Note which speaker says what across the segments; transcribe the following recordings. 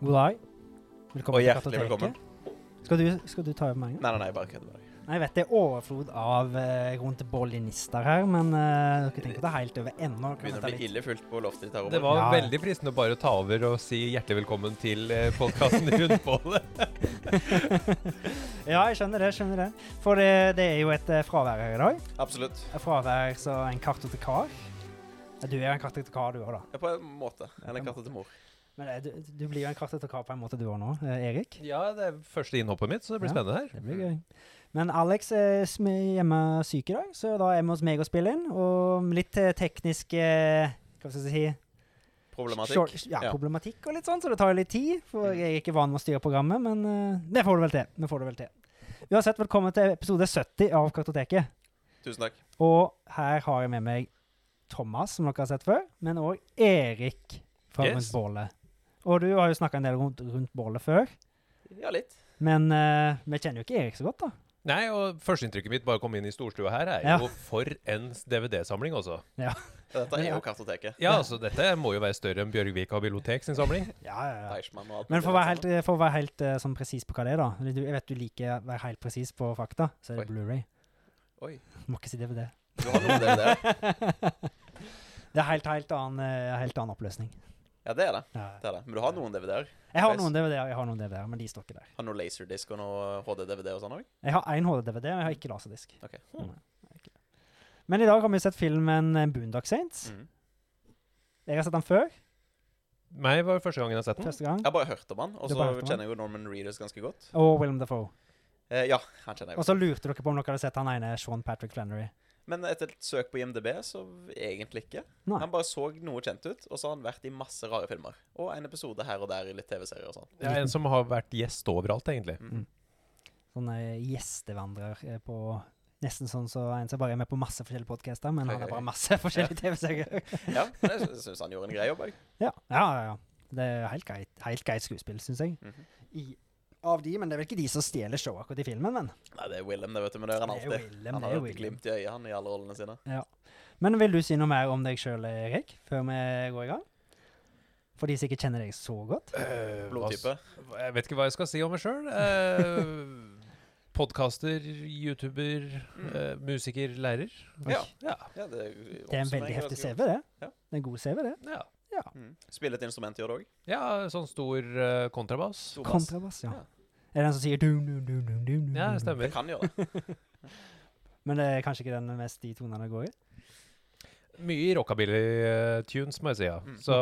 Speaker 1: God dag. Velkommen
Speaker 2: Og
Speaker 1: til
Speaker 2: hjertelig
Speaker 1: Kartoteket.
Speaker 2: velkommen.
Speaker 1: Skal du, skal du ta over meldingen?
Speaker 2: Nei, nei, nei, bare kødder med deg.
Speaker 1: Nei, jeg vet det er overflod av eh, grunn til bollinister her, men eh, dere tenker å ta helt over ennå.
Speaker 2: Det
Speaker 1: Kan
Speaker 2: Begynner
Speaker 1: vi
Speaker 2: å
Speaker 1: ta
Speaker 2: bli
Speaker 1: litt?
Speaker 2: ille fullt på loftet ditt her
Speaker 3: Det
Speaker 2: over.
Speaker 3: var
Speaker 1: Ja.
Speaker 3: veldig fristende å bare ta over og si hjertelig velkommen til eh, podkasten Rundbålet.
Speaker 1: Ja, jeg skjønner det. jeg skjønner det. For det, det er jo et eh, fravær her i dag.
Speaker 2: Absolutt.
Speaker 1: Et fravær som en kartotekar. Ja, Du er en kartotekar, du òg, da.
Speaker 2: Ja, på en måte. Eller katta til mor.
Speaker 1: Men eh, du, du blir jo en kartotekar på en måte, du òg nå, eh, Erik.
Speaker 3: Ja, det er første innhoppet mitt, så det blir
Speaker 1: Ja.
Speaker 3: spennende her.
Speaker 1: Det blir gøy. Men Alex er sm- hjemme syk i dag, så da er vi hos meg og spiller inn. Og litt eh, teknisk eh, Hva skal jeg si?
Speaker 2: Problematikk.
Speaker 1: Short, ja,
Speaker 2: Ja.
Speaker 1: problematikk og litt sånn, så det tar jo litt tid. For
Speaker 2: Mm.
Speaker 1: jeg er ikke vant med å styre programmet, men eh, det får du vel til. Det får du vel til. Uansett, velkommen til episode 70 av Kartoteket.
Speaker 2: Tusen takk.
Speaker 1: Og her har jeg med meg Thomas, som dere har sett før, men òg Erik fra Rundt
Speaker 3: Yes.
Speaker 1: bålet. Og du har jo snakka en del rundt, rundt bålet før,
Speaker 2: Ja, litt.
Speaker 1: men eh, vi kjenner jo ikke Erik så godt, da.
Speaker 3: Nei, og førsteinntrykket mitt bare å komme inn i storstua her, er
Speaker 1: Ja.
Speaker 3: jo for en DVD-samling, altså.
Speaker 2: Ja, Dette er
Speaker 1: Ja.
Speaker 2: jo kartoteket.
Speaker 3: Ja, altså, dette må jo være større enn Bjørgvika bibliotek sin samling.
Speaker 1: Ja, ja, ja.
Speaker 2: Deichman og alt
Speaker 1: Men
Speaker 2: mulig
Speaker 1: for å være
Speaker 2: rart
Speaker 1: helt, for å være helt eh, sånn presis på hva det er, da. Du- Jeg vet du liker å være helt presis på fakta, så er det
Speaker 2: Oi.
Speaker 1: Blu-ray.
Speaker 2: sammen. Oi.
Speaker 1: Må ikke si det ved det.
Speaker 2: Du har noe med det der.
Speaker 1: Det er helt, helt, annen, eh, helt annen oppløsning.
Speaker 2: Ja, det er det.
Speaker 1: Ja.
Speaker 2: det, er det. Men du har noen DVD-er?
Speaker 1: Jeg har
Speaker 2: Nice.
Speaker 1: noen DVD-er, jeg har noen DVD-er, men de står ikke der.
Speaker 2: Har noen laserdisk og noe HD-DVD og sånn òg?
Speaker 1: Jeg har én HD-DVD, men jeg har ikke laserdisk.
Speaker 2: Ok.
Speaker 1: Nei, jeg har ikke det. Men i dag har vi sett filmen eh, Boondock Saints.
Speaker 2: Mm.
Speaker 1: Jeg har sett den før,
Speaker 3: Meg var første gangen
Speaker 2: Mm.
Speaker 3: jeg har sett den.
Speaker 1: første gang.
Speaker 2: Jeg har bare hørt om han, og
Speaker 1: Du
Speaker 2: så
Speaker 1: bare hørt om han?
Speaker 2: kjenner jeg jo Norman Readers ganske godt.
Speaker 1: Og Willem Dafoe.
Speaker 2: Eh, ja, han kjenner jeg
Speaker 1: Og
Speaker 2: godt.
Speaker 1: så lurte dere på om dere hadde sett han ene Sean Patrick Flannery.
Speaker 2: Men etter et søk på IMDb, så egentlig ikke.
Speaker 1: Nei.
Speaker 2: Han bare så noe kjent ut, og så har han vært i masse rare filmer. Og en episode her og der i litt TV-serier og sånn.
Speaker 3: Det er en som har vært gjest overalt, egentlig.
Speaker 1: Sånn eh, gjestevandrer eh, på Nesten sånn så en som bare er med på masse forskjellige podcaster, men han er bare masse forskjellige TV-serier.
Speaker 2: Ja, men jeg sy- syns han gjorde en grei jobb, jeg.
Speaker 1: Ja, ja, ja. ja. Det er helt greit, helt greit skuespill, syns jeg.
Speaker 2: Mhm.
Speaker 1: I, av de, men det er vel ikke de som stjeler showet akkurat i filmen, men.
Speaker 2: Nei, det er Willem, det, vet du. Men det er han
Speaker 1: Det er jo
Speaker 2: alltid.
Speaker 1: Willem, det
Speaker 2: han
Speaker 1: er
Speaker 2: har
Speaker 1: jo
Speaker 2: jo et
Speaker 1: Willem.
Speaker 2: glimt i øyet, han, i alle rollene sine.
Speaker 1: Men vil du si noe mer om deg sjøl, Erik, før vi går i gang? For de som ikke kjenner deg så godt.
Speaker 3: Eh, hva s-
Speaker 2: Blodtype.
Speaker 3: Jeg vet ikke hva jeg skal si om meg sjøl. Eh, Podkaster, YouTuber, eh, musiker, lærer.
Speaker 2: Mm. Ja.
Speaker 3: Ja.
Speaker 2: ja, det,
Speaker 1: Det er en veldig heftig CV, det.
Speaker 2: Ja.
Speaker 1: Det er en god CV, det.
Speaker 3: ja.
Speaker 2: Mm. Spille et instrument, gjør du òg?
Speaker 3: Ja, sånn stor eh, kontrabass.
Speaker 1: Kontrabass, ja.
Speaker 2: Ja.
Speaker 1: Er det den som sier dum, dum, dum, dum, dum, dum,
Speaker 3: Ja,
Speaker 1: dum?
Speaker 3: det stemmer.
Speaker 2: Kan gjøre det.
Speaker 1: Men det er kanskje ikke den mest de tonene går i?
Speaker 3: Mye rockabilly-tunes, må jeg si. ja.
Speaker 2: Mm.
Speaker 3: Så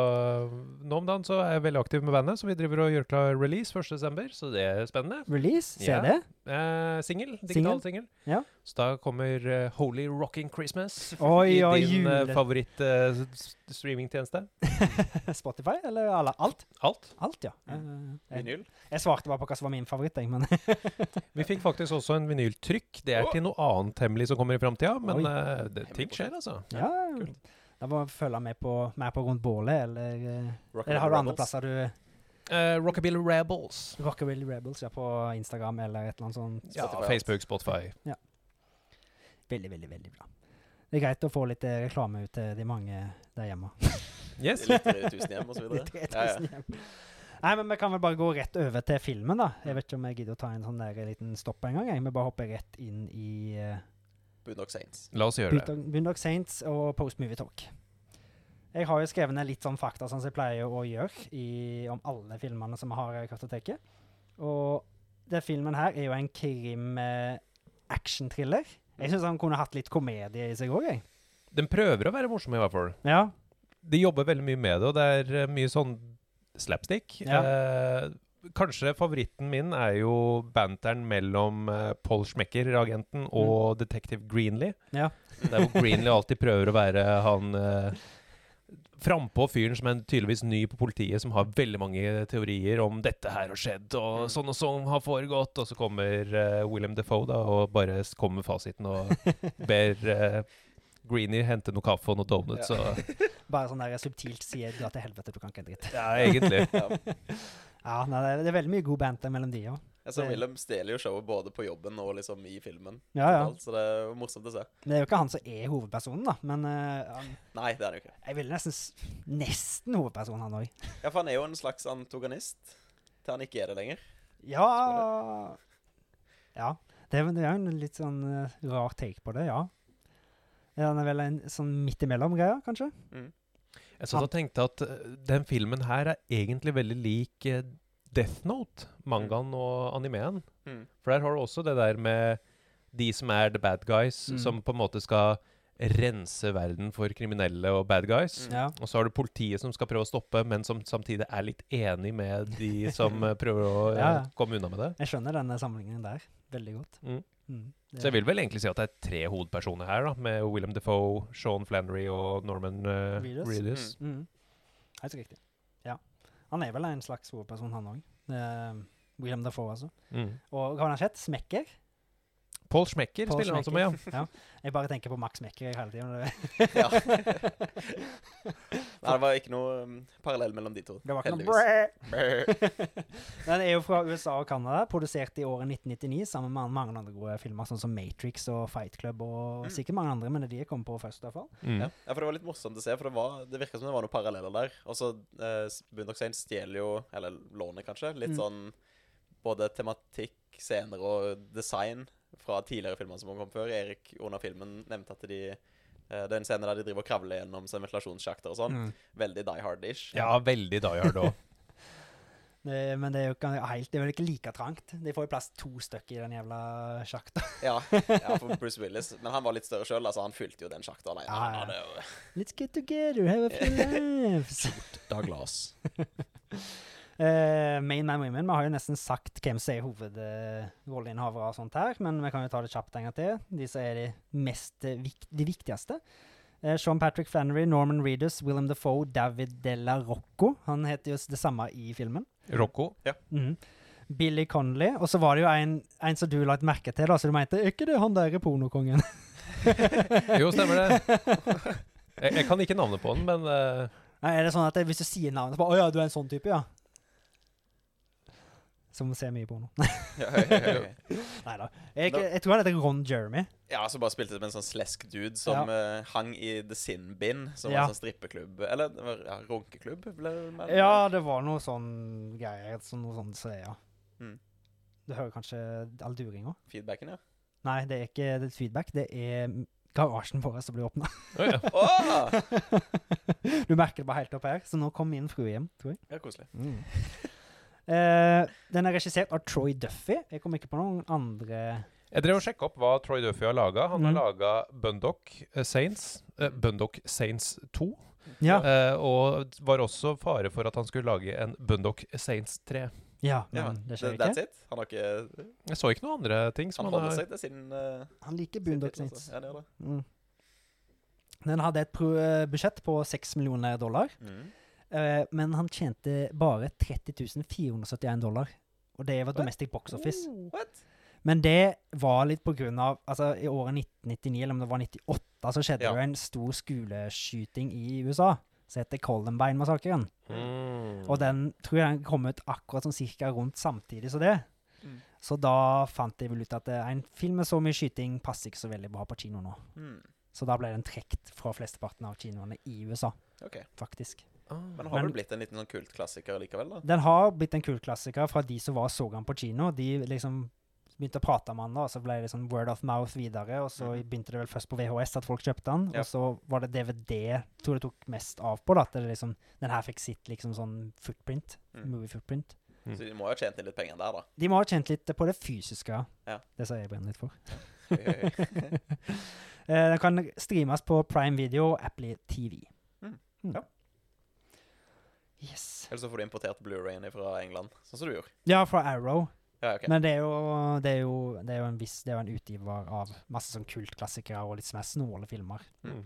Speaker 3: nå om dagen så er jeg veldig aktiv med bandet, så vi driver og gjør klar release 1.12., så det er spennende.
Speaker 1: Release,
Speaker 3: Ja.
Speaker 1: CD.
Speaker 3: Eh, singel. Digital
Speaker 1: Singel?
Speaker 3: singel.
Speaker 1: Ja.
Speaker 3: Så da kommer eh, Holy Rocking Christmas
Speaker 1: Oi, oi,
Speaker 3: i din eh,
Speaker 1: jule.
Speaker 3: favoritt-streamingtjeneste.
Speaker 1: Spotify, eller alle, alt?
Speaker 3: Alt.
Speaker 1: Alt, ja. Eh, Jeg,
Speaker 2: Vinyl.
Speaker 1: jeg svarte bare på hva som var min favoritt, jeg, men
Speaker 3: Vi fikk faktisk også en vinyltrykk. Det er
Speaker 2: Å.
Speaker 3: til noe annet hemmelig som kommer i framtida, men
Speaker 1: Oi.
Speaker 3: eh, det, ting
Speaker 2: Hemmelig
Speaker 3: skjer, altså.
Speaker 1: ja. Da må jeg følge med på, mer på rundt bålet, eller eh,
Speaker 2: Rock
Speaker 1: Eller
Speaker 2: and
Speaker 1: har du
Speaker 2: Roll
Speaker 1: andre
Speaker 2: Rebels.
Speaker 1: plasser du
Speaker 3: Eh, Rockabilly Rebels.
Speaker 1: Rockabilly Rebels ja, på Instagram eller et eller annet sånt.
Speaker 3: Ja,
Speaker 2: Spotify. altså.
Speaker 3: Facebook, Spotify.
Speaker 1: Veldig, veldig, veldig bra. Det er greit å få litt eh, reklame ut til de mange der hjemme.
Speaker 3: Yes.
Speaker 2: Litt i tusen hjem og så
Speaker 1: De
Speaker 2: videre.
Speaker 1: 3000 hjem. Nei, men vi kan vel bare gå rett over til filmen, da. Jeg vet ikke om jeg gidder å ta en sånn der liten stopp en gang. Jeg. Vi bare hopper rett inn i uh,
Speaker 2: Boondock Saints.
Speaker 3: La oss gjøre det.
Speaker 1: Boondock Saints og Post Movie Talk. Jeg har jo skrevet ned litt sånn fakta som jeg pleier å gjøre i, om alle filmene som vi har her i kartoteket. Og den filmen her er jo en krim-action-thriller. jeg syns han kunne hatt litt komedie i seg òg, jeg.
Speaker 3: Den prøver å være morsom, i hvert fall.
Speaker 1: Ja.
Speaker 3: De jobber veldig mye med det, og det er eh, mye sånn slapstick.
Speaker 1: Ja.
Speaker 3: Eh, kanskje favoritten min er jo banteren mellom eh, Paul Schmecker, agenten, og Detective Greenlee.
Speaker 1: Mm. Ja.
Speaker 3: Der hvor Greenlee alltid prøver å være han eh, frampå fyren som er tydeligvis ny på politiet, som har veldig mange teorier om 'dette her har skjedd',
Speaker 1: Mm.
Speaker 3: og 'sånn og sånn har foregått', og så kommer eh, William Defoe da, og bare s- kommer med fasiten og ber eh, Greenie hente noe kaffe og noe donuts.
Speaker 2: Ja.
Speaker 3: Og,
Speaker 1: Bare sånn der subtilt sier du at til helvete, du kan ikke en dritt.
Speaker 3: ja, egentlig.
Speaker 2: Ja.
Speaker 1: Ja, nei, det er- det er veldig mye god banter mellom de òg.
Speaker 2: Altså,
Speaker 1: Det-
Speaker 2: Willem stjeler jo showet både på jobben og liksom i filmen.
Speaker 1: Ja, ja.
Speaker 2: totalt, Så det er jo morsomt å se.
Speaker 1: Det er jo ikke han som er hovedpersonen, da, men eh, han,
Speaker 2: Nei, det er det jo ikke.
Speaker 1: jeg ville nesten s- Nesten hovedpersonen, han òg.
Speaker 2: Ja, for han er jo en slags antagonist. til han ikke er det lenger.
Speaker 1: Ja Ja. Det er, det er jo en litt sånn eh, rar take på det, ja. Ja, Den er vel en sånn midt imellom-greie, kanskje?
Speaker 2: Mm.
Speaker 3: Jeg satt og tenkte at eh, den filmen her er egentlig veldig lik eh, Death Note, mangaen og animeen.
Speaker 2: Mm.
Speaker 3: For der har du også det der med de som er the bad guys,
Speaker 1: Mm.
Speaker 3: som på en måte skal rense verden for kriminelle og bad guys.
Speaker 2: Mm.
Speaker 1: Ja.
Speaker 3: Og så har du politiet som skal prøve å stoppe, men som samtidig er litt enig med de som eh, prøver å eh,
Speaker 1: Ja, ja.
Speaker 3: komme unna med det.
Speaker 1: Jeg skjønner denne sammenligningen der veldig godt.
Speaker 3: Mm.
Speaker 1: Mm. Det-
Speaker 3: Så jeg vil vel egentlig si at det er tre hovedpersoner her, da, med William Defoe, Sean Flannery og Norman eh,
Speaker 1: Reedus.
Speaker 3: Reedus.
Speaker 1: Mm. Helt riktig. Ja. Han er vel en slags hovedperson, han òg. William Dafoe, altså.
Speaker 3: Mm.
Speaker 1: Og hva har han sett? Smekker?
Speaker 3: Paul Schmecker
Speaker 1: Paul
Speaker 3: spiller han som, ja.
Speaker 1: Jeg bare tenker på Max Smekker hele tida.
Speaker 2: Ja. Nei, det var ikke noe um, parallell mellom de to.
Speaker 1: Det var ikke noe
Speaker 2: heldigvis.
Speaker 1: bræ. Mm.
Speaker 2: Brr.
Speaker 1: Den er jo fra USA og Canada, produsert i året 1999 sammen med mange andre gode filmer, sånn som Matrix og Fight Club og
Speaker 2: Mm.
Speaker 1: sikkert mange andre, men det er de jeg kom på først, i hvert fall.
Speaker 3: Mm.
Speaker 2: Ja. ja, for det var litt morsomt å se, for det, var, det virka som det var noen paralleller der. Og så eh, Bundoxane stjeler jo, eller låner kanskje, litt
Speaker 1: Mm.
Speaker 2: sånn både tematikk, scener og design fra tidligere filmer som kom før. Erik under filmen nevnte at de eh, det er en scene der de driver og kravler gjennom sånn ventilasjonssjakter og sånn.
Speaker 1: Mm.
Speaker 2: Veldig Die Hard-ish.
Speaker 3: ja, veldig Die Hard òg.
Speaker 1: Det, men det er jo ikke helt, det er vel ikke like trangt. De får jo plass to stykker i den jævla sjakta.
Speaker 2: Ja, ja, for Bruce Willis. Men han var litt større sjøl. Altså, han fylte jo den sjakta alene.
Speaker 1: Ja, ja.
Speaker 2: Han hadde jo
Speaker 1: Let's get together, have a few laughs.
Speaker 2: Dag Lars.
Speaker 1: Eh, main Man Women, vi har jo nesten sagt hvem som er hovedrolleinnehavere og sånt her, men vi kan jo ta det kjapt en gang til. De som er de mest eh, vik de viktigste. Eh, Sean Patrick Flannery, Norman Reedus, Willem Dafoe, David Della Rocco. Han heter jo s- det samme i filmen.
Speaker 3: Rocco.
Speaker 1: Mhm. Billy Connolly. Og så var det jo en, en som du la et merke til, da, så du mente Er ikke det han der er pornokongen?
Speaker 3: Jo, stemmer det. Jeg, jeg kan ikke navnet på den, men eh,
Speaker 1: Nei, er det sånn at det, hvis du sier navnet, så bare Å ja, du er en sånn type, ja. Som ser mye porno.
Speaker 2: Ja, høy, høy, høy, høy.
Speaker 1: Nei da. Jeg, jeg, jeg tror han heter Ron Jeremy.
Speaker 2: ja, som bare spilte som en sånn slesk dude som eh, hang i The Sin Bin, som
Speaker 1: Ja.
Speaker 2: var en sånn strippeklubb Eller det var, ja, runkeklubb, ble det vel?
Speaker 1: Ja, det var noe sånn greier. Så noe sånt, så ja.
Speaker 2: Mm.
Speaker 1: Du hører kanskje all duringa?
Speaker 2: Feedbacken, ja.
Speaker 1: Nei, det er ikke det er feedback. Det er garasjen vår som blir åpna.
Speaker 3: å ja.
Speaker 2: Åh!
Speaker 1: du merker det bare helt opp her. Så nå kom min frue hjem, tror jeg.
Speaker 2: Ja, koselig.
Speaker 1: Eh, den er regissert av Troy Duffy. Jeg kom ikke på noen andre
Speaker 3: Jeg drev og sjekka opp hva Troy Duffy har laga. Han har
Speaker 1: Mm.
Speaker 3: laga Bundock eh, Saints. eh, Bundock Saints 2.
Speaker 1: Ja.
Speaker 3: eh, og var også fare for at han skulle lage en Bundock Saints 3.
Speaker 1: Ja,
Speaker 2: Ja,
Speaker 1: men det skjer
Speaker 2: that's
Speaker 1: ikke.
Speaker 2: it. Han har ikke
Speaker 3: Jeg så ikke noen andre ting som
Speaker 2: Han
Speaker 3: han,
Speaker 2: holder
Speaker 3: har
Speaker 2: seg til sin uh,
Speaker 1: Han liker Boondock Saints.
Speaker 2: Ja, det gjør det.
Speaker 1: Mm. Den hadde et pro eh, budsjett på 6 millioner dollar.
Speaker 2: Mm.
Speaker 1: Eh, men han tjente bare 30 471 dollar. Og det var
Speaker 2: What?
Speaker 1: domestic box office.
Speaker 2: What?
Speaker 1: Men det var litt på grunn av altså, I året 1999, eller om det var 98, så skjedde
Speaker 2: Ja.
Speaker 1: det jo en stor skoleskyting i USA som heter Columbine-massakren.
Speaker 3: Mm.
Speaker 1: Og den tror jeg den kom ut akkurat sånn cirka rundt samtidig som det.
Speaker 2: Mm.
Speaker 1: Så da fant de vel ut at eh, en film med så mye skyting passer ikke så veldig bra på kino nå.
Speaker 2: Mm.
Speaker 1: Så da ble den trukket fra flesteparten av kinoene i USA,
Speaker 2: OK.
Speaker 1: faktisk.
Speaker 2: Men
Speaker 3: Ah.
Speaker 2: har
Speaker 1: Men-
Speaker 2: vel blitt en liten sånn kultklassiker likevel, da?
Speaker 1: Den har blitt en kul klassiker fra de som var og så han på kino. De liksom begynte å prate om han, da, og så ble det sånn word of mouth videre. Og så
Speaker 2: Mhm.
Speaker 1: begynte det vel først på VHS at folk kjøpte han,
Speaker 2: Ja.
Speaker 1: og så var det DVD tror det tok mest av på. da, At det liksom, den her fikk sitt liksom sånn footprint.
Speaker 2: Mm.
Speaker 1: Movie footprint.
Speaker 2: Så de må jo ha tjent inn litt penger der, da.
Speaker 1: De må ha kjent litt på det fysiske.
Speaker 2: Ja.
Speaker 1: Det som jeg brenner litt for.
Speaker 2: Høy, høy, høy.
Speaker 1: Eh, den kan streames på Prime Video og Apple TV.
Speaker 2: Mm.
Speaker 1: Mm.
Speaker 2: Ja.
Speaker 1: Yes.
Speaker 2: Eller så får du importert Blu-rayen fra England, sånn som du gjorde.
Speaker 1: Ja, fra Arrow.
Speaker 2: Ja, ok.
Speaker 1: Men det er, jo, det, er jo, det er jo en viss Det er jo en utgiver av masse sånn kultklassikere og litt mer snåle filmer.
Speaker 3: Mm.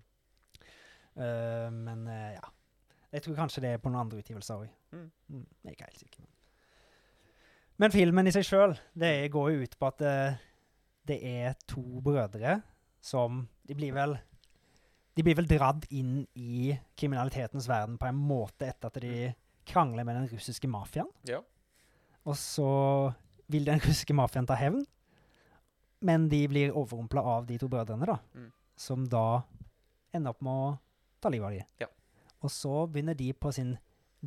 Speaker 1: Eh, men eh, ja. Jeg tror kanskje det er på noen andre utgivelser òg.
Speaker 2: Mm.
Speaker 1: Mm, jeg er ikke helt sikker. Men, men filmen i seg sjøl, det er- går jo ut på at eh, det er to brødre som De blir vel De blir vel dradd inn i kriminalitetens verden på en måte etter at
Speaker 2: Mm.
Speaker 1: de krangler med den russiske mafiaen.
Speaker 2: Ja.
Speaker 1: Og så vil den russiske mafiaen ta hevn, men de blir overrumpla av de to brødrene, da.
Speaker 2: Mm.
Speaker 1: Som da ender opp med å ta livet av de.
Speaker 2: Ja.
Speaker 1: Og så begynner de på sin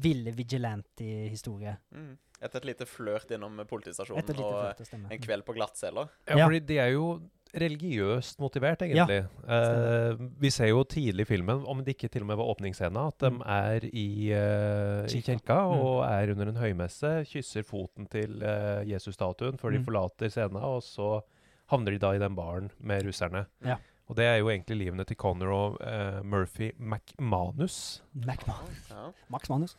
Speaker 1: ville vigilante-historie.
Speaker 2: Mm. Etter et lite flørt innom politistasjonen
Speaker 1: Etter lite
Speaker 2: og
Speaker 1: flørt, det stemmer.
Speaker 2: en kveld på glattcella.
Speaker 3: Ja,
Speaker 1: Ja.
Speaker 3: fordi de er jo religiøst motivert, egentlig. Eh, vi ser jo tidlig i filmen, om det ikke til og med var åpningsscena, at de
Speaker 1: Mm.
Speaker 3: er i, eh, i
Speaker 1: Kirka. Mm.
Speaker 3: kirka og er under en høymesse, kysser foten til eh, Jesus-statuen før de
Speaker 1: Mm.
Speaker 3: forlater scena, og så havner de da i den baren med russerne.
Speaker 1: Ja.
Speaker 3: Og det er jo egentlig livene til Connor og eh, Murphy McManus.
Speaker 1: Mac Ma-
Speaker 2: Ja.
Speaker 1: Max Manus.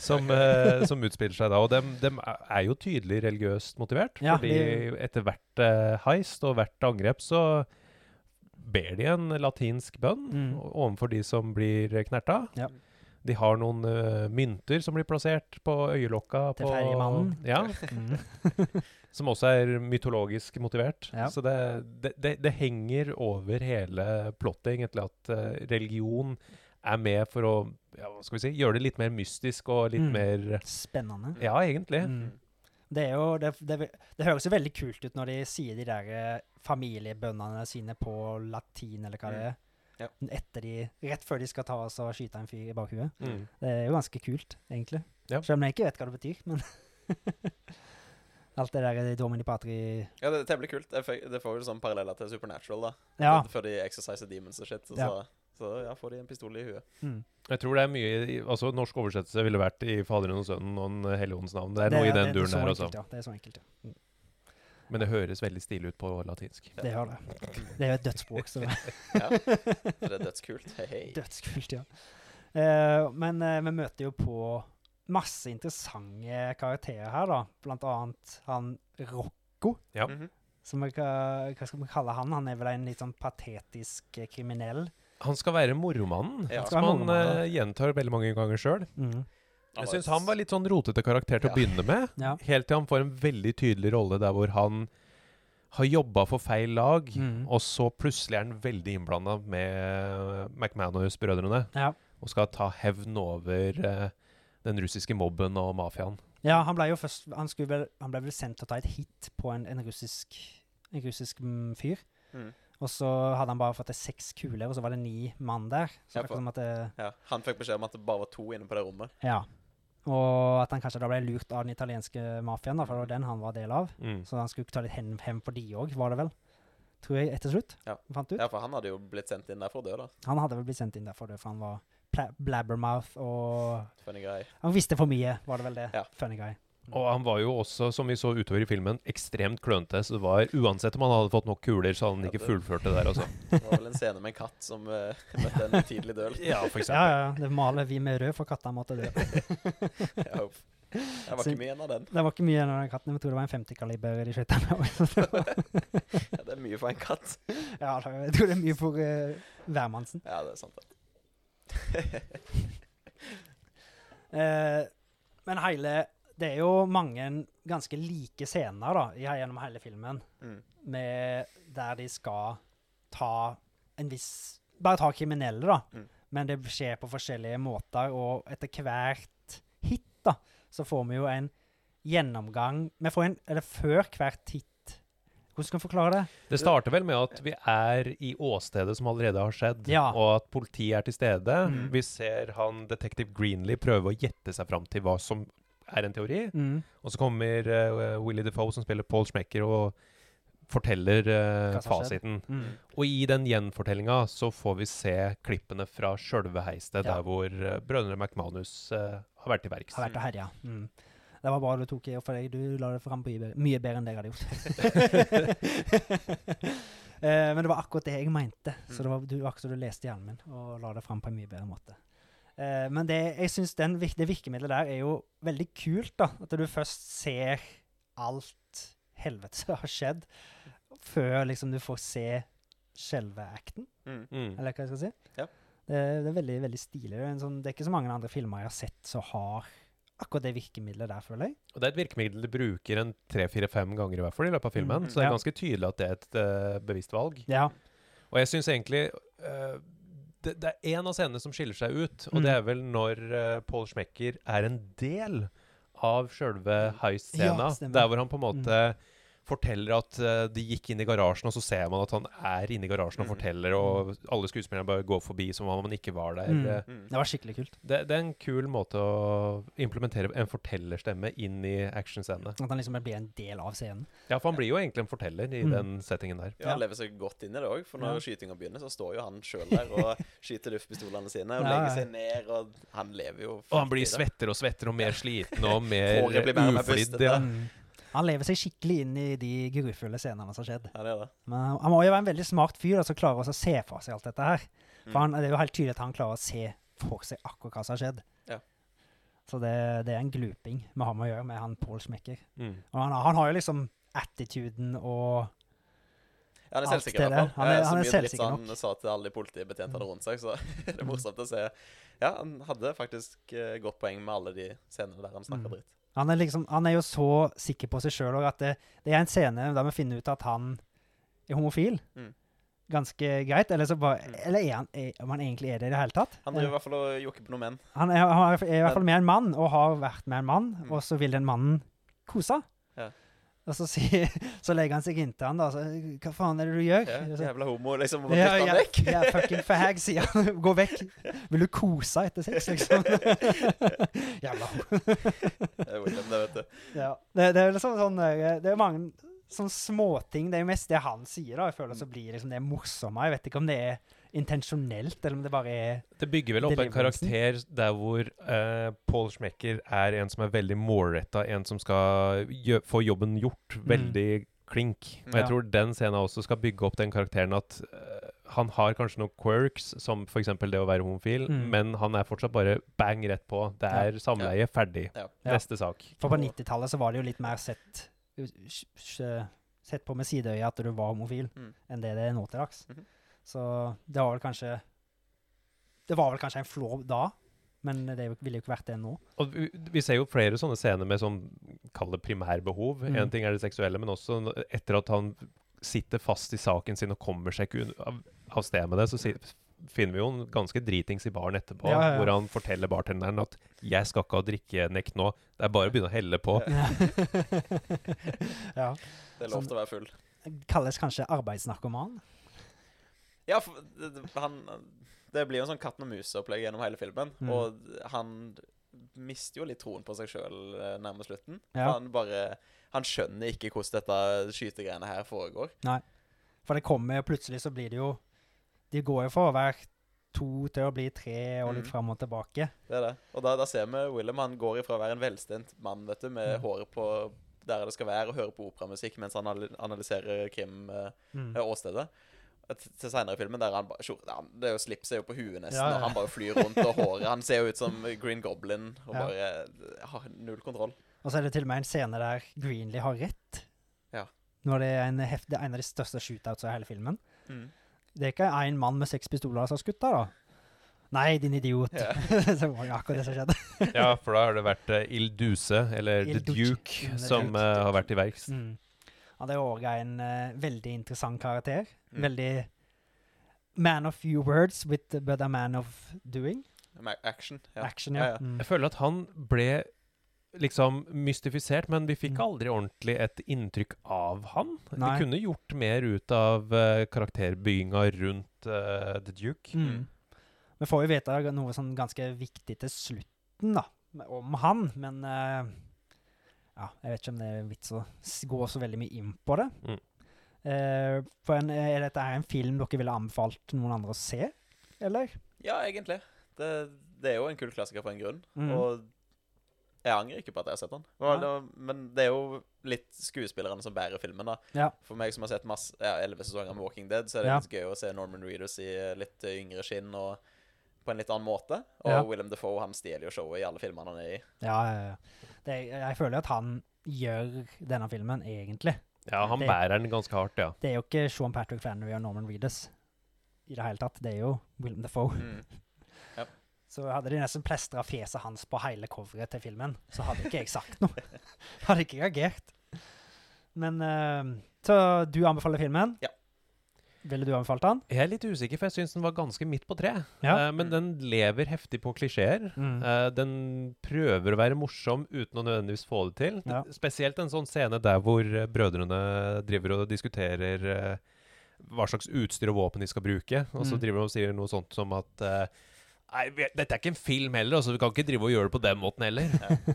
Speaker 3: Som, eh, som utspiller seg da. Og dem, dem er jo tydelig religiøst motivert.
Speaker 1: Ja,
Speaker 3: fordi etter hvert eh, heist og hvert angrep så ber de en latinsk bønn
Speaker 1: Mm.
Speaker 3: o- overfor de som blir knerta.
Speaker 1: Ja.
Speaker 3: De har noen eh, mynter som blir plassert på øyelokka.
Speaker 1: Til
Speaker 3: på-
Speaker 1: ferjemannen.
Speaker 3: Ja,
Speaker 1: Mm.
Speaker 3: som også er mytologisk motivert.
Speaker 1: Ja.
Speaker 3: Så det, det, det, det henger over hele plottet, egentlig, at eh, religion er med for å ja, hva skal vi si, gjøre det litt mer mystisk og litt
Speaker 1: Mm.
Speaker 3: mer
Speaker 1: Spennende.
Speaker 3: ja, egentlig.
Speaker 1: Mm. Det, er jo, det, det, det høres jo veldig kult ut når de sier de der eh, familiebønnene sine på latin, eller hva det er.
Speaker 2: Mm. Ja.
Speaker 1: Etter de, rett før de skal ta oss og skyte en fyr i bakhuet.
Speaker 3: Mm.
Speaker 1: Det er jo ganske kult, egentlig.
Speaker 3: Ja.
Speaker 1: Selv om jeg ikke vet hva det betyr, men Alt det der i Domini Patri
Speaker 2: ja, det er temmelig kult. Det får- Det får jo sånn paralleller til Supernatural, da.
Speaker 1: Ja.
Speaker 2: Før de exerciser demons og shit. Så,
Speaker 1: Ja.
Speaker 2: så, så ja, får de en pistol i huet.
Speaker 1: Mm.
Speaker 3: Jeg tror det er mye i- altså Norsk oversettelse ville vært i 'Faderen og Sønnen' og en Helligåndens navn. Det er noe i den duren
Speaker 1: så
Speaker 3: der
Speaker 1: enkelt,
Speaker 3: også.
Speaker 1: Ja. Det er så enkelt, ja.
Speaker 3: Men det høres veldig stilig ut på latinsk.
Speaker 1: Det gjør det. Det er jo et dødsspråk, så
Speaker 2: Ja. Så det er dødskult. Hei, hei.
Speaker 1: Dødskult, ja. Eh, men eh, vi møter jo på masse interessante karakterer her, da. Blant annet han Rocco,
Speaker 3: Ja.
Speaker 2: Mhm.
Speaker 1: som vi ka- hva skal vi kalle han? Han er vel en litt sånn patetisk eh, kriminell.
Speaker 3: Han skal være moromannen,
Speaker 2: Ja. Han
Speaker 1: skal være
Speaker 3: som han
Speaker 1: moromannen,
Speaker 3: eh, gjentar veldig mange ganger sjøl.
Speaker 1: Mm.
Speaker 2: Han
Speaker 3: Jeg
Speaker 2: var
Speaker 3: syns han var litt sånn rotete karakter til å
Speaker 2: Ja.
Speaker 3: begynne med,
Speaker 1: Ja.
Speaker 3: helt til han får en veldig tydelig rolle der hvor han har jobba for feil lag,
Speaker 1: Mm.
Speaker 3: og så plutselig er han veldig innblanda med McManus-brødrene
Speaker 1: Ja.
Speaker 3: og skal ta hevn over eh, den russiske mobben og mafiaen.
Speaker 1: ja, han ble jo først Han, skulle vel, han ble vel sendt til å ta et hit på en, en russisk, en russisk mm, fyr.
Speaker 2: Mhm.
Speaker 1: Og så hadde han bare fått til seks kuler, og så var det ni mann der. Så
Speaker 2: Ja,
Speaker 1: det er akkurat
Speaker 2: for-
Speaker 1: som at det,
Speaker 2: Ja, Han fikk beskjed om at det bare var to inne på det rommet.
Speaker 1: Ja. Og at han kanskje da ble lurt av den italienske mafiaen, da, for det var den han var del av.
Speaker 3: Mm.
Speaker 1: Så han skulle ta litt hen- hevn på de òg, var det vel? Tror jeg, etter slutt.
Speaker 2: Ja.
Speaker 1: Fant ut.
Speaker 2: Ja, for han hadde jo blitt sendt inn der for å dø, da.
Speaker 1: Han hadde vel blitt sendt inn der for det, for han var pla- blabbermouth og
Speaker 2: Funny guy.
Speaker 1: Han visste for mye, var det vel det?
Speaker 2: Ja.
Speaker 1: Funny guy.
Speaker 3: Og han var jo også, som vi så utover i filmen, ekstremt klønete. Så det var uansett om han hadde fått nok kuler, så hadde han
Speaker 2: Ja,
Speaker 3: ikke
Speaker 2: det-
Speaker 3: fullført det der, altså.
Speaker 2: Det var vel en scene med en katt som eh, møtte en tidlig døl.
Speaker 3: Ja,
Speaker 1: Ja,
Speaker 3: for eksempel.
Speaker 1: ja, ja. Det maler vi med rød, for katta måtte dø.
Speaker 2: Jeg håper- Det var
Speaker 1: Så-
Speaker 2: ikke mye igjen av den.
Speaker 1: Det var ikke mye igjen av den katten. Jeg tror det var en 50-kaliber de skjøt med. også, så det var-
Speaker 2: Ja, det er mye for en katt.
Speaker 1: Ja, da- jeg tror det er mye for eh, hvermannsen.
Speaker 2: Ja, det er sant. det.
Speaker 1: Eh, men hele Det er jo mange ganske like scener da, i- gjennom hele filmen.
Speaker 2: Mm.
Speaker 1: med der de skal ta en viss Bare ta kriminelle, da.
Speaker 2: Mm.
Speaker 1: Men det skjer på forskjellige måter, og etter hvert hit da, så får vi jo en gjennomgang Vi får en Eller før hvert hit Hvordan skal vi forklare det?
Speaker 3: Det starter vel med at vi er i åstedet som allerede har skjedd,
Speaker 1: Ja.
Speaker 3: og at politiet er til stede.
Speaker 1: Mm.
Speaker 3: Vi ser han detektiv Greenlee prøve å gjette seg fram til hva som er en teori. Og så kommer eh, Willy Defoe, som spiller Paul Schmecker, og forteller eh,
Speaker 1: Hva som har skjedd.
Speaker 3: fasiten.
Speaker 1: Mm.
Speaker 3: Og i den gjenfortellinga så får vi se klippene fra sjølve heistet,
Speaker 1: Ja.
Speaker 3: der hvor eh, brødrene McManus eh, har vært til verks.
Speaker 1: Har vært og herja. Mm. Det var bra du tok i, for deg. du la det fram på mye bedre- mye bedre enn det jeg hadde gjort. Eh, men det var akkurat det jeg mente, så det var du, akkurat som du leste hjernen min og la det fram på en mye bedre måte. Eh, men det, jeg synes den, vir- det virkemidlet der er jo veldig kult, da. At du først ser alt helvete som har skjedd, før liksom du får se selve acten.
Speaker 2: Mm.
Speaker 3: Mm.
Speaker 1: Eller hva jeg skal si.
Speaker 2: Ja.
Speaker 1: Det, det er veldig veldig stilig. Det er, en sånn, det er ikke så mange andre filmer jeg har sett som har akkurat det virkemidlet der, føler jeg.
Speaker 3: Og det er et virkemiddel de bruker en tre-fire-fem ganger i hvert fall i løpet av filmen,
Speaker 1: Mm,
Speaker 3: så det
Speaker 1: ja.
Speaker 3: er ganske tydelig at det er et eh, bevisst valg.
Speaker 1: Ja.
Speaker 3: Og jeg syns egentlig eh, det, det er én av scenene som skiller seg ut, og
Speaker 1: Mm.
Speaker 3: det er vel når eh, Paul Schmecker er en del av sjølve
Speaker 1: Ja,
Speaker 3: heist-scena.
Speaker 1: stemmer. Mm.
Speaker 3: der hvor han på en måte forteller at eh, de gikk inn i garasjen, og så ser man at han er inne i garasjen og
Speaker 2: Mm.
Speaker 3: forteller, og alle skuespillerne bare går forbi som om han ikke var der.
Speaker 1: Mm.
Speaker 3: Eh,
Speaker 2: Mm.
Speaker 1: Det var skikkelig kult.
Speaker 3: Det, det er en kul måte å implementere en fortellerstemme inn i actionscenene.
Speaker 1: At han liksom blir en del av scenen.
Speaker 3: Ja, for han blir jo egentlig en forteller i
Speaker 1: Mm.
Speaker 3: den settingen der.
Speaker 2: Ja, han lever seg godt inn i det òg, for når
Speaker 1: Ja.
Speaker 2: skytinga begynner, så står jo han sjøl der og skyter luftpistolene sine og
Speaker 1: Ja,
Speaker 2: legger
Speaker 1: ja.
Speaker 2: seg ned, og han lever jo
Speaker 3: Og han blir
Speaker 2: fullt i det.
Speaker 3: svettere og svettere og mer sliten og mer
Speaker 2: Håret blir mer og mer
Speaker 3: uflidd.
Speaker 2: bustete.
Speaker 3: Ja.
Speaker 1: Mm. Han lever seg skikkelig inn i de grufulle scenene som har skjedd.
Speaker 2: Ja, det er det.
Speaker 1: Men han må jo være en veldig smart fyr da, som klarer også å se for seg alt dette her. For han, det er jo helt tydelig at han klarer å se for seg akkurat hva som har skjedd.
Speaker 2: Ja.
Speaker 1: Så det, det er en gluping vi har med å gjøre med han Paul Schmecker.
Speaker 3: Mm.
Speaker 1: Og han, han har jo liksom attituden og
Speaker 2: Ja, han er
Speaker 1: Alt
Speaker 2: selvsikker, i
Speaker 1: det
Speaker 2: hvert
Speaker 1: der.
Speaker 2: fall.
Speaker 1: Han er-
Speaker 2: Eh, så
Speaker 1: han er
Speaker 2: mye dritt
Speaker 1: selvsikker
Speaker 2: som
Speaker 1: nok. Mm.
Speaker 2: Han sa til alle de politibetjentene rundt seg, så det er morsomt å se. Ja, han hadde faktisk eh, godt poeng med alle de scenene der han
Speaker 1: Mm.
Speaker 2: snakka dritt.
Speaker 1: Han er, liksom, han er jo så sikker på seg sjøl at det, det er en scene der vi finner ut at han er homofil.
Speaker 2: Mm.
Speaker 1: Ganske greit. Eller, så bare,
Speaker 2: Mm.
Speaker 1: eller er han, er, om han egentlig er det i det hele tatt? Eh,
Speaker 2: Han driver i hvert fall og jokker på noen menn.
Speaker 1: Han er, han er i hvert fall med en mann, og har vært med en mann,
Speaker 2: Mm.
Speaker 1: og så vil den mannen kose.
Speaker 2: Ja.
Speaker 1: Og så, sier- så legger han seg inntil han, da. Så, Hva faen er det du gjør?
Speaker 2: Ja,
Speaker 1: Så-
Speaker 2: jævla homo, liksom. Og
Speaker 1: Ja,
Speaker 2: dytter
Speaker 1: ja,
Speaker 2: han vekk.
Speaker 1: ja, fucking fag, sier han. Gå vekk. Vil du kose etter sex, liksom? Jævla
Speaker 2: Det er William, det, vet du.
Speaker 1: ja. det, det er liksom sånn eh, Det er mange sånne småting. Det er jo mest det han sier, da. Jeg føler
Speaker 2: Mm.
Speaker 1: så blir liksom det morsomme. Jeg vet ikke om det er intensjonelt, eller om det bare er
Speaker 3: Det bygger vel opp en
Speaker 1: Deliveransen.
Speaker 3: karakter der hvor eh, Paul Schmecker er en som er veldig målretta, en som skal gjø få jobben gjort. Veldig klink.
Speaker 1: Mm.
Speaker 3: Og jeg
Speaker 1: Ja.
Speaker 3: tror den scenen også skal bygge opp den karakteren at eh, han har kanskje noen quirks, som f.eks. det å være homofil,
Speaker 1: Mm.
Speaker 3: men han er fortsatt bare bang rett på. Det
Speaker 1: Ja.
Speaker 3: er samleie, ferdig.
Speaker 2: Ja.
Speaker 1: Ja.
Speaker 3: Neste sak.
Speaker 1: For på 90-tallet så var det jo litt mer sett Sett på med sideøyet at du var homofil,
Speaker 2: Mm.
Speaker 1: enn det det er nå til dags.
Speaker 2: Mhm.
Speaker 1: Så det var vel kanskje Det var vel kanskje en flå da, men det er jo- ville jo ikke vært det nå.
Speaker 3: Og vi, vi ser jo flere sånne scener med sånn Kall det primærbehov.
Speaker 1: Mm.
Speaker 3: Én ting er det seksuelle, men også n- etter at han sitter fast i saken sin og kommer seg ikke un- av, av sted med det, så si, finner vi jo en ganske dritings i baren etterpå,
Speaker 1: Ja, ja, ja.
Speaker 3: hvor han forteller bartenderen at 'jeg skal ikke ha drikkenekt nå', det er bare å begynne å helle på.
Speaker 1: ja.
Speaker 2: Det er lov til å være full.
Speaker 1: Kalles kanskje arbeidsnarkoman.
Speaker 2: Ja, for det- det- han Det blir jo en sånn katten og mus-opplegg gjennom hele filmen.
Speaker 1: Mm.
Speaker 2: Og han mister jo litt troen på seg sjøl nærmest slutten.
Speaker 1: Ja.
Speaker 2: Han bare Han skjønner ikke hvordan dette skytegreiene her foregår.
Speaker 1: For det kommer plutselig, så blir det jo De går jo fra å være to til å bli tre, og litt
Speaker 2: Mhm.
Speaker 1: fram og tilbake.
Speaker 2: Det er det. Og da, da ser vi William han går ifra å være en velstint mann vet du, med
Speaker 1: Mm.
Speaker 2: håret på der det skal være, og hører på operamusikk mens han anal- analyserer eh, krim-åstedet,
Speaker 1: Mm.
Speaker 2: til seinere i filmen der han bare skjor- han, Det er jo slipset er jo på huet nesten,
Speaker 1: Ja, ja.
Speaker 2: og han bare flyr rundt, og håret Han ser jo ut som Green Goblin og
Speaker 1: Ja.
Speaker 2: bare eh, har null kontroll.
Speaker 1: Og så er det til og med en scene der Greenlee har rett.
Speaker 2: Ja.
Speaker 1: Når det er en, heft, det er en av de største shootoutsa i hele filmen.
Speaker 2: Mm.
Speaker 1: Det er ikke én mann med seks pistoler som har skutt der, da. Nei, din idiot.
Speaker 2: Ja.
Speaker 1: det var jo akkurat det som skjedde.
Speaker 3: Ja, for da har det vært eh, Il Duse, eller
Speaker 1: Il
Speaker 3: The
Speaker 1: Duce.
Speaker 3: Duke,
Speaker 1: Mm, The
Speaker 3: som
Speaker 1: Duke.
Speaker 3: eh, har vært i verks.
Speaker 1: Mm. Ja, det er òg en eh, veldig interessant karakter.
Speaker 2: Mm.
Speaker 1: Veldig man of few words, with, but a man of doing.
Speaker 2: Ma- Mm. Action. Ja.
Speaker 1: Action, ja.
Speaker 2: Ja, ja.
Speaker 1: Mm.
Speaker 3: Jeg føler at han ble liksom mystifisert, men vi fikk
Speaker 1: Mm.
Speaker 3: aldri ordentlig et inntrykk av han.
Speaker 1: Nei.
Speaker 3: Vi kunne gjort mer ut av eh, karakterbygginga rundt eh, The Duke.
Speaker 1: Mm. Vi får jo vite noe sånn ganske viktig til slutten, da, om han, men eh, ja, jeg vet ikke om det er vits å s- gå så veldig mye inn på det.
Speaker 3: Mm.
Speaker 1: Eh, for en, er dette her en film dere ville anbefalt noen andre å se, eller?
Speaker 2: ja, egentlig. Det, det er jo en kul klassiker for en grunn.
Speaker 1: Mm.
Speaker 2: Og jeg angrer ikke på at jeg har sett den. Det var-
Speaker 1: Nei.
Speaker 2: det var- Men det er jo litt skuespillerne som bærer filmen, da.
Speaker 1: Ja.
Speaker 2: For meg som har sett masse, ja, 11 sesonger med Walking Dead, så er det
Speaker 1: Ja.
Speaker 2: litt gøy å se Norman Reedus i litt eh, yngre skinn og på en litt annen måte. Og
Speaker 1: Ja.
Speaker 2: Willem Defoe han stjeler jo showet i alle filmene han er i.
Speaker 1: Ja, ja, ja. Det, jeg føler at han gjør denne filmen, egentlig.
Speaker 3: Ja, han
Speaker 1: Det-
Speaker 3: bærer den ganske hardt, ja.
Speaker 1: Det er jo ikke Sean Patrick Flannery og Norman Reedus i det hele tatt. Det er jo William Defoe.
Speaker 2: Mm.
Speaker 1: Så hadde de nesten plestra fjeset hans på hele coveret til filmen, så hadde ikke jeg sagt noe. hadde ikke reagert. Men eh, Så du anbefaler filmen? Ville du anbefalt han?
Speaker 3: Jeg er litt usikker, for jeg syns den var ganske midt på treet.
Speaker 1: Ja.
Speaker 3: Eh, men den lever heftig på klisjeer.
Speaker 1: Mm.
Speaker 3: Eh, den prøver å være morsom uten å nødvendigvis få det til.
Speaker 1: Ja.
Speaker 3: Spesielt en sånn scene der hvor eh, brødrene driver og diskuterer eh, hva slags utstyr og våpen de skal bruke, og så
Speaker 1: Mm.
Speaker 3: driver de og sier noe sånt som at eh, Nei, vi- dette er ikke en film heller, altså vi kan ikke drive og gjøre det på den måten heller.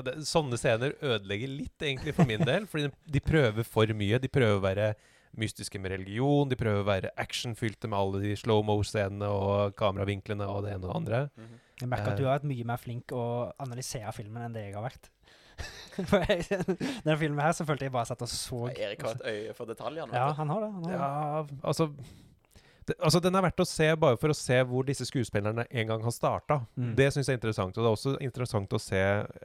Speaker 3: Og det, sånne scener ødelegger litt egentlig for min del, fordi de, de prøver for mye. De prøver å være mystiske med religion, de prøver å være actionfylte med alle de slow-mo-scenene og kameravinklene og det ene og det andre.
Speaker 2: Mhm.
Speaker 1: Jeg merker at du
Speaker 3: Eh.
Speaker 1: har vært mye mer flink å analysere filmen enn det jeg har vært. For jeg, denne filmen her så følte jeg bare satt og så
Speaker 2: Ja, Erik har et øye for detaljer nå.
Speaker 1: Ja,
Speaker 2: vet du.
Speaker 1: han har det. Han har det.
Speaker 3: Ja, altså det, altså, Den er verdt å se bare for å se hvor disse skuespillerne en gang har starta.
Speaker 1: Mm.
Speaker 3: Det syns jeg er interessant. Og det er også interessant å se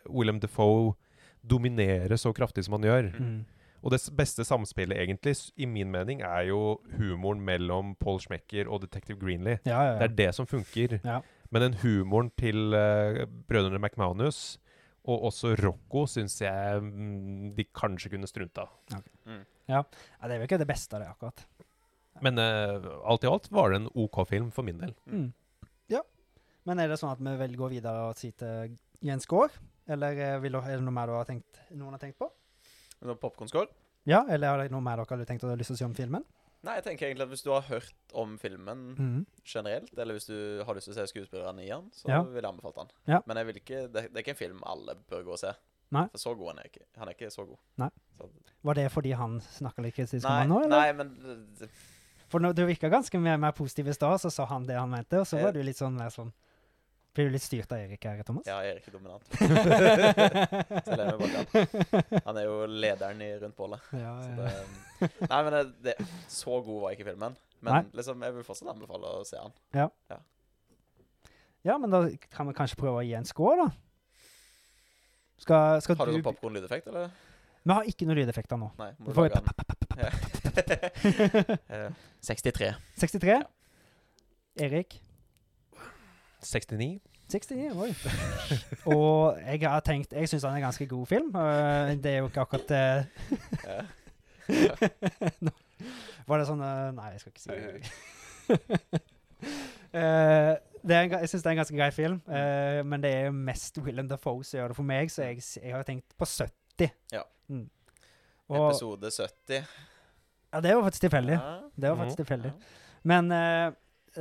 Speaker 3: William Defoe dominere så kraftig som han gjør.
Speaker 1: Mm.
Speaker 3: Og det s- beste samspillet, egentlig, s- i min mening, er jo humoren mellom Paul Schmecker og Detective Greenlee.
Speaker 1: ja, ja,
Speaker 3: Det
Speaker 1: ja.
Speaker 3: er det som funker.
Speaker 1: Ja.
Speaker 3: Men den humoren til eh, brødrene McManus og også Rocco syns jeg mm, de kanskje kunne strunta.
Speaker 2: Mhm.
Speaker 1: ja, det er vel ikke det beste av det, akkurat.
Speaker 3: Men eh, alt i alt var det en OK film for min del.
Speaker 1: Mm. Ja. Men er det sånn at vi vil gå videre og si til Jens Gaard? Eller eh, vil, du- er det noe mer du har tenkt, noen har tenkt på?
Speaker 2: Men nå Popcornskål?
Speaker 1: Ja, eller er det noe mer dere hadde tenkt å lyst til å si om filmen?
Speaker 2: Nei, jeg tenker egentlig at hvis du har hørt om filmen generelt, eller hvis du har lyst til å se skuespillerne i den, så
Speaker 1: Ja.
Speaker 2: vil jeg anbefalt den.
Speaker 1: Ja.
Speaker 2: Men jeg vil ikke, det, det er ikke en film alle bør gå og se.
Speaker 1: Nei.
Speaker 2: For så god han er ikke. Han er ikke så god.
Speaker 1: Var det fordi han snakka litt kritisk om
Speaker 2: Nei,
Speaker 1: han nå, eller?
Speaker 2: nei, men det-
Speaker 1: For når du virka ganske mer, mer positiv i stad, så sa han det han mente, og så
Speaker 2: Ja.
Speaker 1: var du litt sånn mer sånn Blir du litt styrt av Erik her, Thomas?
Speaker 2: ja, Erik er dominant. Så
Speaker 1: ja,
Speaker 2: lever vi bak han. Han er jo lederen i rundt bålet. Så
Speaker 1: ja.
Speaker 2: det, nei, men det, det, så god var ikke filmen. Men
Speaker 1: Nei.
Speaker 2: liksom, jeg vil fortsatt anbefale å se han.
Speaker 1: ja, men da kan vi kanskje prøve å gi en score, da. Skal, skal
Speaker 2: Har du
Speaker 1: du
Speaker 2: sånn popkorn-lydeffekt, eller?
Speaker 1: Vi har ikke noen lydeffekter nå.
Speaker 2: Nei.
Speaker 1: Du
Speaker 2: Må du
Speaker 1: får
Speaker 2: lage
Speaker 1: jo
Speaker 2: den? Eh, 63.
Speaker 1: 63. Erik
Speaker 3: 69.
Speaker 1: 69. Oi. Og jeg har tenkt Jeg syns han er en ganske god film. øh, det er jo ikke akkurat eh,
Speaker 2: Ja.
Speaker 1: Nå Var det sånn eh, Nei, jeg skal ikke si
Speaker 2: Oi, oi.
Speaker 1: det. Eh, det er en, ga- jeg syns det er en ganske grei film, eh, men det er jo mest Willem Dafoe som gjør det for meg, så jeg, s- jeg har tenkt på 70.
Speaker 2: Ja.
Speaker 1: Mm. Og,
Speaker 2: Episode 70.
Speaker 1: ja, det var faktisk tilfeldig.
Speaker 2: Ja.
Speaker 1: Det var faktisk tilfeldig. Men eh,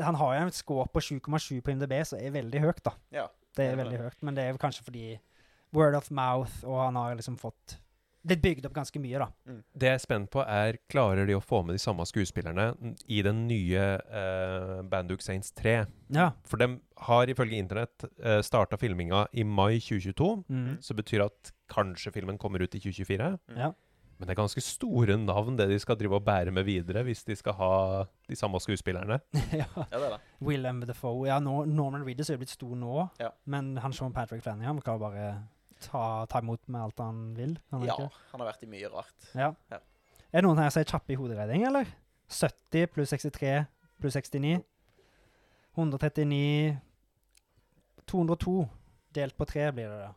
Speaker 1: han har jo en score på 7,7 på IMDb, så er veldig høyt, da.
Speaker 2: Ja.
Speaker 1: Det er
Speaker 2: det er
Speaker 1: veldig
Speaker 2: det.
Speaker 1: høyt, men det er jo kanskje fordi word of mouth, og han har liksom fått blitt bygd opp ganske mye, da.
Speaker 3: Det jeg er spent på, er klarer de å få med de samme skuespillerne n- i den nye eh, Banduk Saints 3?
Speaker 1: Ja.
Speaker 3: For de har ifølge internett uh, starta filminga i mai 2022,
Speaker 1: Mm.
Speaker 3: så betyr at kanskje filmen kommer ut i 2024.
Speaker 2: Mm.
Speaker 1: Ja.
Speaker 3: Men det er ganske store navn det de skal drive og bære med videre hvis de skal ha de samme skuespillerne.
Speaker 1: ja.
Speaker 2: Ja, det er det.
Speaker 1: Willem Defoe. Ja, nå- Norman Reedus er jo blitt stor nå,
Speaker 2: Ja.
Speaker 1: men han Sean Patrick Flanagan kan jo bare ta, ta imot med alt han vil. kan Han
Speaker 2: Ja,
Speaker 1: ikke?
Speaker 2: han har vært i mye rart.
Speaker 1: ja.
Speaker 2: Ja.
Speaker 1: Er det noen her som er kjappe i hoderegning, eller? 70 pluss 63 pluss 69. 139 202 delt på 3 blir det, da.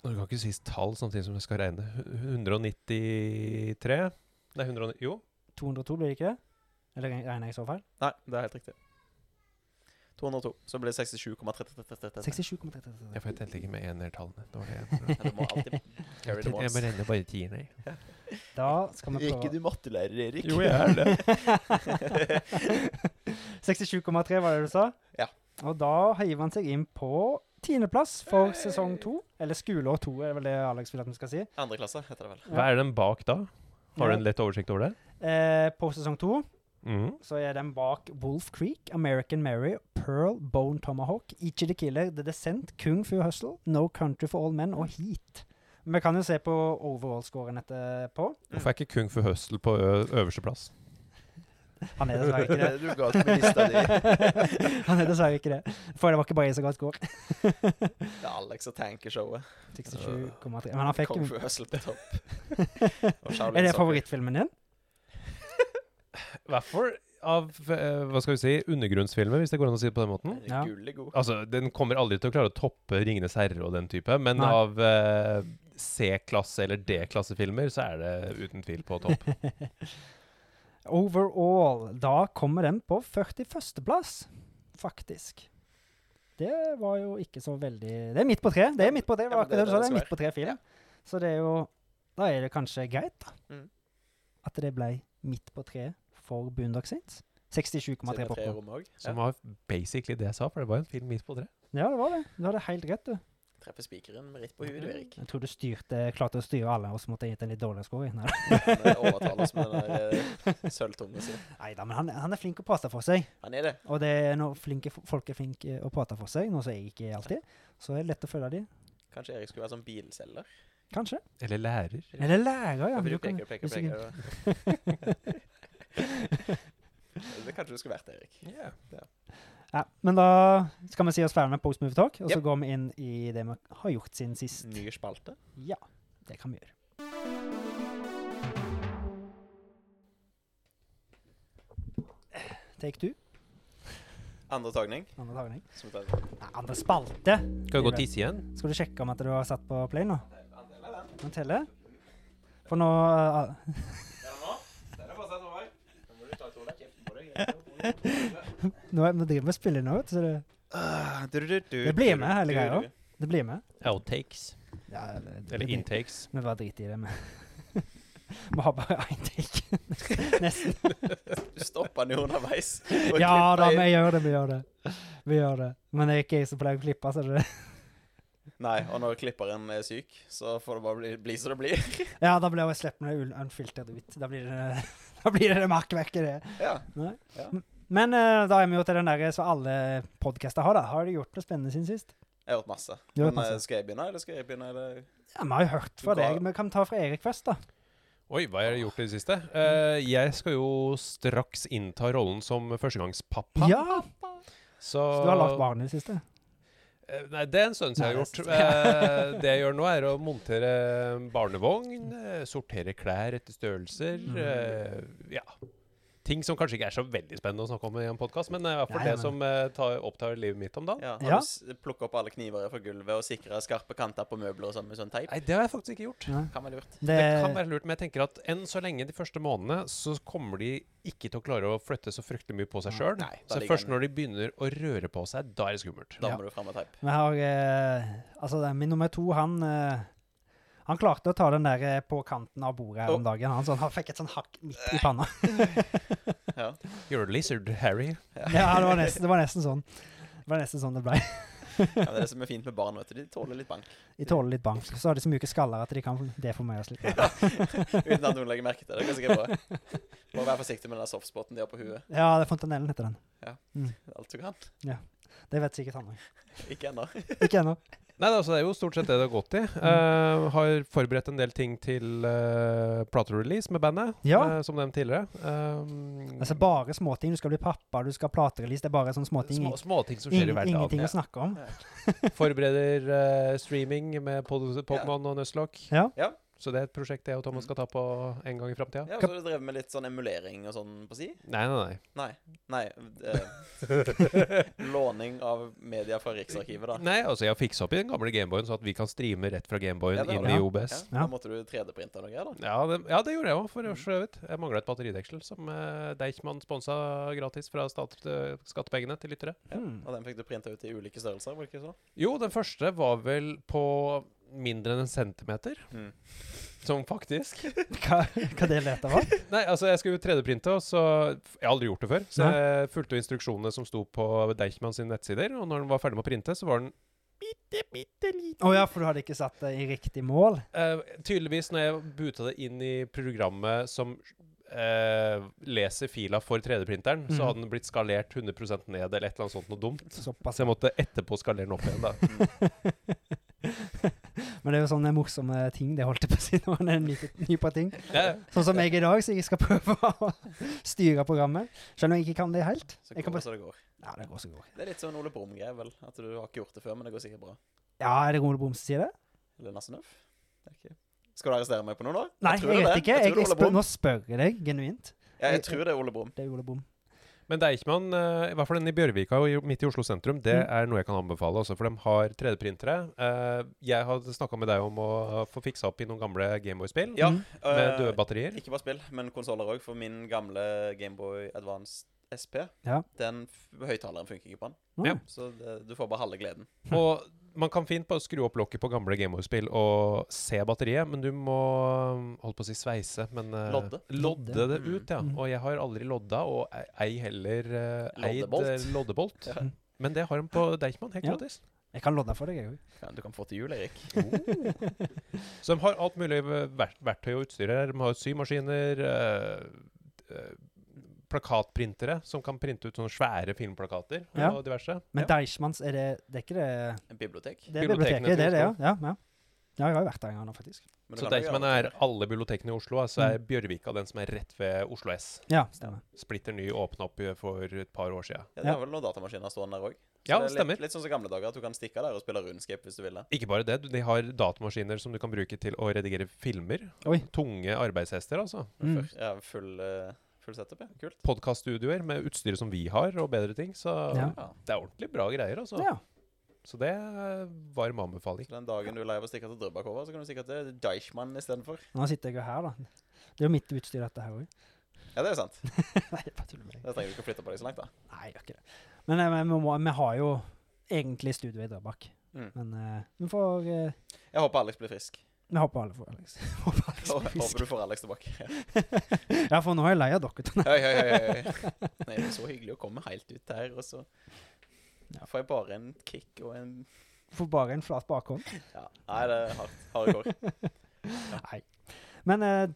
Speaker 3: Du kan ikke si tall samtidig som jeg skal regne. Hu- 193? Nei, 100, jo.
Speaker 1: 202 blir det ikke det? Eller regner jeg så feil?
Speaker 2: Nei, det er helt riktig. 202. Så blir det 67,33.
Speaker 1: 67,33.
Speaker 3: Jeg telte ikke med enertallene. Det var det
Speaker 2: Ja, Du må alltid carry the ones.
Speaker 3: renner bare tierne.
Speaker 1: Da skal vi prøve
Speaker 2: mattelærer, Erik.
Speaker 3: Jo, jeg er det.
Speaker 1: 67,3 var det du sa?
Speaker 2: Ja.
Speaker 1: Og da hiver han seg inn på tiendeplass for sesong to. Eller skoleår to, er vel det Alex vil at vi skal si.
Speaker 2: Andre klasse heter det vel.
Speaker 3: Hva er den bak da? Har du en
Speaker 1: Ja.
Speaker 3: lett oversikt over det?
Speaker 1: Eh, på sesong to
Speaker 3: Mm.
Speaker 1: så er den bak Wolf Creek, American Mary, Pearl, Bone Tomahawk, Ichi the Killer, The Descent, Kung Fu Hustle, No Country for All Men og Heat. Men vi kan jo se på overall-scoren etterpå.
Speaker 3: Hvorfor er ikke Kung Fu Hustle på ø øverste plass?
Speaker 1: Han er dessverre ikke det.
Speaker 2: Du ga oss med lista di.
Speaker 1: Han er dessverre ikke det. For det var ikke bare jeg som ga et score.
Speaker 2: Det er Alex og Tankershowet.
Speaker 1: 67,3. Men han fikk
Speaker 2: Kung Fu Hustle på topp. Og Shaolin
Speaker 1: Er det
Speaker 2: Soccer.
Speaker 1: favorittfilmen din?
Speaker 3: Hvorfor? Av ø, hva skal vi si, undergrunnsfilmer, hvis det går an å si det på den
Speaker 2: Hm?
Speaker 3: måten?
Speaker 1: Ja.
Speaker 2: Gullig god.
Speaker 3: Altså, Den kommer aldri til å klare å toppe 'Ringenes herre' og den type, men
Speaker 1: Nei.
Speaker 3: av ø, C-klasse- eller D-klassefilmer så er det uten tvil på topp.
Speaker 1: Overall. Da kommer den på 41.-plass, faktisk. Det var jo ikke så veldig Det er midt på tre. Det er midt på tre, det
Speaker 2: Ja,
Speaker 1: var
Speaker 2: men
Speaker 1: akkurat det du
Speaker 2: det er
Speaker 1: sa.
Speaker 2: det
Speaker 1: Det
Speaker 2: det
Speaker 1: er
Speaker 2: skal
Speaker 1: midt på tre film. Så det er jo Da er det kanskje greit, da.
Speaker 2: Mm.
Speaker 1: At det ble midt på tre for Boondock Saints. 67,3
Speaker 2: Siden det er tre
Speaker 1: popkorn.
Speaker 2: rom også.
Speaker 3: Som
Speaker 2: Ja.
Speaker 3: var basically det jeg sa, for det var jo en film midt på tre.
Speaker 1: Ja, det var det. Du hadde helt rett, du.
Speaker 2: Treffer spikeren med ritt på huet, du, Erik.
Speaker 1: Jeg tror du styrte, klarte å styre alle, og så måtte jeg gitt en litt dårligere score. Nei.
Speaker 2: Han overtaler oss med den der, eh, sølvtunga si.
Speaker 1: Neida, men han, han er flink å prate for seg.
Speaker 2: Han er det.
Speaker 1: Og det er når flinke, f- folk er flinke å prate for seg, noe som jeg ikke er alltid, så er det lett å følge dem.
Speaker 2: Kanskje Erik skulle være sånn bilselger?
Speaker 1: Kanskje.
Speaker 3: Eller lærer.
Speaker 1: Eller lærer, ja.
Speaker 2: Ja,
Speaker 1: men
Speaker 2: du
Speaker 1: du kan-
Speaker 2: peker, peker,
Speaker 1: hvis ikke-
Speaker 2: peker. og- Det kanskje du skulle vært, Erik.
Speaker 1: Ja, men da skal vi si oss ferdig med Post Movie Talk, og så
Speaker 2: Yep.
Speaker 1: går vi inn i det vi har gjort siden sist.
Speaker 2: Ny spalte.
Speaker 1: Ja, det kan vi gjøre. Eh, Take two.
Speaker 2: Andre tagning.
Speaker 1: Andre tagning.
Speaker 2: Som tar Andel,
Speaker 1: Nei, andre spalte.
Speaker 3: Skal vi gå og tisse igjen?
Speaker 1: Skal du sjekke om at du har satt på play nå?
Speaker 2: eller? Er
Speaker 1: Nå teller jeg. For nå uh,
Speaker 2: det nå? Det er bare å over. Da må du ta to deg kjeften på deg.
Speaker 1: Nå er- vi driver med spilling nå, vet du, så det,
Speaker 2: Ah,
Speaker 1: Det blir med hele greia. det blir med.
Speaker 3: Outtakes.
Speaker 1: Ja, det- det
Speaker 3: Eller
Speaker 1: blir-
Speaker 3: intakes.
Speaker 1: Vi bare driter i det. Vi Vi har bare én take. Nesten.
Speaker 2: Du stopper den jo underveis. og
Speaker 1: Ja da,
Speaker 2: klipper inn.
Speaker 1: vi gjør det, vi gjør det. Vi gjør det. Men det er ikke jeg som pleier å klippe, så det
Speaker 2: Nei, og når klipperen er syk, så får det bare bli, bli som det blir.
Speaker 1: Ja, da blir jeg slipper det ul- unfiltert ut. Da blir det da blir det det markverket, det.
Speaker 2: Ja.
Speaker 1: Men eh, da er vi jo til den der som alle podcaster har, da. Har de gjort noe spennende siden sist?
Speaker 2: Jeg har hørt masse.
Speaker 1: Du har hørt
Speaker 2: Men eh,
Speaker 1: masse.
Speaker 2: skal jeg begynne, eller skal jeg begynne? Eller?
Speaker 1: Ja, Vi har jo hørt fra
Speaker 2: Du ga-
Speaker 1: deg. Vi kan ta fra Erik først, da.
Speaker 3: Oi, hva har jeg gjort i det siste? Eh, jeg skal jo straks innta rollen som førstegangspappa.
Speaker 1: Ja,
Speaker 3: så,
Speaker 1: så du har lagt barn i det siste.
Speaker 3: Eh, Nei, det er en stund siden jeg har
Speaker 1: Nei, det
Speaker 3: gjort. Eh, det jeg gjør nå, er å montere barnevogn, eh, sortere klær etter størrelser.
Speaker 2: Mm.
Speaker 3: eh, ja. Ting som kanskje ikke er så veldig spennende å snakke om i en podkast, men det er for
Speaker 1: Nei,
Speaker 3: det
Speaker 1: men-
Speaker 3: som eh, tar, opptar livet mitt om dagen.
Speaker 2: Ja, har
Speaker 1: Ja.
Speaker 2: du s- plukket opp alle kniver fra gulvet og sikret skarpe kanter på møbler og sånn med sånn teip?
Speaker 3: Nei, det har jeg faktisk ikke gjort.
Speaker 1: Ja.
Speaker 2: Kan være lurt.
Speaker 1: Det,
Speaker 3: Det kan være lurt, men jeg tenker at enn så lenge de første månedene, så kommer de ikke til å klare å flytte så fryktelig mye på seg sjøl.
Speaker 2: Nei, da
Speaker 3: Så
Speaker 2: ligger
Speaker 3: først
Speaker 2: den.
Speaker 3: når de begynner å røre på seg, da er det skummelt.
Speaker 2: Da
Speaker 1: Ja.
Speaker 2: må du fram med teip.
Speaker 1: Vi har eh, Altså, det- min nummer to, han eh, Han klarte å ta den der eh, på kanten av bordet her om dagen. Han, så han fikk et sånn hakk midt i
Speaker 3: Eh.
Speaker 1: panna.
Speaker 2: Ja.
Speaker 3: You're a lizard, Harry.
Speaker 1: Ja, det var nesten, det var nesten sånn. Det var nesten sånn det ble.
Speaker 2: Ja, det er det som er fint med barn, vet du. De tåler litt bank.
Speaker 1: De tåler litt bank. Så har de så mye skaller at de kan deformeres litt.
Speaker 2: Uten at noen legger merke til det. Det går sikkert bra. Bare vær forsiktig med den der softspoten de har på huet.
Speaker 1: Ja, det er fontanellen heter den.
Speaker 2: Alt du kan.
Speaker 1: Det vet sikkert han òg.
Speaker 2: Ikke ennå.
Speaker 1: Ikke ennå.
Speaker 3: Nei, da, så det er jo stort sett det det har gått i. Eh, har forberedt en del ting til uh, platerelease med bandet,
Speaker 1: Ja.
Speaker 3: eh, som nevnt tidligere. Um,
Speaker 1: Altså bare småting. Du skal bli pappa, du skal ha platerelease. Det er bare sånne småting.
Speaker 3: Små, småting som skjer i
Speaker 1: Ingen,
Speaker 3: hverdagen.
Speaker 1: ingenting
Speaker 2: Ja.
Speaker 1: å snakke om.
Speaker 3: Forbereder eh, streaming med pod- Pokémon og Nuzlocke.
Speaker 1: Ja.
Speaker 2: Ja.
Speaker 3: Så det er et prosjekt jeg og Thomas skal ta på en gang i framtida.
Speaker 2: Ja, og så har du drevet med litt sånn emulering og sånn på si.
Speaker 3: Nei, nei, nei.
Speaker 2: Nei. Nei. eh, låning av media fra Riksarkivet, da.
Speaker 3: Nei, altså Jeg har fiksa opp i den gamle Gameboyen, så at vi kan streame rett fra Gameboyen
Speaker 2: Ja, det
Speaker 3: inn
Speaker 2: var
Speaker 3: i
Speaker 1: det.
Speaker 3: OBS.
Speaker 2: Ja,
Speaker 3: Ja.
Speaker 1: Ja.
Speaker 2: Da måtte du 3D-printe noe greier, da.
Speaker 3: det, ja, det gjorde jeg òg, for så vidt. Jeg mangla et batterideksel som eh, Deichman sponsa gratis fra stat, eh, skattepengene til lyttere.
Speaker 1: Hmm.
Speaker 2: Og den fikk du printa ut i ulike størrelser, var det ikke så?
Speaker 3: Jo, den første var vel på mindre enn en centimeter.
Speaker 2: Mm.
Speaker 3: Som faktisk
Speaker 1: Hva, hva det leter var?
Speaker 3: Nei, altså, jeg skulle 3D-printe, og så Jeg har aldri gjort det før. Så jeg fulgte jo instruksjonene som sto på Deichman sine nettsider, og når den var ferdig med å printe, så var den bitte, bitte liten.
Speaker 1: Å ja, for du hadde ikke satt det i riktig mål?
Speaker 3: Eh, tydeligvis, når jeg buta det inn i programmet som eh, leser fila for 3D-printeren,
Speaker 1: Mhm.
Speaker 3: så hadde den blitt skalert 100 ned, eller et eller annet sånt noe dumt.
Speaker 1: Såpass.
Speaker 3: Så jeg måtte etterpå skalere den opp igjen, da.
Speaker 1: Men det er jo sånne morsomme ting det holdt jeg på å si når man er ny, ny på ting.
Speaker 3: Ja,
Speaker 1: Sånn som jeg i dag, så jeg skal prøve å styre programmet. Selv om jeg ikke kan det helt.
Speaker 2: Så
Speaker 1: Jeg kan
Speaker 2: går det
Speaker 1: bare...
Speaker 2: så det går.
Speaker 1: Ja, det går så går.
Speaker 2: Det er litt sånn Ole Brumm-greie, vel. At du har ikke gjort det før, men det går sikkert bra.
Speaker 1: Ja, er det Rone Brom som sier det?
Speaker 2: Eller Nassenøff? Det er ikke- Skal du arrestere meg på noe nå?
Speaker 1: Nei,
Speaker 2: tror
Speaker 1: jeg
Speaker 2: det er
Speaker 1: vet
Speaker 2: det.
Speaker 1: ikke.
Speaker 2: Jeg
Speaker 1: Jeg, jeg
Speaker 2: tror det er Ole
Speaker 1: spør,
Speaker 2: Brumm.
Speaker 1: nå spør jeg deg genuint.
Speaker 2: Ja, jeg
Speaker 1: jeg-
Speaker 2: tror det er Ole Brumm.
Speaker 1: Det er Ole Brom.
Speaker 3: Men Deichman, eh, i hvert fall den i Bjørvika og i- midt i Oslo sentrum, det
Speaker 1: Mm.
Speaker 3: er noe jeg kan anbefale. Altså, for de har 3D-printere. Eh, jeg hadde snakka med deg om å få fiksa opp i noen gamle Gameboy-spill
Speaker 2: Ja,
Speaker 1: Mm.
Speaker 3: med
Speaker 2: eh,
Speaker 3: døde batterier.
Speaker 2: ikke bare spill, men konsoller òg. For min gamle Gameboy Advance SP,
Speaker 1: Ja.
Speaker 2: den f- høyttaleren funker ikke på den.
Speaker 3: Ja.
Speaker 2: Så det, du får bare halve gleden.
Speaker 3: Og man kan fint bare skru opp lokket på gamle Gameboy-spill og se batteriet, men du må holdt på å si sveise, men eh,
Speaker 2: Lodde.
Speaker 3: lodde det
Speaker 2: Mm.
Speaker 3: ut, ja.
Speaker 1: Mm.
Speaker 3: Og jeg har aldri lodda, og ei- ei heller eh, eid
Speaker 2: Loddebolt.
Speaker 3: eh, loddebolt.
Speaker 2: Ja.
Speaker 3: Men det har de på Deichman, helt
Speaker 1: Ja.
Speaker 3: gratis.
Speaker 1: Jeg kan lodde for deg, jeg òg.
Speaker 2: Ja, du kan få til jul, Erik.
Speaker 3: Så de har alt mulig eh, ver verktøy og utstyr her. De har symaskiner, eh, eh, plakatprintere som kan printe ut sånne svære filmplakater og
Speaker 1: Ja.
Speaker 3: diverse.
Speaker 1: Men
Speaker 3: ja.
Speaker 1: Deichmans, er det, det er ikke det
Speaker 2: En bibliotek.
Speaker 1: Det er
Speaker 3: Bibliotekene
Speaker 1: biblioteket, det er det, ja.
Speaker 3: til
Speaker 1: ja, ja. ja jeg har jo vært der en gang nå, faktisk.
Speaker 2: Men du kan
Speaker 3: Så
Speaker 2: jo
Speaker 3: Deichman
Speaker 2: gjøre
Speaker 3: er
Speaker 2: det.
Speaker 3: alle bibliotekene i Oslo, så
Speaker 1: Mm.
Speaker 3: er Bjørvika den som er rett ved Oslo S.
Speaker 1: Ja, stemmer.
Speaker 3: splitter ny åpna opp eh, for et par år siden.
Speaker 2: ja, Det er vel noen datamaskiner stående der òg.
Speaker 3: Ja, stemmer.
Speaker 2: Litt, litt sånn som gamle dager, at du kan stikke der og spille runescape hvis du vil det.
Speaker 3: Ikke bare det, du- de har datamaskiner som du kan bruke til å redigere filmer.
Speaker 1: Oi.
Speaker 3: Tunge arbeidshester, altså.
Speaker 1: Mm.
Speaker 2: Før- Ja, full, eh, full setup, ja. Kult.
Speaker 3: Podkaststudioer med utstyret som vi har, og bedre ting. Så
Speaker 1: Ja.
Speaker 2: Ja.
Speaker 3: det er ordentlig bra greier, altså.
Speaker 1: Ja.
Speaker 3: Så det er varm anbefaling.
Speaker 2: Så den dagen du er lei av å stikke til Drøbakova, så kan du stikke til Deichman istedenfor.
Speaker 1: Nå sitter jeg jo her, da. Det er jo mitt utstyr, dette her òg.
Speaker 2: Ja, det er jo sant.
Speaker 1: Nei, jeg bare tuller med deg.
Speaker 2: Da trenger du ikke å flytte på deg så langt, da.
Speaker 1: Nei, jeg gjør ikke det. Men eh, men vi, må, vi har jo egentlig studio i Drøbak.
Speaker 2: Mm.
Speaker 1: Men eh, vi får eh,
Speaker 2: Jeg håper Alex blir frisk.
Speaker 1: Vi håper alle får Alex. håper Alex blir
Speaker 2: Og jeg
Speaker 1: frisk.
Speaker 2: håper du får Alex tilbake.
Speaker 1: Ja, for nå er jeg lei av dere to.
Speaker 2: Oi, oi, oi, oi. Nei, det er så hyggelig å komme helt ut her, og så
Speaker 1: Ja.
Speaker 2: får jeg bare en kick og en
Speaker 1: Får bare en flat bakhånd.
Speaker 2: ja. Nei, det er hardt. Harde kår.
Speaker 1: Nei. Men eh,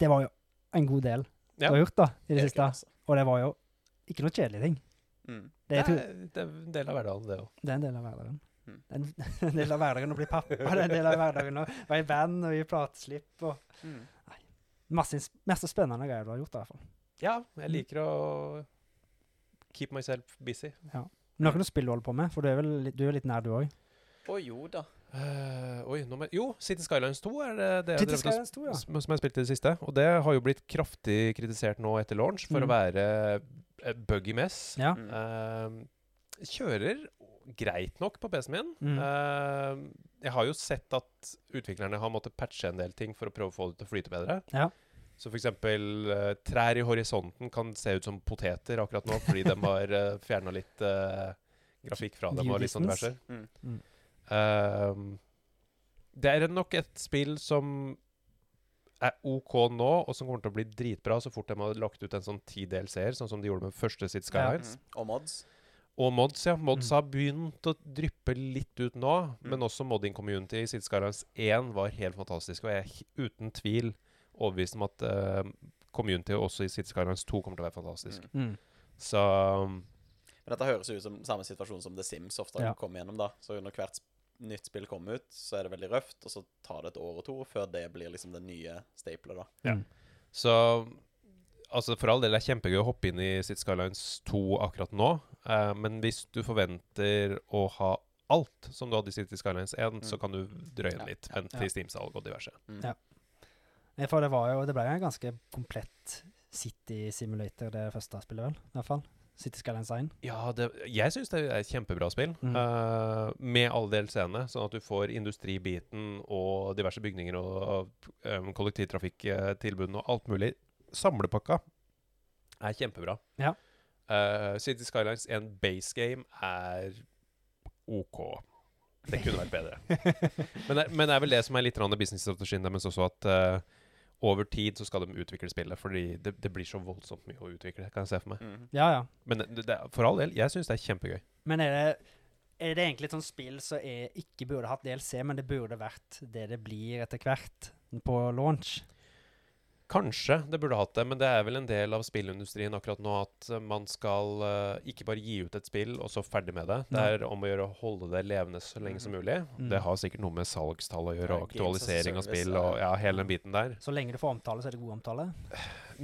Speaker 1: det var jo en god del
Speaker 3: Ja.
Speaker 1: du har gjort da, i det
Speaker 2: Erik,
Speaker 1: siste.
Speaker 2: altså.
Speaker 1: Og det var jo ikke noe kjedelig ting.
Speaker 2: Mm.
Speaker 1: Det er,
Speaker 3: det,
Speaker 1: to,
Speaker 3: er, det er en del av hverdagen, det òg.
Speaker 1: det er en del av hverdagen.
Speaker 3: Hmm.
Speaker 2: Mm.
Speaker 1: Det er en- en del av hverdagen å bli pappa, det er en del av hverdagen å være i band og gi plateslipp. og
Speaker 2: Mm.
Speaker 1: Masse, ins- masse spennende greier du har gjort, i hvert fall.
Speaker 3: Ja, jeg
Speaker 1: Mm.
Speaker 3: liker å keep myself busy.
Speaker 1: Men noe spill du holder på med, for du er vel litt- du er litt nær, du òg.
Speaker 2: Å jo da.
Speaker 3: Eh, oi, nå må jeg- jo, City Skylines 2 er det, det jeg har
Speaker 1: City
Speaker 3: drevet og
Speaker 1: Skylines 2, ja.
Speaker 3: som, som jeg spilte i det siste. Og det har jo blitt kraftig kritisert nå etter launch for
Speaker 1: Mm.
Speaker 3: å være et buggy mess.
Speaker 1: ja.
Speaker 2: Mm.
Speaker 3: Ehm, kjører greit nok på PC-en min.
Speaker 1: Mm.
Speaker 3: Ehm, jeg har jo sett at utviklerne har måttet patche en del ting for å prøve å få det til å flyte bedre.
Speaker 1: Ja.
Speaker 3: Så f.eks. Uh, trær i horisonten kan se ut som poteter akkurat nå, fordi de har uh, fjerna litt eh, grafikk fra dem.
Speaker 1: View
Speaker 3: og litt sånn
Speaker 1: distance.
Speaker 3: diverse.
Speaker 2: Mm.
Speaker 1: Mm.
Speaker 3: Ehm, det er nok et spill som er OK nå, og som kommer til å bli dritbra så fort de har lagt ut en sånn ti DLC-er, sånn som de gjorde med første sitt Skylines.
Speaker 2: Mm. Og mods.
Speaker 3: Og mods, ja. Mods
Speaker 1: Mm.
Speaker 3: har begynt å dryppe litt ut nå,
Speaker 2: Mm.
Speaker 3: men også modding community i City Skylines 1 var helt fantastisk, og jeg er he- uten tvil overbevist om at eh, community også i City Skylines 2 kommer til å være fantastisk.
Speaker 2: Mm.
Speaker 1: Mm.
Speaker 3: Så um,
Speaker 2: Men dette høres jo ut som samme situasjon som The Sims ofte
Speaker 1: Ja.
Speaker 2: kommer gjennom, da. Så når hvert sp- nytt spill kommer ut, så er det veldig røft, og så tar det et år og to før det blir liksom det nye staplet, da.
Speaker 3: Ja.
Speaker 1: Mm.
Speaker 3: Så altså for all del, det er kjempegøy å hoppe inn i City Skylines 2 akkurat nå. eh, men hvis du forventer å ha alt som du hadde i City Skylines 1, så
Speaker 2: Mm.
Speaker 3: kan du drøye
Speaker 2: Ja,
Speaker 3: den litt.
Speaker 2: ja,
Speaker 3: Vent
Speaker 1: ja.
Speaker 3: til Steam-salg og diverse.
Speaker 2: Mm.
Speaker 1: Ja. Nei, For det var jo Det ble jo en ganske komplett City Simulator, det første spillet, vel? I hvert fall. City Skylines 1.
Speaker 3: Ja, det, jeg syns det er et kjempebra spill.
Speaker 1: Mm.
Speaker 3: eh, med alle del scenene, sånn at du får industribiten og diverse bygninger og, og um, kollektivtrafikktilbudene og alt mulig. Samlepakka er kjempebra.
Speaker 1: Ja.
Speaker 3: Eh, City Skylines 1 base game er OK. Det kunne vært bedre. men, det, men det er vel det som er litt grann businessstrategien deres også, at eh, over tid så skal de utvikle spillet, fordi det, det blir så voldsomt mye å utvikle, kan jeg se for meg.
Speaker 2: Mm.
Speaker 1: Ja, ja.
Speaker 3: Men det, det, er- for all del, jeg syns det er kjempegøy.
Speaker 1: Men er det, er det egentlig et sånt spill som er, ikke burde hatt DLC, men det burde vært det det blir etter hvert på launch?
Speaker 3: Kanskje det burde hatt det, men det er vel en del av spillindustrien akkurat nå at eh, man skal eh, ikke bare gi ut et spill og så ferdig med det. Det
Speaker 1: Nei.
Speaker 3: er om å gjøre å holde det levende så lenge som mulig.
Speaker 1: Mm.
Speaker 3: Det har sikkert noe med salgstall å
Speaker 2: Ja,
Speaker 3: gjøre,
Speaker 2: games as
Speaker 3: og
Speaker 2: a
Speaker 3: aktualisering av
Speaker 2: service,
Speaker 3: spill
Speaker 2: ja.
Speaker 3: og ja, hele den biten der.
Speaker 1: Så lenge du får omtale, så er det god omtale?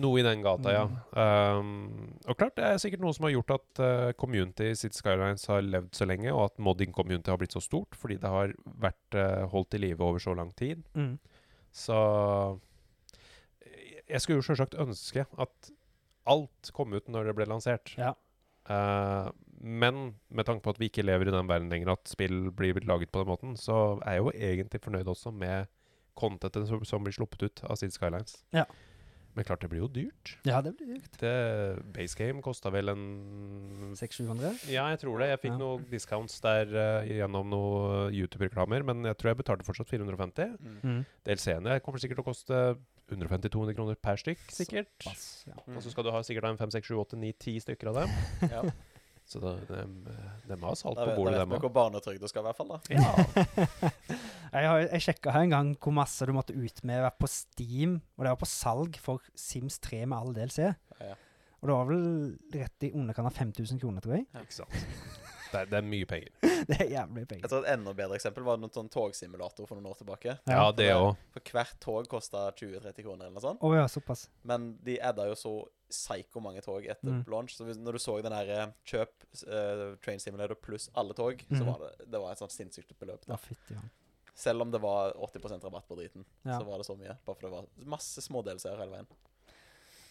Speaker 3: Noe i den gata, ja.
Speaker 1: Mm.
Speaker 3: Um, og klart, det er sikkert noe som har gjort at eh, community i City Skylines har levd så lenge, og at modding community har blitt så stort, fordi det har vært eh, holdt i live over så lang tid.
Speaker 1: Mm.
Speaker 3: eh, Så jeg skulle jo selvsagt ønske at alt kom ut når det ble lansert.
Speaker 1: Ja.
Speaker 3: Eh, men med tanke på at vi ikke lever i den verden lenger at spill blir laget på den måten, så er jeg jo egentlig fornøyd også med contentet som, som blir sluppet ut av Sid Skylines.
Speaker 1: Ja.
Speaker 3: Men klart, det blir jo dyrt.
Speaker 1: Ja, det blir dyrt.
Speaker 3: Det, base game kosta vel en
Speaker 1: 600-700?
Speaker 3: Ja, jeg tror det. Jeg fikk
Speaker 1: Ja.
Speaker 3: noen discounts der eh, gjennom noen YouTube-reklamer, men jeg tror jeg betalte fortsatt 450.
Speaker 2: Mm.
Speaker 1: Mm.
Speaker 3: DLC-ene kommer sikkert til å koste 150-200 kroner per stykk, sikkert.
Speaker 1: Pass, ja.
Speaker 2: Mm.
Speaker 3: Og så skal du ha sikkert ha en 5, 6, 7, 8, 9, 10 stykker av dem.
Speaker 2: Ja.
Speaker 3: Så da, dem, eh, dem har salt
Speaker 2: Da vet,
Speaker 3: på
Speaker 2: da
Speaker 3: bordet,
Speaker 2: vet
Speaker 3: dem
Speaker 2: vi
Speaker 3: òg.
Speaker 2: hvor barnetrygda skal, i hvert fall. da.
Speaker 1: jeg har- jeg sjekka her en gang hvor masse du måtte ut med på Steam, og det var på salg for Sims 3 med all DLC.
Speaker 2: Ja, ja.
Speaker 1: Og det var vel rett i underkant av 5000 kroner, tror jeg.
Speaker 3: Ikke sant. Det er, det er mye penger.
Speaker 1: Det er jævlig penger.
Speaker 2: Jeg tror Et enda bedre eksempel var noen sånn togsimulator for noen år tilbake.
Speaker 3: Ja,
Speaker 1: Ja.
Speaker 3: det òg.
Speaker 2: For Hvert tog kosta 20-30 kroner, eller noe sånt.
Speaker 1: Å ja, såpass.
Speaker 2: Men de adda jo så psyko mange tog etter
Speaker 1: Mm.
Speaker 2: launch. Så hvis, når du så den her eh, kjøp eh, Train Simulator pluss alle tog,
Speaker 1: Mhm.
Speaker 2: så var det, det var et sånt sinnssykt beløp.
Speaker 1: Ja,
Speaker 2: da.
Speaker 1: fytti han.
Speaker 2: Selv om det var 80 rabatt på driten,
Speaker 1: Ja.
Speaker 2: så var det så mye. Bare for det var masse smådelseere hele veien.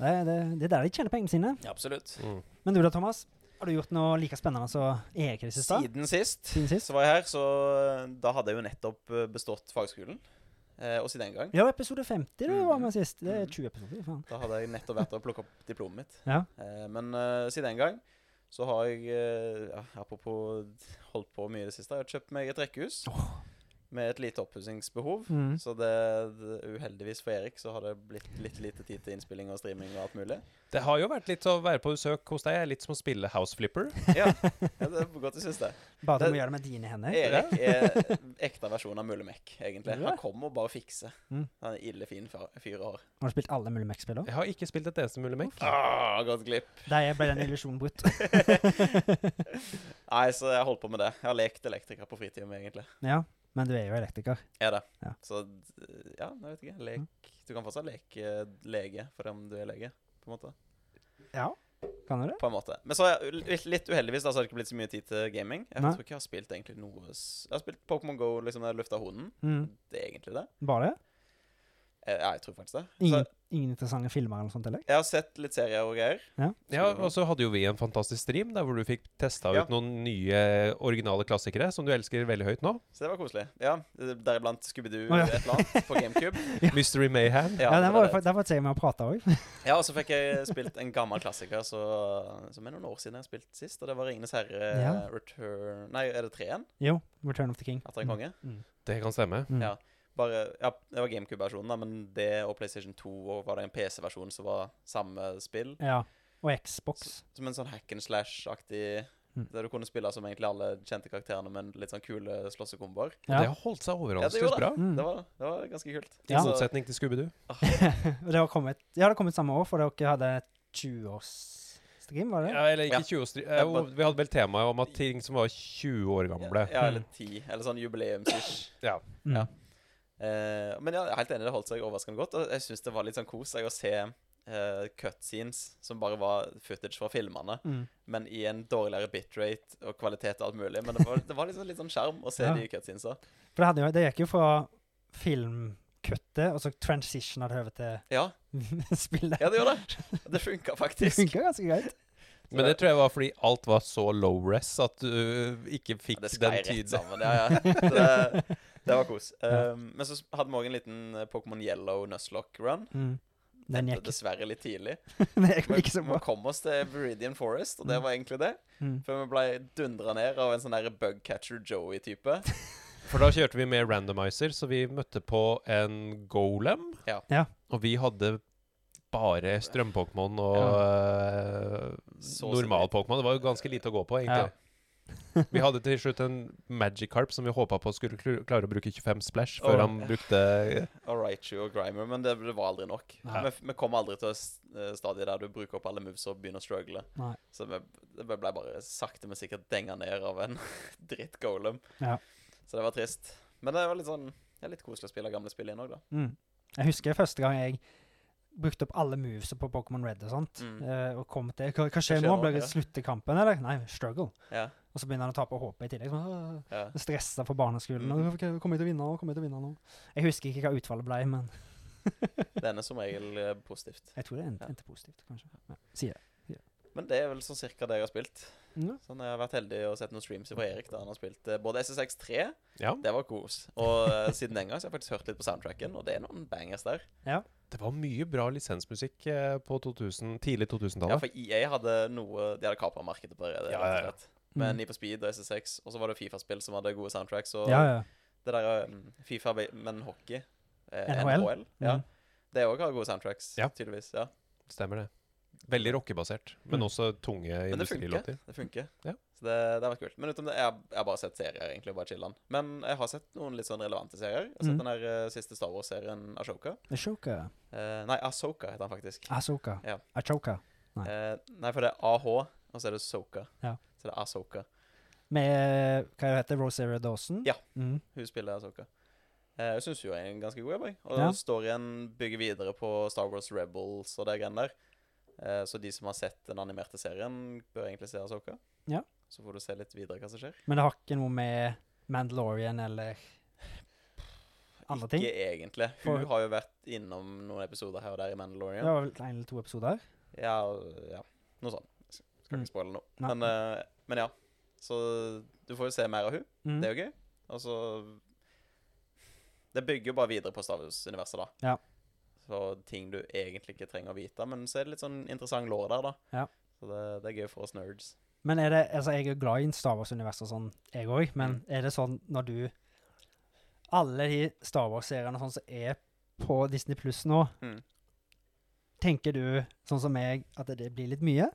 Speaker 1: Det, det, det er der de tjener pengene sine.
Speaker 2: absolutt.
Speaker 3: Mm.
Speaker 1: Men du da, Thomas? Har du gjort noe like spennende som Erik i det siste?
Speaker 2: Siden sist
Speaker 1: Siden sist?
Speaker 2: så var jeg her, så da hadde jeg jo nettopp eh, bestått fagskolen. Eh, og siden den gang
Speaker 1: Ja, episode 50 du var med
Speaker 2: Mhm.
Speaker 1: sist. Det er
Speaker 2: Mhm.
Speaker 1: 20 episoder, faen.
Speaker 2: da hadde jeg nettopp vært og plukket opp diplomet mitt.
Speaker 1: Ja.
Speaker 2: Eh, men eh, siden den gang så har jeg, eh, ja, apropos holdt på mye i det siste, jeg har kjøpt meg et rekkehus med et lite oppussingsbehov.
Speaker 1: Mhm.
Speaker 2: Så det, det, uheldigvis for Erik så har det blitt litt lite tid til innspilling og streaming og alt mulig.
Speaker 3: Det har jo vært litt å være på besøk hos deg. er Litt som å spille House Flipper.
Speaker 2: Ja, ja det er godt du syns det.
Speaker 1: Bare du
Speaker 2: Det- E-
Speaker 1: må gjøre det med dine hender.
Speaker 2: Erik er ekte versjon av Mulle Mek, egentlig.
Speaker 1: Ja.
Speaker 2: Han kommer og bare fikser.
Speaker 1: Mm.
Speaker 2: Han er ille fin fyr fyr og har.
Speaker 1: Har du spilt alle mulige Mac-spill òg?
Speaker 3: Jeg har ikke spilt et eneste Mulemek.
Speaker 2: Ah, gått glipp.
Speaker 1: Der ble den illusjonen brutt.
Speaker 2: Nei, så jeg har holdt på med det. Jeg har lekt elektriker på fritiden, egentlig.
Speaker 1: ja, men du er jo elektriker.
Speaker 2: Er det.
Speaker 1: Ja.
Speaker 2: Så ja, jeg vet ikke. Lek Du kan fortsatt leke eh, lege for om du er lege, på en måte.
Speaker 1: Ja. Kan du det?
Speaker 2: På en måte. Men så har jeg litt, litt uheldigvis da, så har det ikke blitt så mye tid til gaming. Jeg
Speaker 1: Nei.
Speaker 2: tror ikke jeg har spilt egentlig noe s- Jeg har spilt Pokémon Go liksom når jeg lufta hunden.
Speaker 1: Mm.
Speaker 2: Det er egentlig det.
Speaker 1: Bare det?
Speaker 2: Eh, Ja, jeg tror faktisk det. Så
Speaker 1: Ingen, ingen interessante filmer eller noe sånt i tillegg?
Speaker 2: jeg har sett litt serier og greier.
Speaker 3: Ja, og så hadde jo vi en fantastisk stream der hvor du fikk testa
Speaker 2: Ja.
Speaker 3: ut noen nye originale klassikere som du elsker veldig høyt nå.
Speaker 2: Så det var koselig. Ja, eh, Deriblant Scooby-Doo
Speaker 1: Å, ja.
Speaker 2: et eller annet på GameCube.
Speaker 3: Mystery Mayhem.
Speaker 1: Ja,
Speaker 2: det
Speaker 1: den var,
Speaker 2: det.
Speaker 1: jo fa- der var jeg med og prata òg.
Speaker 2: ja, og så fikk jeg spilt en gammel klassiker så, som er noen år siden jeg har spilt sist, og det var 'Ringenes herre'
Speaker 1: Ja.
Speaker 2: Return Nei, er det treen?
Speaker 1: Jo. Return of the King.
Speaker 2: Etter en konge?
Speaker 3: Det kan stemme.
Speaker 1: Mm.
Speaker 2: Ja. Bare, ja, det var GameCube-versjonen, da, men det og PlayStation 2 og var det en PC-versjon som var samme spill.
Speaker 1: ja. Og Xbox.
Speaker 2: Som en sånn hack and slash-aktig
Speaker 1: Mm.
Speaker 2: Der du kunne spille som egentlig alle kjente karakterene, men litt sånn kule slåssekomboer.
Speaker 3: Og
Speaker 1: Ja.
Speaker 3: det har holdt seg
Speaker 2: Ja, det
Speaker 3: overraskende
Speaker 2: gjorde
Speaker 3: bra.
Speaker 1: Mm.
Speaker 2: Det, var- det var ganske kult.
Speaker 3: I
Speaker 1: Ja.
Speaker 3: motsetning til Scooby-Doo.
Speaker 1: Og det har kommet, ja, det har kommet samme år, for dere hadde 20-årsstream, var det?
Speaker 3: Ja, eller ikke
Speaker 2: Ja.
Speaker 3: 20 års- eh, jo,
Speaker 2: bare-
Speaker 3: Vi hadde vel temaet om at ting som var 20 år gamle.
Speaker 2: Ja, eller ti. Eller sånn jubileums-ish.
Speaker 3: Ja.
Speaker 1: Mm.
Speaker 2: ja. Eh, men ja, jeg er helt enig, det holdt seg overraskende godt. Og jeg syns det var litt sånn kos jeg, å se eh, cutscenes som bare var footage fra filmene,
Speaker 1: Mm.
Speaker 2: men i en dårligere bitrate og kvalitet og alt mulig. Men det var, det var liksom litt sånn skjerm å se
Speaker 1: Ja.
Speaker 2: de cutscenesa.
Speaker 1: For det, hadde jo, det gikk jo fra filmkuttet, og så transitionet det over
Speaker 2: Ja,
Speaker 1: til spillet.
Speaker 2: ja, det gjorde det. Det funka
Speaker 1: Det
Speaker 2: faktisk.
Speaker 1: funka ganske greit.
Speaker 3: Men det tror jeg var fordi alt var så low res at du eh, ikke
Speaker 2: Ja,
Speaker 3: fikk
Speaker 2: det sklei
Speaker 3: den
Speaker 2: rett altså.
Speaker 3: tiden.
Speaker 2: sammen. Ja, ja. Det, det var kos. Um, men så hadde vi òg en liten eh, Pokémon Yellow Nuzlocke-run.
Speaker 1: Mm. Den gikk,
Speaker 2: Dessverre litt tidlig.
Speaker 1: den gikk
Speaker 2: Vi
Speaker 1: ikke så
Speaker 2: vi
Speaker 1: bra.
Speaker 2: kom oss til Viridian Forest, og det
Speaker 1: Mm.
Speaker 2: var egentlig det.
Speaker 1: Mm.
Speaker 2: Før vi ble dundra ned av en sånn der Bugcatcher Joey-type.
Speaker 3: For da kjørte vi med randomizer, så vi møtte på en golem.
Speaker 2: Ja.
Speaker 1: Ja.
Speaker 3: Og vi hadde bare strøm-Pokémon og eh,
Speaker 2: Så
Speaker 3: normal Pokémon. Det var jo ganske lite å gå på, egentlig. vi hadde til slutt en Magikarp som vi håpa på skulle kl- klare å bruke 25 splash før
Speaker 2: Åh.
Speaker 3: han brukte
Speaker 2: Og Raichu og Grimer, men det, det var aldri nok. Vi,
Speaker 3: Nei.
Speaker 2: vi kom aldri til s- eh, stadiet der du bruker opp alle moves og begynner å struggle.
Speaker 1: Nei.
Speaker 2: Så vi, det ble bare sakte, men sikkert denga ned av en dritt golem.
Speaker 1: Ja.
Speaker 2: Så det var trist. Men det var litt sånn ja, litt koselig å spille gamle spill igjen òg, da.
Speaker 1: Mm. Jeg husker første gang jeg brukte opp alle movesa på Pokémon Red og sånt,
Speaker 2: Mm.
Speaker 1: eh, og kom til Hva, hva skjer nå? Blir det slutt i kampen, eller? Nei, struggle.
Speaker 2: Ja,
Speaker 1: Og så begynner han å tape HP i tillegg. Sånn, «Åh».
Speaker 2: ja.
Speaker 1: stressa på barneskolen.
Speaker 2: Mm.
Speaker 1: Mm. Kommer jeg til å vinne nå? Kommer jeg til å vinne nå? Jeg husker ikke hva utfallet ble, men
Speaker 2: Den er som regel eh, positivt.
Speaker 1: jeg tror det endte,
Speaker 2: Ja.
Speaker 1: endte positivt, kanskje. Ja. Sier jeg. Mm.
Speaker 2: Men det er vel sånn cirka det jeg har spilt.
Speaker 1: Ja.
Speaker 2: Sånn, Jeg har vært heldig og sett noen streams fra Erik da han har spilt eh, både SSX3
Speaker 3: Ja.
Speaker 2: Det var kos. Og eh, siden den gang så har jeg faktisk hørt litt på soundtracken, og det er noen bangers der.
Speaker 3: Det var mye bra lisensmusikk eh, på 2000,
Speaker 2: Ja,
Speaker 3: tidlig 2000-tallet.
Speaker 2: for EA hadde noe De hadde kapra markedet på det. rett og
Speaker 3: Ja, ja, ja.
Speaker 2: slett. Med
Speaker 1: Mm.
Speaker 2: Need for Speed og SS6, og så var det Fifa-spill som hadde gode soundtracks. Og
Speaker 1: ja, ja.
Speaker 2: det der um, Fifa, men hockey eh,
Speaker 1: NHL?
Speaker 2: NHL? Ja.
Speaker 1: Mm.
Speaker 2: Det òg har gode soundtracks,
Speaker 3: Ja.
Speaker 2: tydeligvis. ja.
Speaker 3: Stemmer det. Veldig rockebasert, men
Speaker 1: Mm.
Speaker 3: også tunge
Speaker 2: Men det funker.
Speaker 3: industrilåter.
Speaker 2: Det funker.
Speaker 3: Ja.
Speaker 2: Så det, det har vært kult. Men utenom det, jeg, har- jeg har bare sett serier, egentlig. Bare chiller'n. Men jeg har sett noen litt sånn relevante serier. Jeg har sett
Speaker 1: Mm.
Speaker 2: den der eh, siste Star Wars-serien Ashoka.
Speaker 1: Ashoka.
Speaker 2: Eh, nei, Asoka heter den faktisk.
Speaker 1: Asoka.
Speaker 2: Ja.
Speaker 1: Ashoka. nei.
Speaker 2: Eh, nei, for det er AH, og så er det Soka.
Speaker 1: Ja.
Speaker 2: Så det er Asoka.
Speaker 1: Med hva heter det, Rosaria Dawson?
Speaker 2: Ja.
Speaker 1: Mm.
Speaker 2: Hun spiller Asoka. Eh, jeg syns hun er en ganske god jobb. jeg. Og
Speaker 1: Ja.
Speaker 2: storyen bygger videre på Star Wars Rebels og de greiene der. Eh, så de som har sett den animerte serien, bør egentlig se Asoka.
Speaker 1: Ja.
Speaker 2: Så får du se litt videre hva som skjer.
Speaker 1: Men det har ikke noe med Mandalorian eller andre ting?
Speaker 2: Ikke egentlig.
Speaker 1: For-
Speaker 2: Hun har jo vært innom noen episoder her og der i
Speaker 1: Det
Speaker 2: Mandalorian.
Speaker 1: var vel en eller to episoder?
Speaker 2: Ja, ja. noe sånt. Skal
Speaker 1: Mm.
Speaker 2: ikke spoile noe.
Speaker 1: Nei.
Speaker 2: Men, eh, men ja. Så du får jo se mer av hun.
Speaker 1: Mm.
Speaker 2: Det er jo gøy. Altså Det bygger jo bare videre på Star Wars-universet, da.
Speaker 1: Ja.
Speaker 2: Så ting du egentlig ikke trenger å vite. Men så er det litt sånn interessant lår der, da.
Speaker 1: Ja.
Speaker 2: Så det, det er gøy for oss nerds.
Speaker 1: Men er det, altså jeg er glad i Star Wars-universet og sånn, jeg òg, men er det sånn når du Alle de Star Wars-seriene og sånn som er på Disney Pluss nå,
Speaker 2: Mm.
Speaker 1: tenker du, sånn som meg, at det blir litt mye?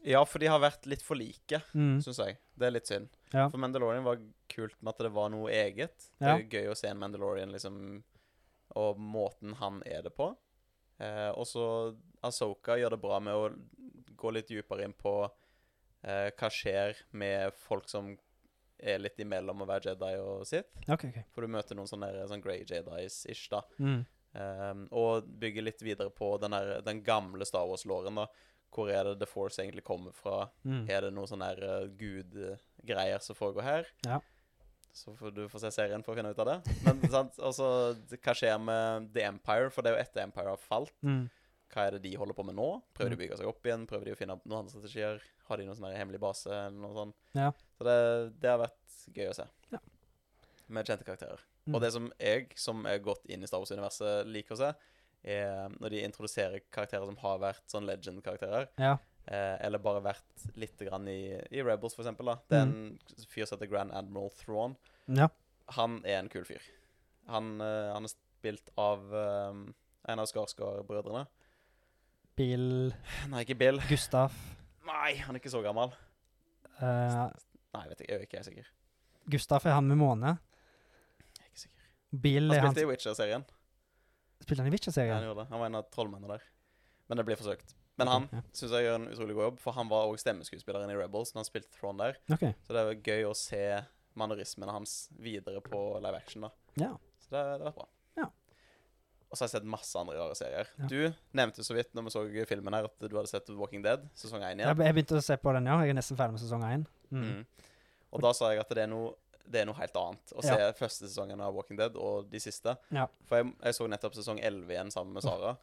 Speaker 2: Ja, for de har vært litt for like,
Speaker 1: Mm.
Speaker 2: syns jeg. Det er litt synd.
Speaker 1: Ja.
Speaker 2: For Mandalorian var kult med at det var noe eget. Det
Speaker 1: Ja.
Speaker 2: er gøy å se en Mandalorian, liksom, og måten han er det på. Eh, og så Asoka gjør det bra med å gå litt dypere inn på eh, hva skjer med folk som er litt imellom å være Jedi og Sith.
Speaker 1: OK. ok.
Speaker 2: For du møter noen sånne, der- sånn Grey Jedis-ish, da.
Speaker 1: Mm.
Speaker 2: Um, og bygge litt videre på den, der, den gamle Star Wars-låren, da. Hvor er det The Force egentlig kommer fra?
Speaker 1: Mm.
Speaker 2: Er det noe sånn her eh, gudgreier som foregår her?
Speaker 1: Ja.
Speaker 2: Så får du får se serien for å finne ut av det. Men sant, altså, d- hva skjer med The Empire? For det er jo etter Empire har falt.
Speaker 1: Mm.
Speaker 2: Hva er det de holder på med nå? Prøver de
Speaker 1: Mm.
Speaker 2: å bygge seg opp igjen? Prøver de å finne opp noen andre strategier? Har de noen sånn her hemmelig base? eller noe sånt?
Speaker 1: Ja.
Speaker 2: Så det, det har vært gøy å se.
Speaker 1: Ja.
Speaker 2: Med kjente karakterer.
Speaker 1: Mm.
Speaker 2: Og det som jeg, som er godt inn i Star Wars-universet, liker å se, er når de introduserer karakterer som har vært sånn legend-karakterer.
Speaker 1: Ja.
Speaker 2: Eh, eller bare vært litt grann i, i Rebels, for eksempel. Da. Det er en fyr som heter Grand Admiral Thrawn.
Speaker 1: ja.
Speaker 2: Han er en kul fyr. Han, eh, han er spilt av eh, en av Skarsgård-brødrene.
Speaker 1: Bill
Speaker 2: Nei, ikke Bill.
Speaker 1: Gustaf
Speaker 2: Nei, han er ikke så gammel.
Speaker 1: eh,
Speaker 2: Nei, vet ikke, jeg er ikke helt sikker.
Speaker 1: Gustaf er han med måne.
Speaker 2: Jeg er ikke sikker.
Speaker 1: Bill
Speaker 2: Han
Speaker 1: er han
Speaker 2: spilte i Witcher-serien.
Speaker 1: Spilte han i
Speaker 2: Ja, han
Speaker 1: Witcher-serien?
Speaker 2: gjorde det. Han var en av trollmennene der. Men det blir forsøkt. Men han
Speaker 1: Ok,
Speaker 2: syns jeg gjør en utrolig god jobb, for han var òg stemmeskuespilleren i Rebels når han spilte Thrawn der.
Speaker 1: ja. OK.
Speaker 2: Så det er gøy å se mannerismene hans videre på live action, da.
Speaker 1: Ja.
Speaker 2: Så det, det har vært bra.
Speaker 1: Ja.
Speaker 2: Og så har jeg sett masse andre rare serier.
Speaker 1: Ja.
Speaker 2: Du nevnte så vidt når vi så filmen her at du hadde sett Walking Dead sesong
Speaker 1: Jeg,
Speaker 2: 1 igjen.
Speaker 1: jeg begynte å se på den, ja. Jeg er nesten ferdig med sesong én. Mm.
Speaker 2: Mm. Og da sa jeg at det er noe det er noe helt annet å se
Speaker 1: Ja.
Speaker 2: første sesongen av Walking Dead og de siste.
Speaker 1: Ja.
Speaker 2: For jeg, jeg så nettopp sesong 11 igjen sammen med Sara.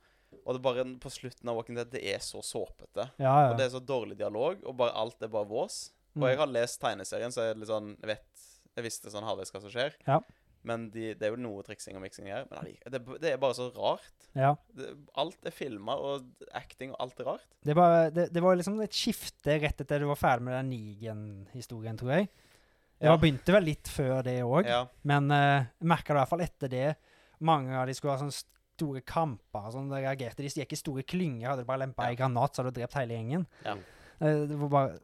Speaker 2: Og det er bare på slutten av Walking Dead Det er så såpete.
Speaker 1: Ja, ja.
Speaker 2: Og det er så dårlig dialog, og bare alt er bare vås.
Speaker 1: Mm.
Speaker 2: Og jeg har lest tegneserien, så jeg, er litt sånn, jeg vet Jeg visste sånn halvveis hva som skjer.
Speaker 1: Ja.
Speaker 2: Men de, det er jo noe triksing og miksing her. Men allike- det, det er bare så rart.
Speaker 1: Mm. ja.
Speaker 2: Det, alt er filma, og acting og alt er rart.
Speaker 1: Det, var, det, det var liksom et skifte rett etter du var ferdig med den Nigen-historien, tror jeg. Jeg
Speaker 2: Ja.
Speaker 1: begynte vel litt før det òg,
Speaker 2: Ja.
Speaker 1: men eh, jeg merka det i hvert fall etter det. Mange av de skulle ha sånne store kamper og sånn. Da reagerte de. De gikk i store klynger. Hadde du bare lempa
Speaker 2: Ja.
Speaker 1: ei granat, så hadde du drept hele gjengen.
Speaker 2: Ja.
Speaker 1: Eh, det var bare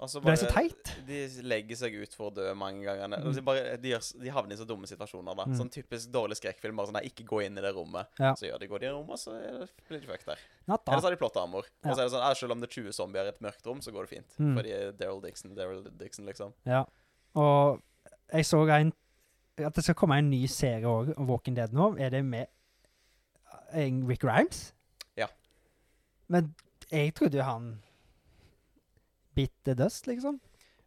Speaker 2: Altså
Speaker 1: Det ble så
Speaker 2: bare-
Speaker 1: teit.
Speaker 2: De legger seg ut for å dø mange ganger.
Speaker 1: Mm.
Speaker 2: Altså bare, de, gjør, s- de havner i så dumme situasjoner. da
Speaker 1: Mm.
Speaker 2: Sånn typisk dårlig skrekkfilm. Bare sånn, nei, ikke gå inn i det rommet.
Speaker 1: Ja.
Speaker 2: Så gjør de går de i rommet, så er det, blir de fucked der.
Speaker 1: Natta.
Speaker 2: Eller så har de plott armor.
Speaker 1: Ja.
Speaker 2: Og så er det sånn, «Ah, Selv om det er 20 zombier i et mørkt rom, så går det fint.
Speaker 1: Mm.
Speaker 2: Fordi Daryl Dixon, Daryl Dixon, liksom.
Speaker 1: Ja. Og jeg så en At det skal komme en ny serie òg, Walking Dead nå. Er det med eh, en Rick Grimes?
Speaker 2: Ja.
Speaker 1: Men jeg trodde jo han Bit the dust, liksom.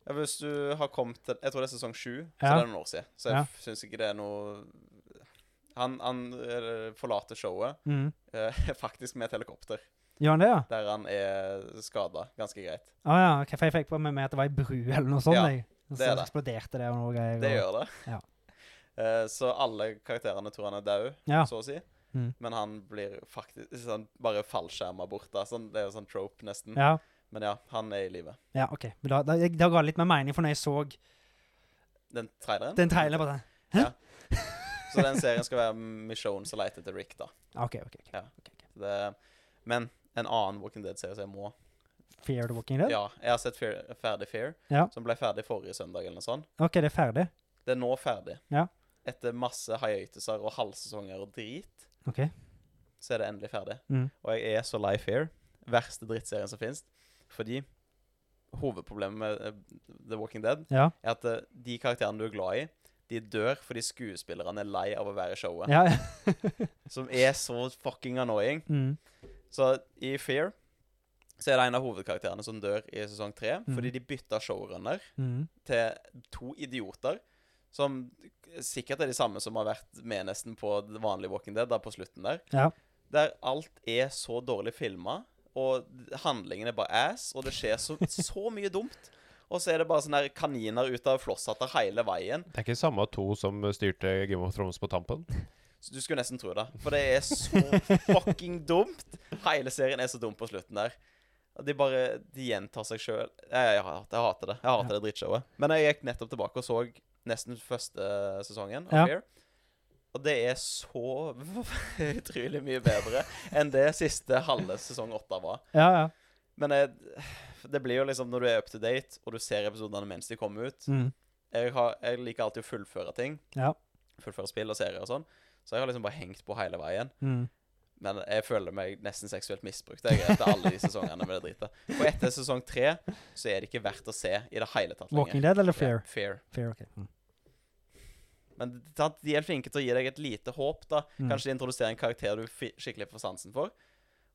Speaker 2: Ja, hvis du har kommet til Jeg tror det er sesong sju, så
Speaker 1: Ja.
Speaker 2: det er noen år siden. Så jeg
Speaker 1: Ja.
Speaker 2: f- syns ikke det er noe Han, han eh, forlater showet eh, faktisk med et helikopter.
Speaker 1: Gjør Mm. han det, ja?
Speaker 2: der han er skada ganske greit.
Speaker 1: Å ja, ok, for jeg fikk på meg med at det var ei bru eller noe sånt.
Speaker 2: Ja,
Speaker 1: jeg. Og
Speaker 2: det
Speaker 1: så
Speaker 2: er det.
Speaker 1: eksploderte det og noe greier.
Speaker 2: Det
Speaker 1: og-
Speaker 2: gjør det.
Speaker 1: Ja.
Speaker 2: Eh, Så alle karakterene tror han er død,
Speaker 1: Ja.
Speaker 2: så å si.
Speaker 1: Mm.
Speaker 2: Men han blir faktisk sånn, bare fallskjerma bort. Da. Sånn, det er jo sånn trope, nesten.
Speaker 1: Ja.
Speaker 2: Men ja, han er i live.
Speaker 1: ja, OK. Men da, da, da ga det litt mer mening, for når jeg så
Speaker 2: Den traileren.
Speaker 1: den traileren bare sånn,
Speaker 2: Så den serien skal være Michonne som leter etter Rick, da.
Speaker 1: OK, OK. ok.
Speaker 2: Det, men en annen Walking Dead-serie som jeg må
Speaker 1: Fear the Walking Dead?
Speaker 2: Ja, jeg har sett Fear, ferdig Fear,
Speaker 1: Ja.
Speaker 2: som ble ferdig forrige søndag eller noe sånt.
Speaker 1: OK, det er ferdig.
Speaker 2: Det er nå ferdig.
Speaker 1: Ja.
Speaker 2: Etter masse hiatuser og halvsesonger og drit,
Speaker 1: OK.
Speaker 2: så er det endelig ferdig.
Speaker 1: Mm.
Speaker 2: Og jeg er så lei Fear. Verste drittserien som finnes. Fordi hovedproblemet med eh, The Walking Dead
Speaker 1: Ja.
Speaker 2: er at eh, de karakterene du er glad i, de dør fordi skuespillerne er lei av å være i showet.
Speaker 1: ja.
Speaker 2: Som er så fucking annoying.
Speaker 1: mm.
Speaker 2: Så i Fear så er det en av hovedkarakterene som dør i sesong tre
Speaker 1: Mhm.
Speaker 2: fordi de bytta showrunner
Speaker 1: Mm.
Speaker 2: til to idioter som sikkert er de samme som har vært med nesten på det vanlige Walking Dead da på slutten der.
Speaker 1: Ja.
Speaker 2: Der alt er så dårlig filma, og handlingen er bare ass, og det skjer så, så mye dumt. Og så er det bare sånne her kaniner ut av flosshatter hele veien.
Speaker 3: Det er ikke samme to som styrte Game of Thrones på tampen.
Speaker 2: Så Du skulle nesten tro det. For det er så fucking dumt. Hele serien er så dum på slutten der. Og De bare de gjentar seg sjøl. Jeg, jeg, hat- jeg hater det. Jeg hater det drittshowet. Men jeg gikk nettopp tilbake og så nesten første eh, sesongen av
Speaker 1: Ja.
Speaker 2: Fear. Og det er så utrolig mye bedre enn det siste halve sesong åtte var.
Speaker 1: ja, ja.
Speaker 2: Men jeg, det blir jo liksom når du er up to date, og du ser episodene mens de kommer ut
Speaker 1: Mm.
Speaker 2: Jeg, har, jeg liker alltid å fullføre ting.
Speaker 1: Ja.
Speaker 2: Fullføre spill og serier og sånn. Så jeg har liksom bare hengt på hele veien.
Speaker 1: Mm.
Speaker 2: Men jeg føler meg nesten seksuelt misbrukt jeg, etter alle de sesongene med det dritet. Og etter sesong tre så er det ikke verdt å se i det hele tatt
Speaker 1: Walking Dead eller Fear?
Speaker 2: Ja, fair.
Speaker 1: Fear, OK. Mm.
Speaker 2: Men sant, de er flinke til å gi deg et lite håp, da.
Speaker 1: Mm.
Speaker 2: Kanskje de introduserer en karakter du fi- skikkelig får sansen for,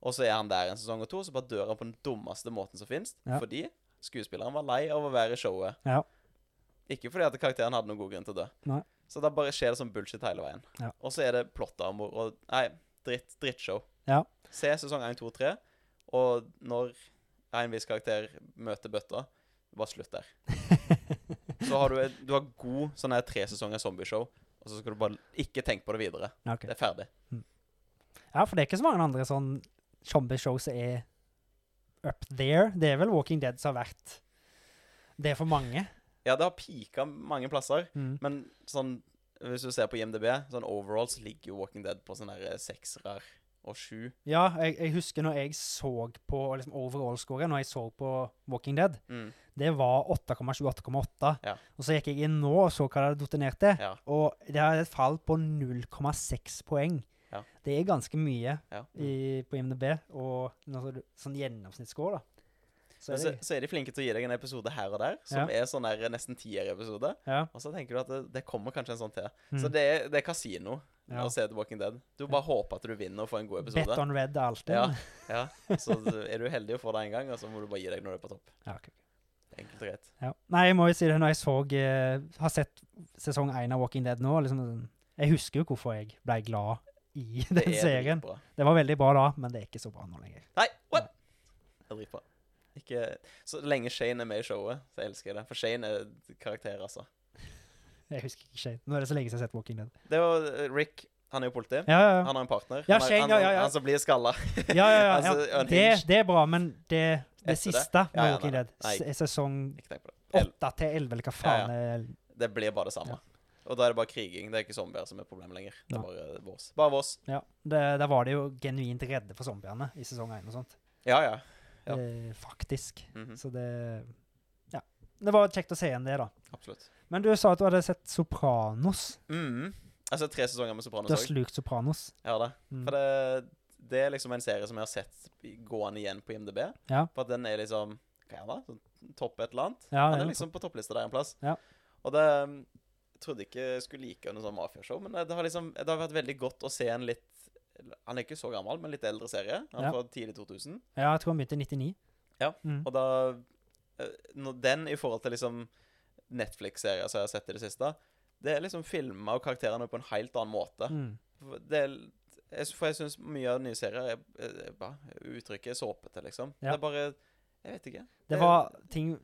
Speaker 2: og så er han der en sesong og to, så bare dør han på den dummeste måten som fins,
Speaker 1: Ja.
Speaker 2: fordi skuespilleren var lei av å være i showet.
Speaker 1: Ja.
Speaker 2: Ikke fordi at karakteren hadde noen god grunn til å dø.
Speaker 1: Nei.
Speaker 2: Så da bare skjer det sånn bullshit hele veien.
Speaker 1: Ja.
Speaker 2: Og så er det plottarmor og Nei, dritt, drittshow.
Speaker 1: Ja.
Speaker 2: Se sesong 1, 2, 3, og når en viss karakter møter bøtta, bare slutt der. Så har du, et- du har god sånn her tre sesonger zombieshow, og så skal du bare ikke tenke på det videre.
Speaker 1: Ja, ok.
Speaker 2: Det er ferdig.
Speaker 1: ja, for det er ikke så mange andre sånn zombie-show som er up there. Det er vel Walking Dead som har vært det for mange.
Speaker 2: Ja, det har pika mange plasser,
Speaker 1: Mm.
Speaker 2: men sånn hvis du ser på IMDb, sånn overall så ligger jo Walking Dead på sånn her seksere og sju.
Speaker 1: Ja, jeg, jeg husker når jeg så på liksom overall-scoret, når jeg så på Walking Dead,
Speaker 2: Mm,
Speaker 1: det var 8,28,8.
Speaker 2: Ja.
Speaker 1: Og så gikk jeg inn nå og så hva det hadde datt ned til.
Speaker 2: ja.
Speaker 1: Og det er et fall på 0,6 poeng.
Speaker 2: Ja.
Speaker 1: Det er ganske mye
Speaker 2: ja.
Speaker 1: i, på IMDb, og når så du- sånn gjennomsnittsscore, da. Så
Speaker 2: Men
Speaker 1: er
Speaker 2: så,
Speaker 1: det,
Speaker 2: så er de flinke til å gi deg en episode her og der, som er sånn her nesten tier-episode.
Speaker 1: ja.
Speaker 2: Og så tenker du at det, det kommer kanskje en sånn til.
Speaker 1: Mm.
Speaker 2: Så det er, det er kasino
Speaker 1: Ja.
Speaker 2: å se The Walking Dead. Du bare håper at du vinner og får en god
Speaker 1: Bet
Speaker 2: episode.
Speaker 1: on red er alltid.
Speaker 2: Ja, ja. Så er du heldig og får det en gang, og så må du bare gi deg når du er på topp.
Speaker 1: Ja, ok.
Speaker 2: Enkelt og greit.
Speaker 1: Ja. Nei, jeg må jo si det når jeg så eh, Har sett sesong én av Walking Dead nå. Liksom, sånn- jeg husker jo hvorfor jeg ble glad i den
Speaker 2: er
Speaker 1: serien.
Speaker 2: dritbra.
Speaker 1: Det var veldig bra da, men det er ikke så bra nå lenger.
Speaker 2: Nei, what?! Det er dritbra. Ikke Så lenge Shane er med i showet, så elsker jeg det. For Shane er et karakter, altså.
Speaker 1: Jeg husker ikke Shane. Nå er det så lenge siden jeg har sett Walking Dead.
Speaker 2: Det var Rick. Han er jo politi.
Speaker 1: Ja, ja, ja.
Speaker 2: Han har en partner.
Speaker 1: Ja,
Speaker 2: han, har-
Speaker 1: Shane,
Speaker 2: han,
Speaker 1: ja, ja, ja.
Speaker 2: han som blir skalla.
Speaker 1: ja, ja, ja, ja.
Speaker 2: Altså, Unhinged.
Speaker 1: Det, det er bra, men det, det
Speaker 2: Etter det?
Speaker 1: siste
Speaker 2: Ja,
Speaker 1: med
Speaker 2: ja,
Speaker 1: Walking
Speaker 2: nei,
Speaker 1: Dead,
Speaker 2: nei.
Speaker 1: se- sesong
Speaker 2: Ikke tenk på det. El-
Speaker 1: åtte til elleve, eller hva faen eh, er
Speaker 2: Det blir bare det samme. Og da er det bare kriging. Det er ikke zombier som er problemet lenger. Det er
Speaker 1: Nei.
Speaker 2: bare vås. Bare vås.
Speaker 1: Ja. Det, der var de jo genuint redde for zombiene i sesong én og sånt.
Speaker 2: Ja, ja. Ja.
Speaker 1: Eh, faktisk.
Speaker 2: Mhm,
Speaker 1: Så det Ja. Det var kjekt å se igjen det, da.
Speaker 2: Absolutt.
Speaker 1: Men du sa at du hadde sett Sopranos.
Speaker 2: Mhm. Jeg har sett tre sesonger med Sopranos
Speaker 1: Du har
Speaker 2: òg.
Speaker 1: slukt Sopranos.
Speaker 2: Jeg har det.
Speaker 1: Mm.
Speaker 2: For det, det er liksom en serie som jeg har sett i- gående igjen på IMDb.
Speaker 1: Ja.
Speaker 2: For at den er liksom Hva er den, da? Sånn Topp et eller annet.
Speaker 1: Ja,
Speaker 2: den
Speaker 1: det
Speaker 2: er
Speaker 1: er
Speaker 2: liksom på topplista der en plass.
Speaker 1: Ja.
Speaker 2: Og det mm, jeg trodde ikke jeg skulle like noe sånn mafiashow, men det har liksom Det har vært veldig godt å se en litt Han er ikke så gammel, men litt eldre serie. Han
Speaker 1: Ja.
Speaker 2: er fra tidlig 2000.
Speaker 1: Ja, jeg tror han begynte i 99.
Speaker 2: sånn. Ja,
Speaker 1: Mm.
Speaker 2: Og da eh, når Den i forhold til liksom Netflix-serier som jeg har sett i det siste, det er liksom filma og karakterene på en helt annen måte.
Speaker 1: Mm.
Speaker 2: Det er, jeg, s- for jeg syns mye av nye serier er, er, er bare, Uttrykket er såpete, liksom.
Speaker 1: Ja.
Speaker 2: Det er bare Jeg vet ikke.
Speaker 1: Det var ting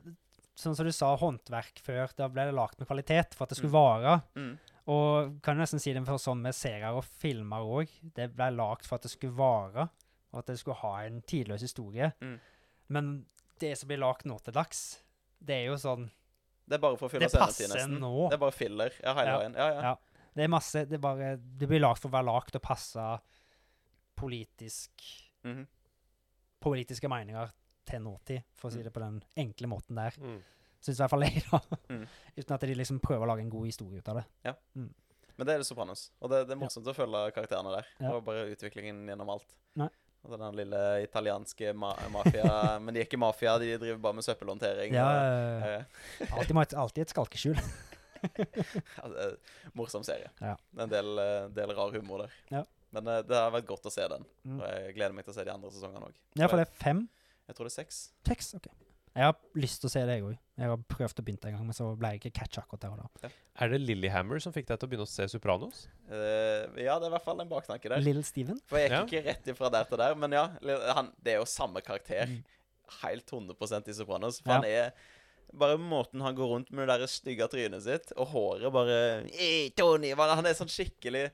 Speaker 1: Sånn som du sa, håndverk før. Da ble det lagt med kvalitet for at det skulle
Speaker 2: Mm.
Speaker 1: vare.
Speaker 2: mm,
Speaker 1: Og kan nesten si det for sånn med serier og filmer òg. Det ble lagt for at det skulle vare, og at det skulle ha en tidløs historie.
Speaker 2: Mm.
Speaker 1: Men det som blir lagt nå til dags, det er jo sånn
Speaker 2: Det er bare for å fylle
Speaker 1: Det
Speaker 2: senere tid,
Speaker 1: passer
Speaker 2: nesten.
Speaker 1: nå.
Speaker 2: Det er bare filler. Ja, hele
Speaker 1: Ja.
Speaker 2: veien. Ja, ja.
Speaker 1: Ja. Det er masse Det, er bare, det blir lagt for å være lagt og passe politisk
Speaker 2: Mhm.
Speaker 1: politiske meninger til nåtid, for å si
Speaker 2: Mm.
Speaker 1: det på den enkle måten der.
Speaker 3: Mm.
Speaker 1: Syns i hvert fall jeg, da.
Speaker 2: Mm.
Speaker 1: Uten at de liksom prøver å lage en god historie ut av det.
Speaker 2: Men det er det Sopranos. Og det, det er morsomt å følge karakterene der.
Speaker 1: Ja.
Speaker 2: Og bare utviklingen gjennom alt.
Speaker 1: Nei.
Speaker 2: Og den lille italienske ma mafia Men de er ikke mafia, de driver bare med søppelhåndtering.
Speaker 1: Ja,
Speaker 2: og-
Speaker 1: ja, ja.
Speaker 2: Eh,
Speaker 1: alltid, må- alltid et skalkeskjul.
Speaker 2: Ja, det er en morsom serie.
Speaker 1: Ja.
Speaker 2: Det er En del, eh, del rar humor der.
Speaker 1: Ja.
Speaker 2: Men eh, det har vært godt å se den.
Speaker 1: Mm.
Speaker 2: Og jeg gleder meg til å se de andre sesongene òg.
Speaker 1: Ja, for det er fem
Speaker 2: Jeg tror det er seks.
Speaker 1: Tekst, ok. Jeg har lyst til å se det, jeg òg. Jeg har prøvd å begynne en gang, men så ble jeg ikke catch akkurat der og da.
Speaker 3: Er det Lillehammer som fikk deg til å begynne å se Sopranos?
Speaker 2: Eh, ja, det er i hvert fall en baktanke der.
Speaker 1: Little Steven?
Speaker 2: For jeg gikk
Speaker 3: Ja.
Speaker 2: ikke rett ifra der til der, men ja. li- Han, det er jo samme karakter.
Speaker 1: Mm.
Speaker 2: Helt 100 i Sopranos. For
Speaker 1: Ja.
Speaker 2: han er Bare måten han går rundt med det der stygge trynet sitt, og håret bare «Ei, Tony, hva- Han er sånn skikkelig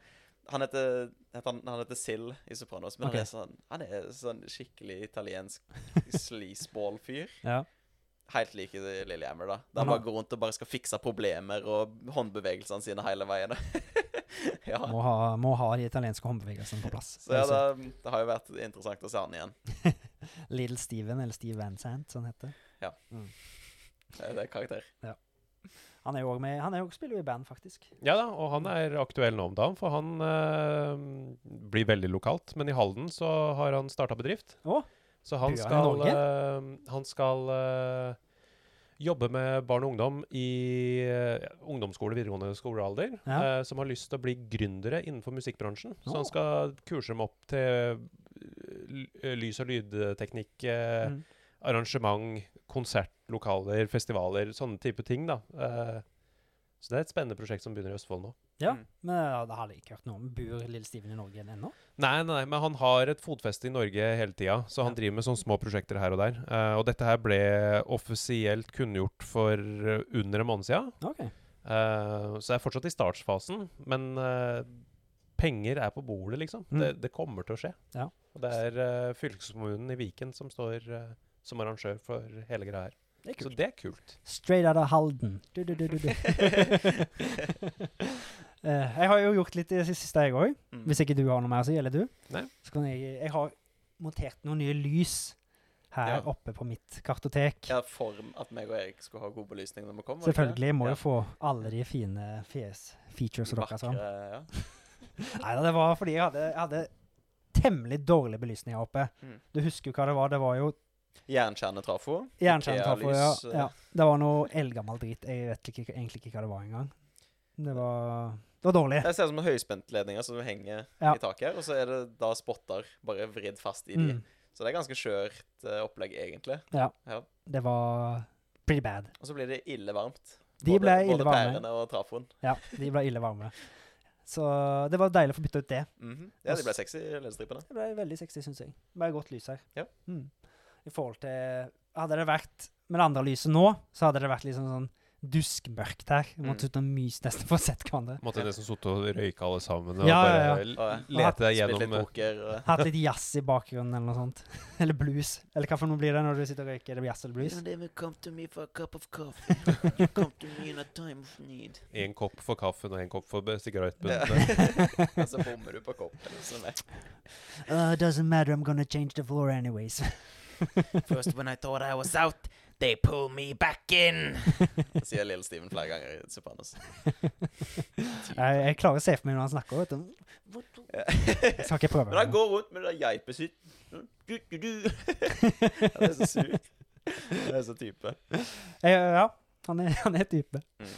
Speaker 2: Han heter, heter, han, han heter Sill i Sopranos, men
Speaker 1: Ok.
Speaker 2: han, er sånn, han er sånn skikkelig italiensk sleazeball-fyr.
Speaker 1: Ja.
Speaker 2: Helt lik i Lillehammer, da. Der
Speaker 1: Han
Speaker 2: han
Speaker 1: har-
Speaker 2: bare går rundt og bare skal fikse problemer og håndbevegelsene sine hele veien. ja.
Speaker 1: Må ha, må ha de italienske håndbevegelsene på plass.
Speaker 2: Så ja, det, det har jo vært interessant å se han igjen.
Speaker 1: Little Steven, eller Steve Van Sant, som han heter.
Speaker 2: Det det er karakter.
Speaker 1: Han er jo òg med Han er jo spiller jo i band, faktisk.
Speaker 3: Ja da, og han er aktuell nå om dagen, for han eh, blir veldig lokalt. Men i Halden så har han starta bedrift.
Speaker 1: Å,
Speaker 3: så han
Speaker 1: bor han i
Speaker 3: skal, eh, han skal eh, jobbe med barn og ungdom i eh, ungdomsskole, videregående skolealder,
Speaker 1: Ja.
Speaker 3: eh, som har lyst til å bli gründere innenfor musikkbransjen.
Speaker 1: Å.
Speaker 3: Så han skal kurse dem opp til eh, l- lys- og lydteknikk. eh,
Speaker 1: Mm.
Speaker 3: arrangement, konsertlokaler, festivaler, sånne type ting, da. Eh, så det er et spennende prosjekt som begynner i Østfold nå.
Speaker 1: Ja,
Speaker 2: Mm.
Speaker 1: men ja, det hadde jeg ikke hørt noe om. Bor Little Steven i Norge ennå?
Speaker 3: Nei, nei, nei, men han har et fotfeste i Norge hele tida, så han
Speaker 1: Ja.
Speaker 3: driver med sånne små prosjekter her og der. Eh, og dette her ble offisielt kunngjort for eh, under en måned sia,
Speaker 1: OK.
Speaker 3: eh, så jeg er fortsatt i startsfasen, men eh, penger er på bordet, liksom.
Speaker 1: Mm.
Speaker 3: Det, det kommer til å skje.
Speaker 1: Ja.
Speaker 3: Og det er eh, fylkeskommunen i Viken som står eh, som arrangør for hele greia her.
Speaker 1: Det er
Speaker 3: Så
Speaker 1: kult.
Speaker 3: det er kult.
Speaker 1: Straight out of Halden. Du, du, du, du, du. Eh, jeg har jo gjort litt i det siste, jeg òg.
Speaker 2: Mm.
Speaker 1: Hvis ikke du har noe mer å si, eller du?
Speaker 3: Nei.
Speaker 1: Så kan jeg, jeg har montert noen nye lys her
Speaker 2: Ja.
Speaker 1: oppe på mitt kartotek.
Speaker 2: Ja, form at meg og Erik skulle ha god belysning når vi kom. var det ikke det?
Speaker 1: Selvfølgelig. Jeg må
Speaker 2: Ja.
Speaker 1: jo få alle de fine fjes, features og dere
Speaker 2: Vakre,
Speaker 1: fram.
Speaker 2: ja.
Speaker 1: Nei da, det var fordi jeg hadde, jeg hadde temmelig dårlig belysning her oppe.
Speaker 2: Mm.
Speaker 1: Du husker jo hva det var. Det var jo
Speaker 2: Jernkjernetrafo.
Speaker 1: jernkjernetrafo. Ja,
Speaker 2: Ikea-lys, eh.
Speaker 1: ja. Det var noe eldgammel drit. Jeg vet ikke, egentlig ikke hva det var engang. Det var, det var dårlig.
Speaker 2: Det ser ut som høyspentledninger som henger
Speaker 1: Ja.
Speaker 2: i taket her, og så er det da spotter bare vridd fast i de.
Speaker 1: Mm.
Speaker 2: Så det er ganske skjørt eh, opplegg, egentlig.
Speaker 1: Det var pretty bad.
Speaker 2: Og så blir det ille varmt.
Speaker 1: De ble
Speaker 2: både,
Speaker 1: ille
Speaker 2: Både
Speaker 1: varme.
Speaker 2: pærene og trafoen.
Speaker 1: Ja, de ble ille varme. Så det var deilig å få bytta ut det.
Speaker 2: Mhm. Ja, de
Speaker 1: Og
Speaker 2: ble
Speaker 1: s-
Speaker 2: sexy, ledestripene.
Speaker 1: Det ble veldig sexy, syns jeg. Det ble godt lys her.
Speaker 2: Ja.
Speaker 1: Mm. I forhold til Hadde det vært med det andre lyset nå, så hadde det vært liksom sånn duskmørkt her. Vi måtte
Speaker 2: Mm.
Speaker 1: ut og myse nesten for å sett hverandre.
Speaker 3: Måtte nesten sitte og røyke alle sammen og
Speaker 1: Ja,
Speaker 3: bare
Speaker 1: ja,
Speaker 3: l-
Speaker 2: Og, eh,
Speaker 3: lete deg
Speaker 2: Spilt litt
Speaker 3: gjennom eh,
Speaker 2: poker. Og...
Speaker 1: Hatt litt jazz i bakgrunnen eller noe sånt. Eller blues. Eller hva for noe blir det når du sitter og røyker? Er det jazz eller blues?
Speaker 4: You don't ever come to me for a cup of coffee. you come to me in a time of need.
Speaker 3: eh, en kopp for kaffen og en kopp for be-
Speaker 2: Ja.
Speaker 3: sigarettbunnen. eh.
Speaker 2: og så bommer du på koppen. Liksom.
Speaker 1: Uh, doesn't matter, I'm gonna change the floor anyways.
Speaker 4: First, when I thought I was out, they pull me back in.
Speaker 2: Det sier Lille Steven flere ganger i Sopranos.
Speaker 1: Jeg, jeg klarer å se for meg når han snakker. Vet du.
Speaker 2: Ja.
Speaker 1: Jeg skal ikke prøve.
Speaker 2: Men han går rundt med det der geipet sitt. Du, du, du. Ja, det er så surt. Det er så type.
Speaker 1: Jeg, ja, han er, han er type.
Speaker 2: Mm.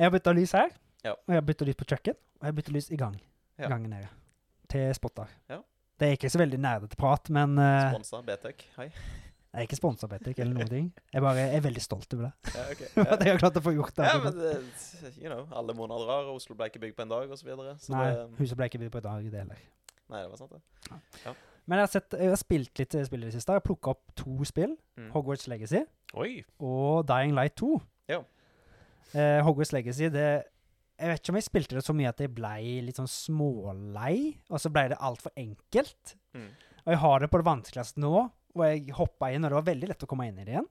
Speaker 1: Jeg har bytta lys her,
Speaker 2: Ja.
Speaker 1: og jeg har bytta lys på kjøkken, og jeg har bytta lys i gang.
Speaker 2: Ja.
Speaker 1: gangen nede. Til spotter.
Speaker 2: Ja.
Speaker 1: Det er ikke så veldig nerdete prat, men eh,
Speaker 2: Sponsa Betec. Hei.
Speaker 1: jeg er ikke sponsa, Petter, eller noen ting. Jeg bare er veldig stolt over det.
Speaker 2: Ja, ok.
Speaker 1: At
Speaker 2: Ja.
Speaker 1: jeg har klart å få gjort det.
Speaker 2: Ja, men det, you know, alle måneder drar, og Oslo ble ikke bygd på en dag, og Så videre. Så
Speaker 1: Nei,
Speaker 2: det, mm.
Speaker 1: huset ble ikke bygd på i dag, det heller.
Speaker 2: Nei, det var sant, det.
Speaker 1: Men jeg har, sett, jeg har spilt litt eh, spill i det siste. Jeg har plukka opp to spill.
Speaker 2: Mm.
Speaker 1: Hogwarts Legacy
Speaker 3: Oi!
Speaker 1: og Dying Light 2.
Speaker 2: Ja.
Speaker 1: Eh, Hogwarts Legacy, det Jeg vet ikke om jeg spilte det så mye at jeg blei litt sånn smålei, og så blei det altfor enkelt.
Speaker 2: Mm.
Speaker 1: Og jeg har det på det vanskeligste nå, og jeg hoppa inn, og det var veldig lett å komme inn i det igjen.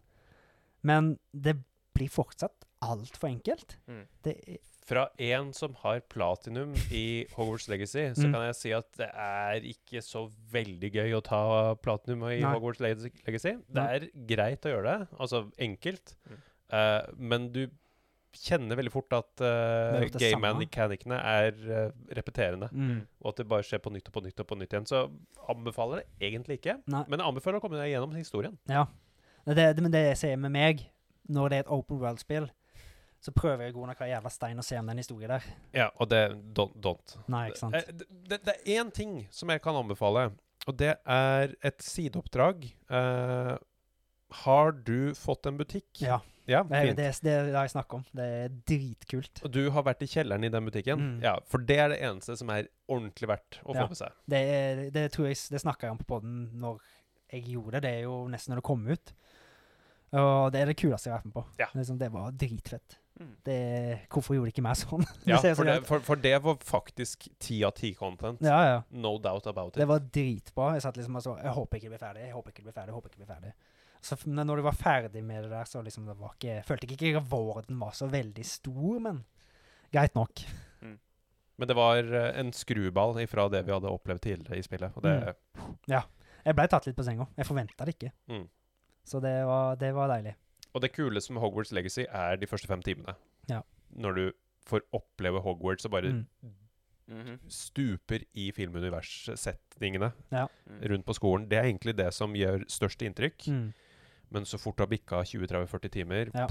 Speaker 1: Men det blir fortsatt altfor enkelt.
Speaker 2: Mm.
Speaker 1: Det er
Speaker 3: Fra en som har platinum i Hogwarts Legacy, så
Speaker 1: Mm.
Speaker 3: kan jeg si at det er ikke så veldig gøy å ta platinum i
Speaker 1: Nei.
Speaker 3: Hogwarts Leg- Legacy. Det
Speaker 1: Nei.
Speaker 3: er greit å gjøre det, altså enkelt,
Speaker 2: Mm.
Speaker 3: Eh, men du kjenner veldig fort at
Speaker 1: Det er
Speaker 3: uh,
Speaker 1: jo det samme.
Speaker 3: gameman-mekanikene er eh, repeterende,
Speaker 1: mm.
Speaker 3: og at det bare skjer på nytt og på nytt og på nytt igjen. Så anbefaler det egentlig ikke,
Speaker 1: Nei.
Speaker 3: men jeg anbefaler å komme deg gjennom historien.
Speaker 1: Men Det, det, men det jeg ser med meg, når det er et open world-spill, så prøver jeg å gå under hver jævla stein og se om det er en historie der.
Speaker 3: Ja, og det don't. don't.
Speaker 1: Nei, ikke sant?
Speaker 3: Eh, Det, det, det er én ting som jeg kan anbefale, og det er et sideoppdrag. Eh, har du fått en butikk?
Speaker 1: Ja. Det, er-
Speaker 3: fint.
Speaker 1: det, er- det er det jeg snakker om. Det er dritkult.
Speaker 3: Og du har vært i kjelleren i den butikken?
Speaker 1: Mm.
Speaker 3: Ja, for det er det eneste som er ordentlig verdt å
Speaker 1: Ja.
Speaker 3: få med seg.
Speaker 1: Det, er- det tror jeg s- Det snakka jeg om på poden når jeg gjorde det. Det er jo nesten når det kom ut. Og det er det kuleste jeg har vært med på.
Speaker 3: Ja.
Speaker 1: Det, er sånn, det var dritfett.
Speaker 2: Mm.
Speaker 1: Det, hvorfor gjorde de ikke mer sånn?
Speaker 3: Ja,
Speaker 1: ser ut
Speaker 3: for,
Speaker 1: som
Speaker 3: det,
Speaker 1: det-
Speaker 3: for, for det var faktisk ti av ti content.
Speaker 1: Ja, ja.
Speaker 3: No doubt about
Speaker 1: Det
Speaker 3: it.
Speaker 1: var dritbra. Jeg satt liksom og så Jeg håper ikke det blir ferdig. Jeg håper ikke det blir ferdig. Jeg håper ikke det blir ferdig. Så f- men når du var ferdig med det der, så liksom det var ikke Følte jeg ikke rewarden var så veldig stor, men greit nok.
Speaker 3: Men det var eh, en skruball ifra det vi hadde opplevd tidligere i spillet. Og det,
Speaker 1: Mm. Jeg ble tatt litt på senga. Jeg forventa det ikke.
Speaker 3: Mm.
Speaker 1: Så det var, det var deilig.
Speaker 3: Og det kuleste med Hogwarts Legacy er de første fem timene.
Speaker 1: Ja.
Speaker 3: Når du får oppleve Hogwarts og bare
Speaker 1: Mm.
Speaker 2: Mhm.
Speaker 3: stuper i filmuniverssetningene
Speaker 2: Mm.
Speaker 3: rundt på skolen. Det er egentlig det som gjør størst inntrykk.
Speaker 1: Mm.
Speaker 3: Men så fort du har bikka 20-30-40 timer
Speaker 1: Ja.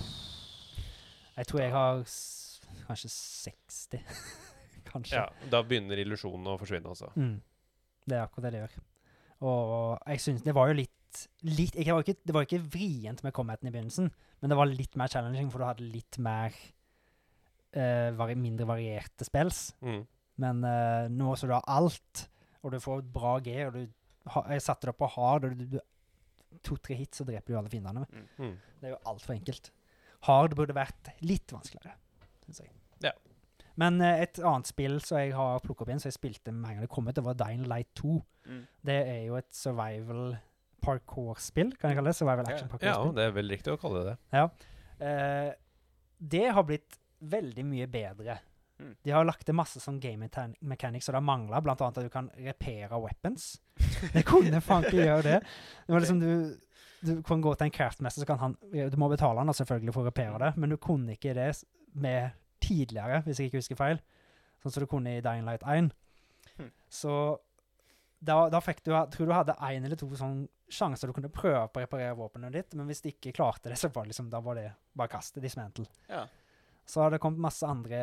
Speaker 1: Jeg tror jeg har s kanskje 60. kanskje.
Speaker 3: ja, Da begynner illusjonen å forsvinne, altså.
Speaker 1: Mm. Det er akkurat det det gjør. Og jeg synes det var jo litt, litt ikke, det, var ikke, det var ikke vrient med comheten i begynnelsen, men det var litt mer challenging, for du hadde litt mer eh, vari mindre varierte spills.
Speaker 3: Mm.
Speaker 1: Men eh, nå så du har alt, og du får et bra G, og du ha, jeg satte det opp på hard, og du, du to-tre hit, så dreper du alle fiendene.
Speaker 3: Mm.
Speaker 1: Det er jo altfor enkelt. Hard burde vært litt vanskeligere, syns jeg.
Speaker 3: Ja.
Speaker 1: Men eh, et annet spill som jeg har plukka opp igjen, som jeg spilte med en gang det kom ut, det var Dying Light 2.
Speaker 2: Mm.
Speaker 1: Det er jo et survival parkour-spill, kan jeg kalle det? Survival action
Speaker 3: Ja,
Speaker 1: parkour-spill.
Speaker 3: det er vel riktig å kalle det det.
Speaker 1: Eh, det har blitt veldig mye bedre.
Speaker 2: Mm.
Speaker 1: De har lagt til masse sånn game mechan- mechanics, og det har mangla bl.a. at du kan repere weapons. Det kunne faen ikke gjøre det. Det var liksom du du kan gå til en craftmester, så kan han Du må betale han da selvfølgelig for å repere det, men du kunne ikke det s- med tidligere, hvis jeg ikke husker feil. Sånn som du kunne i Dying Light 1.
Speaker 2: Hmm.
Speaker 1: Så da, da fikk du ha- Tror du hadde én eller to sånn sjanser du kunne prøve på å reparere våpenet ditt, men hvis du ikke klarte det, så var det liksom Da var det bare kastet dismantle.
Speaker 2: Ja.
Speaker 1: Så har det kommet masse andre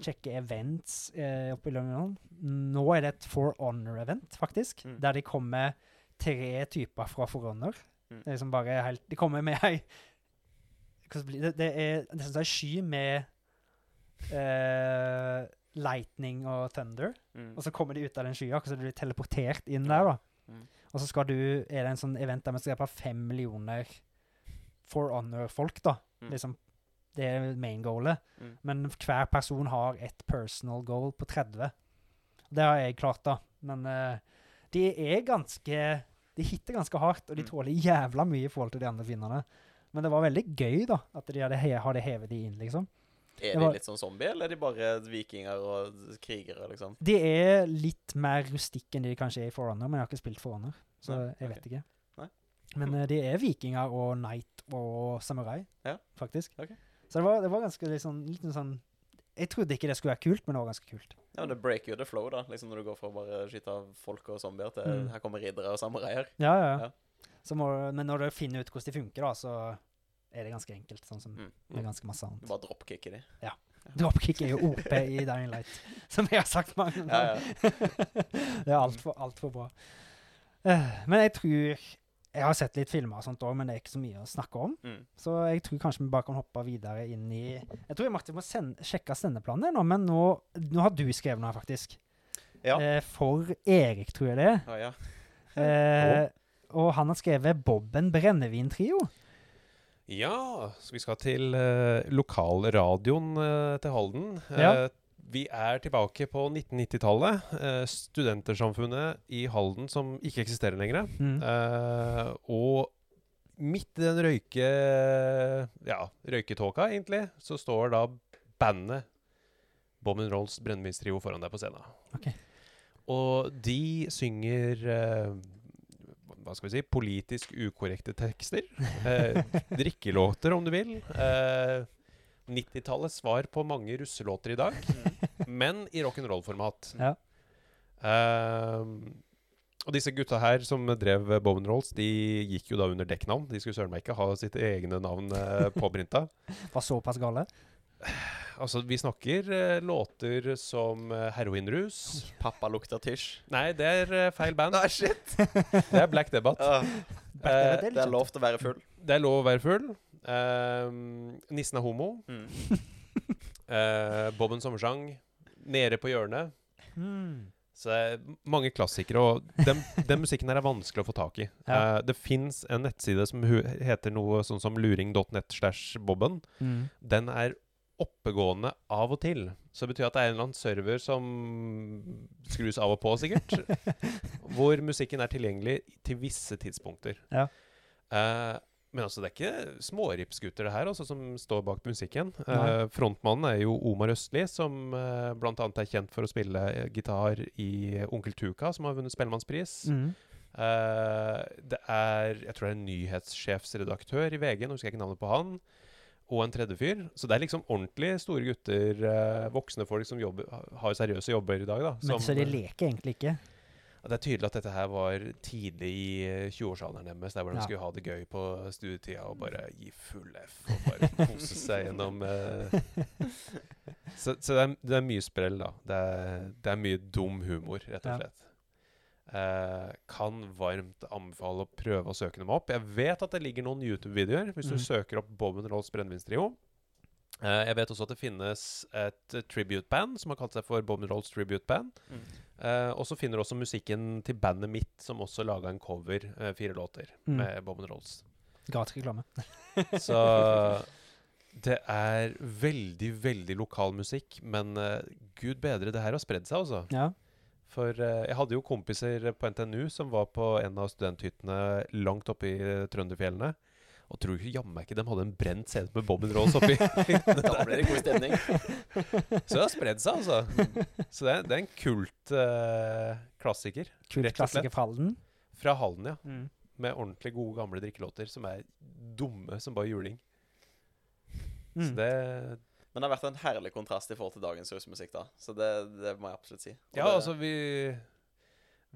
Speaker 1: kjekke events eh, opp i London. Nå er det et For Honor-event, faktisk,
Speaker 2: Mm.
Speaker 1: der de kommer tre typer fra For Honor.
Speaker 2: Mm.
Speaker 1: Det er liksom bare helt De kommer med ei Hvordan blir det? Det er nesten som ei sky med eh, lightning og thunder.
Speaker 2: Mm.
Speaker 1: Og så kommer de ut av den skya, og så blir de teleportert inn der. da.
Speaker 2: Mm.
Speaker 1: Og så skal du, er det en sånn event der vi skal drepe fem millioner for honor-folk. da.
Speaker 2: Mm.
Speaker 1: Liksom, Det er main goalet.
Speaker 2: Mm.
Speaker 1: Men hver person har et personal goal på 30. Det har jeg klart, da. Men eh, de er ganske De hitter ganske hardt, og de
Speaker 2: Mm.
Speaker 1: tåler jævla mye i forhold til de andre finnene. Men det var veldig gøy, da, at de hadde, he hadde hevet de inn, liksom.
Speaker 2: Er
Speaker 1: det
Speaker 2: de
Speaker 1: var-
Speaker 2: litt sånn zombie, eller er de bare vikinger og krigere, liksom?
Speaker 1: De er litt mer rustikk enn de kanskje er i Forerunner, men jeg har ikke spilt Forerunner, så
Speaker 2: Nei,
Speaker 1: jeg
Speaker 2: ok.
Speaker 1: vet ikke.
Speaker 2: Nei.
Speaker 1: Men eh, de er vikinger og knight og samurai,
Speaker 2: Ja,
Speaker 1: faktisk.
Speaker 2: ok.
Speaker 1: Så det var, det var ganske litt sånn, litt sånn Jeg trodde ikke det skulle være kult, men det var ganske kult.
Speaker 2: Ja, men Det breaker jo the flow, da. Liksom Når du går fra å bare skyte av folk og zombier til
Speaker 1: Mm.
Speaker 2: her kommer riddere og samuraier.
Speaker 1: Ja, ja.
Speaker 2: Ja.
Speaker 1: Så må, men når du finner ut hvordan de funker, da, så er det ganske enkelt. Sånn som
Speaker 2: Mm.
Speaker 1: med ganske masse
Speaker 2: Du
Speaker 1: annet.
Speaker 2: bare dropkicker de.
Speaker 1: Dropkick er jo OP i Dying Light, som jeg har sagt mange ganger.
Speaker 2: Ja, ja.
Speaker 1: det er altfor alt for bra. Eh, men jeg tror Jeg har sett litt filmer og sånt òg, men det er ikke så mye å snakke om.
Speaker 2: Mm.
Speaker 1: Så jeg tror kanskje vi bare kan hoppe videre inn i Jeg tror jeg Martin må send, sjekke sendeplanen nå, men nå, nå har du skrevet noe, her, faktisk.
Speaker 2: Ja.
Speaker 1: eh, for Erik, tror jeg det er.
Speaker 2: Å, ja.
Speaker 1: Eh, og han har skrevet 'Bobben brennevin-trio'.
Speaker 3: Ja, så vi skal til eh, lokalradioen eh, til Halden.
Speaker 1: Ja.
Speaker 3: Eh, vi er tilbake på 1990-tallet. Eh, studentersamfunnet i Halden som ikke eksisterer lenger.
Speaker 1: Mm.
Speaker 3: Eh, og midt i den røyke... Ja, røyketåka, egentlig, så står da bandet Bob Rolls Brennevinstrio foran deg på scenen.
Speaker 1: Ok.
Speaker 3: Og de synger eh, hva skal vi si, politisk ukorrekte tekster. Eh, drikkelåter, om du vil. Eh, 90-tallets svar på mange russelåter i dag, men i rock'n'roll-format.
Speaker 1: Ja.
Speaker 3: Ehm, og disse gutta her som drev Bowen Rolls, de gikk jo da under dekknavn. De skulle søren meg ikke ha sitt egne navn eh, påprinta.
Speaker 1: Var såpass gale.
Speaker 3: Altså, vi snakker eh, låter som eh, Heroinrus
Speaker 2: Pappa lukter tysj.
Speaker 3: Nei, det er eh, feil band.
Speaker 2: Nei, shit!
Speaker 3: Det er Black Debate.
Speaker 2: Ah,
Speaker 1: Back
Speaker 3: Eh,
Speaker 1: in the
Speaker 2: det er
Speaker 1: day,
Speaker 2: lov til å være full.
Speaker 3: Det er lov å være full. Ehm, nissen er homo.
Speaker 2: Mm.
Speaker 3: Eh, Bobben Sommersang. Nede på hjørnet.
Speaker 1: liksom. Mm.
Speaker 3: Så det er mange klassikere, og den, den musikken her er vanskelig å få tak i.
Speaker 1: Ja.
Speaker 3: Eh, det fins en nettside som hu- heter noe sånn som luring.net slash bobben.
Speaker 1: Mm.
Speaker 3: Den er oppegående av og til. Så det betyr at det er en eller annen server som skrus av og på, sikkert. hvor musikken er tilgjengelig til visse tidspunkter.
Speaker 1: Ja.
Speaker 3: Eh, men altså, det er ikke småripsgutter det her altså, som står bak musikken.
Speaker 1: Nei.
Speaker 3: Eh, frontmannen er jo Omar Østli, som eh, blant annet er kjent for å spille eh, gitar i Onkel Tuka, som har vunnet Spellemannspris.
Speaker 1: Mm.
Speaker 3: Eh, det er Jeg tror det er en nyhetssjefsredaktør i VG, nå husker jeg ikke navnet på han. Og en tredje fyr. Så det er liksom ordentlig store gutter, eh, voksne folk som jobber, har seriøse jobber i dag, da.
Speaker 1: Men
Speaker 3: som- eh,
Speaker 1: så de leker egentlig ikke.
Speaker 3: Ja, Det er tydelig at dette her var tidlig i eh, 20-årsalderen deres, der hvor de
Speaker 1: Ja.
Speaker 3: skulle ha det gøy på studietida og bare gi full F og bare kose seg gjennom eh.
Speaker 1: Mm.
Speaker 3: Så, så det, er, det er mye sprell, da. Det er, det er mye dum humor, rett
Speaker 1: Ja.
Speaker 3: og slett. Eh, kan varmt anbefale å prøve å søke dem opp. Jeg vet at det ligger noen YouTube-videoer hvis du
Speaker 1: Mhm.
Speaker 3: søker opp Bobben Rolls Brennevinstrio. Eh, jeg vet også at det finnes et eh, tribute-band som har kalt seg for Bobben Rolls Tribute Band.
Speaker 2: Mm.
Speaker 3: Eh, og så finner du også musikken til bandet mitt, som også laga en cover, eh, fire låter,
Speaker 1: Mm.
Speaker 3: med Bobben Rolls.
Speaker 1: Gratis reklame.
Speaker 3: Så det er veldig, veldig lokal musikk, men eh, gud bedre, det her har spredd seg, altså.
Speaker 1: Ja.
Speaker 3: For eh, jeg hadde jo kompiser på NTNU som var på en av studenthyttene langt oppe i eh, Trønderfjellene. Og tror du jammen meg ikke de hadde en brent CD med Bobben Rolls oppi hyttene
Speaker 2: Da blir det god stemning.
Speaker 3: Så det har spredd seg, altså. Så det er, det er en kult eh, klassiker.
Speaker 1: Kul
Speaker 3: Rett og
Speaker 1: klassiker
Speaker 3: slett.
Speaker 1: fra Halden.
Speaker 3: Fra Halden, ja.
Speaker 1: Mm.
Speaker 3: med ordentlig gode, gamle drikkelåter som er dumme som bare juling. Så
Speaker 1: Mm.
Speaker 3: det
Speaker 2: Men det har vært en herlig kontrast i forhold til dagens rusmusikk, da. Så det, det må jeg absolutt si. Og
Speaker 3: Ja,
Speaker 2: det,
Speaker 3: altså, vi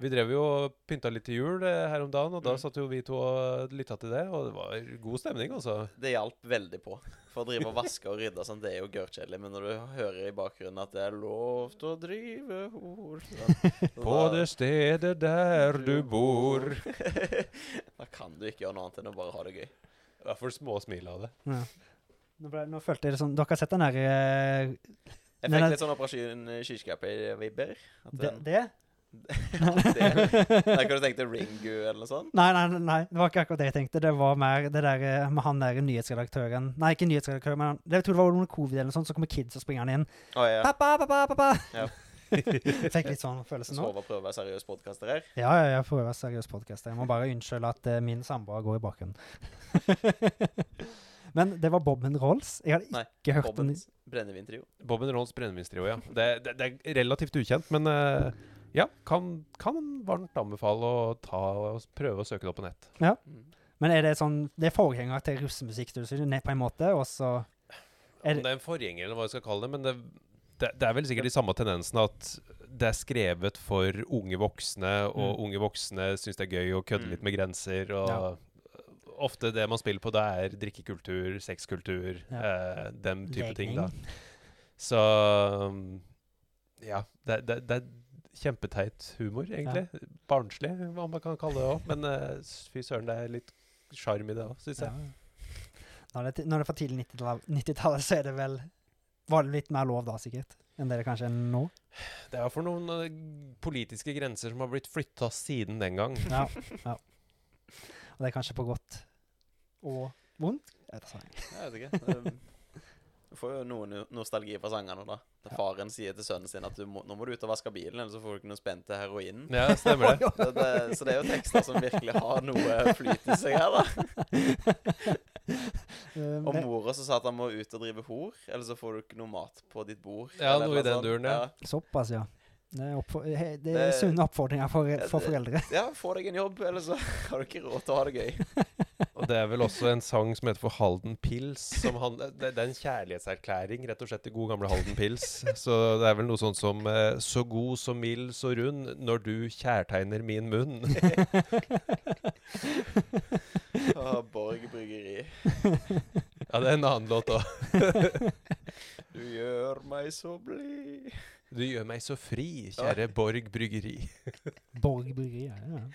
Speaker 3: Vi drev jo og pynta litt til jul eh, her om dagen, og da
Speaker 2: Mm.
Speaker 3: satt jo vi to og lytta til det, og det var god stemning, altså.
Speaker 2: Det hjalp veldig på. For å drive og vaske og rydde og sånn, det er jo gørrkjedelig. Men når du hører i bakgrunnen at det er lov til å drive hor sånn,
Speaker 3: På det stedet der du bor.
Speaker 2: Da kan du ikke gjøre noe annet enn å bare ha det gøy.
Speaker 3: I hvert fall små smil av det.
Speaker 1: Ja. Nå, ble, nå følte jeg det sånn Dere har sett den her eh, Men
Speaker 2: Jeg fikk
Speaker 1: at-
Speaker 2: litt sånn Operasjon Kyrkjegapper-vibber.
Speaker 1: det,
Speaker 2: Det,
Speaker 1: det?
Speaker 2: der kunne du tenkt deg Ringu eller noe sånt.
Speaker 1: Nei, nei, nei, det var ikke akkurat det jeg tenkte. Det var mer det der eh, med han der nyhetsredaktøren Nei, ikke nyhetsredaktøren, men han- det- jeg tror det var under covid eller noe sånt, så kommer kids og springer han inn.
Speaker 2: Å ja.
Speaker 1: Pappa, pappa, pappa!
Speaker 2: Ja.
Speaker 1: Fikk litt sånn følelse nå.
Speaker 2: Sove og prøve å være seriøs podkaster her.
Speaker 1: Ja, ja, jeg får være seriøs podkast. Jeg må bare unnskylde at eh, min samboer går i bakgrunnen. men det var Bobben Rolls. Jeg hadde
Speaker 2: Nei,
Speaker 1: ikke hørt den.
Speaker 2: Bobbens brennevintrio.
Speaker 3: Bobben Rolls brennevinstrio, ja. Det, det, det er relativt ukjent, men eh, ja, kan, kan varmt anbefale å ta og prøve å søke det opp på nett.
Speaker 2: Mm.
Speaker 1: Men er det sånn Det er forgjenger til russemusikk, du sier, ned på en måte, og så Er
Speaker 3: Om det er en forgjenger, eller hva jeg skal kalle det, men det, det, det er vel sikkert de samme tendensene at det er skrevet for unge voksne, og
Speaker 1: Mm.
Speaker 3: unge voksne syns det er gøy å kødde
Speaker 2: Mm.
Speaker 3: litt med grenser. og...
Speaker 1: Ja.
Speaker 3: Ofte det man spiller på, det er drikkekultur, sexkultur, eh, den type ting. da. Så um, ja. Det, det, det er kjempeteit humor, egentlig. Barnslig, hva man kan kalle det òg. Men eh, fy søren, det er litt sjarm i det òg, syns jeg.
Speaker 1: Ja. Når det, når det er fra tidlig 90-tall- 90-tallet, så er det vel Var det litt mer lov da, sikkert? enn det det kanskje er nå.
Speaker 3: Det er for noen eh, politiske grenser som har blitt flytta siden den gang.
Speaker 1: Ja, ja. Og det er kanskje på godt og vondt. Jeg vet ikke.
Speaker 2: Jeg vet ikke. det- Du får jo noe no- nostalgi fra sangene, da. Da faren sier til sønnen sin at du må, nå må du ut og vaske bilen, ellers så får du ikke noe spenn til heroinen.
Speaker 3: Ja, stemmer det.
Speaker 2: Det, det, så det er jo tekster som virkelig har noe flyt i seg her, da.
Speaker 1: Um,
Speaker 2: Og
Speaker 1: det-
Speaker 2: mora som sa at han må ut og drive hor, eller så får du ikke noe mat på ditt bord.
Speaker 3: Ja,
Speaker 2: eller
Speaker 3: noe i
Speaker 2: et eller
Speaker 3: den
Speaker 2: annet sånt.
Speaker 3: duren, ja.
Speaker 1: Såpass, ja. Det er, oppfor- he- det er
Speaker 2: Det-
Speaker 1: sunne oppfordringer for, for foreldre.
Speaker 2: ja. Ja, få deg en jobb, eller så har du ikke råd til å ha det gøy.
Speaker 3: Og det er vel også en sang som heter for Halden Pils. Som han, eh, det, det er en kjærlighetserklæring rett og slett til god gamle Halden Pils. Så det er vel noe sånt som eh, Så god, så mild, så rund når du kjærtegner min munn.
Speaker 2: Å, Borg bryggeri.
Speaker 3: Ja, det er en annen låt òg.
Speaker 2: Du gjør meg så blid.
Speaker 3: Du gjør meg så fri, kjære Borg bryggeri.
Speaker 1: Borg bryggeri. Ja, ja.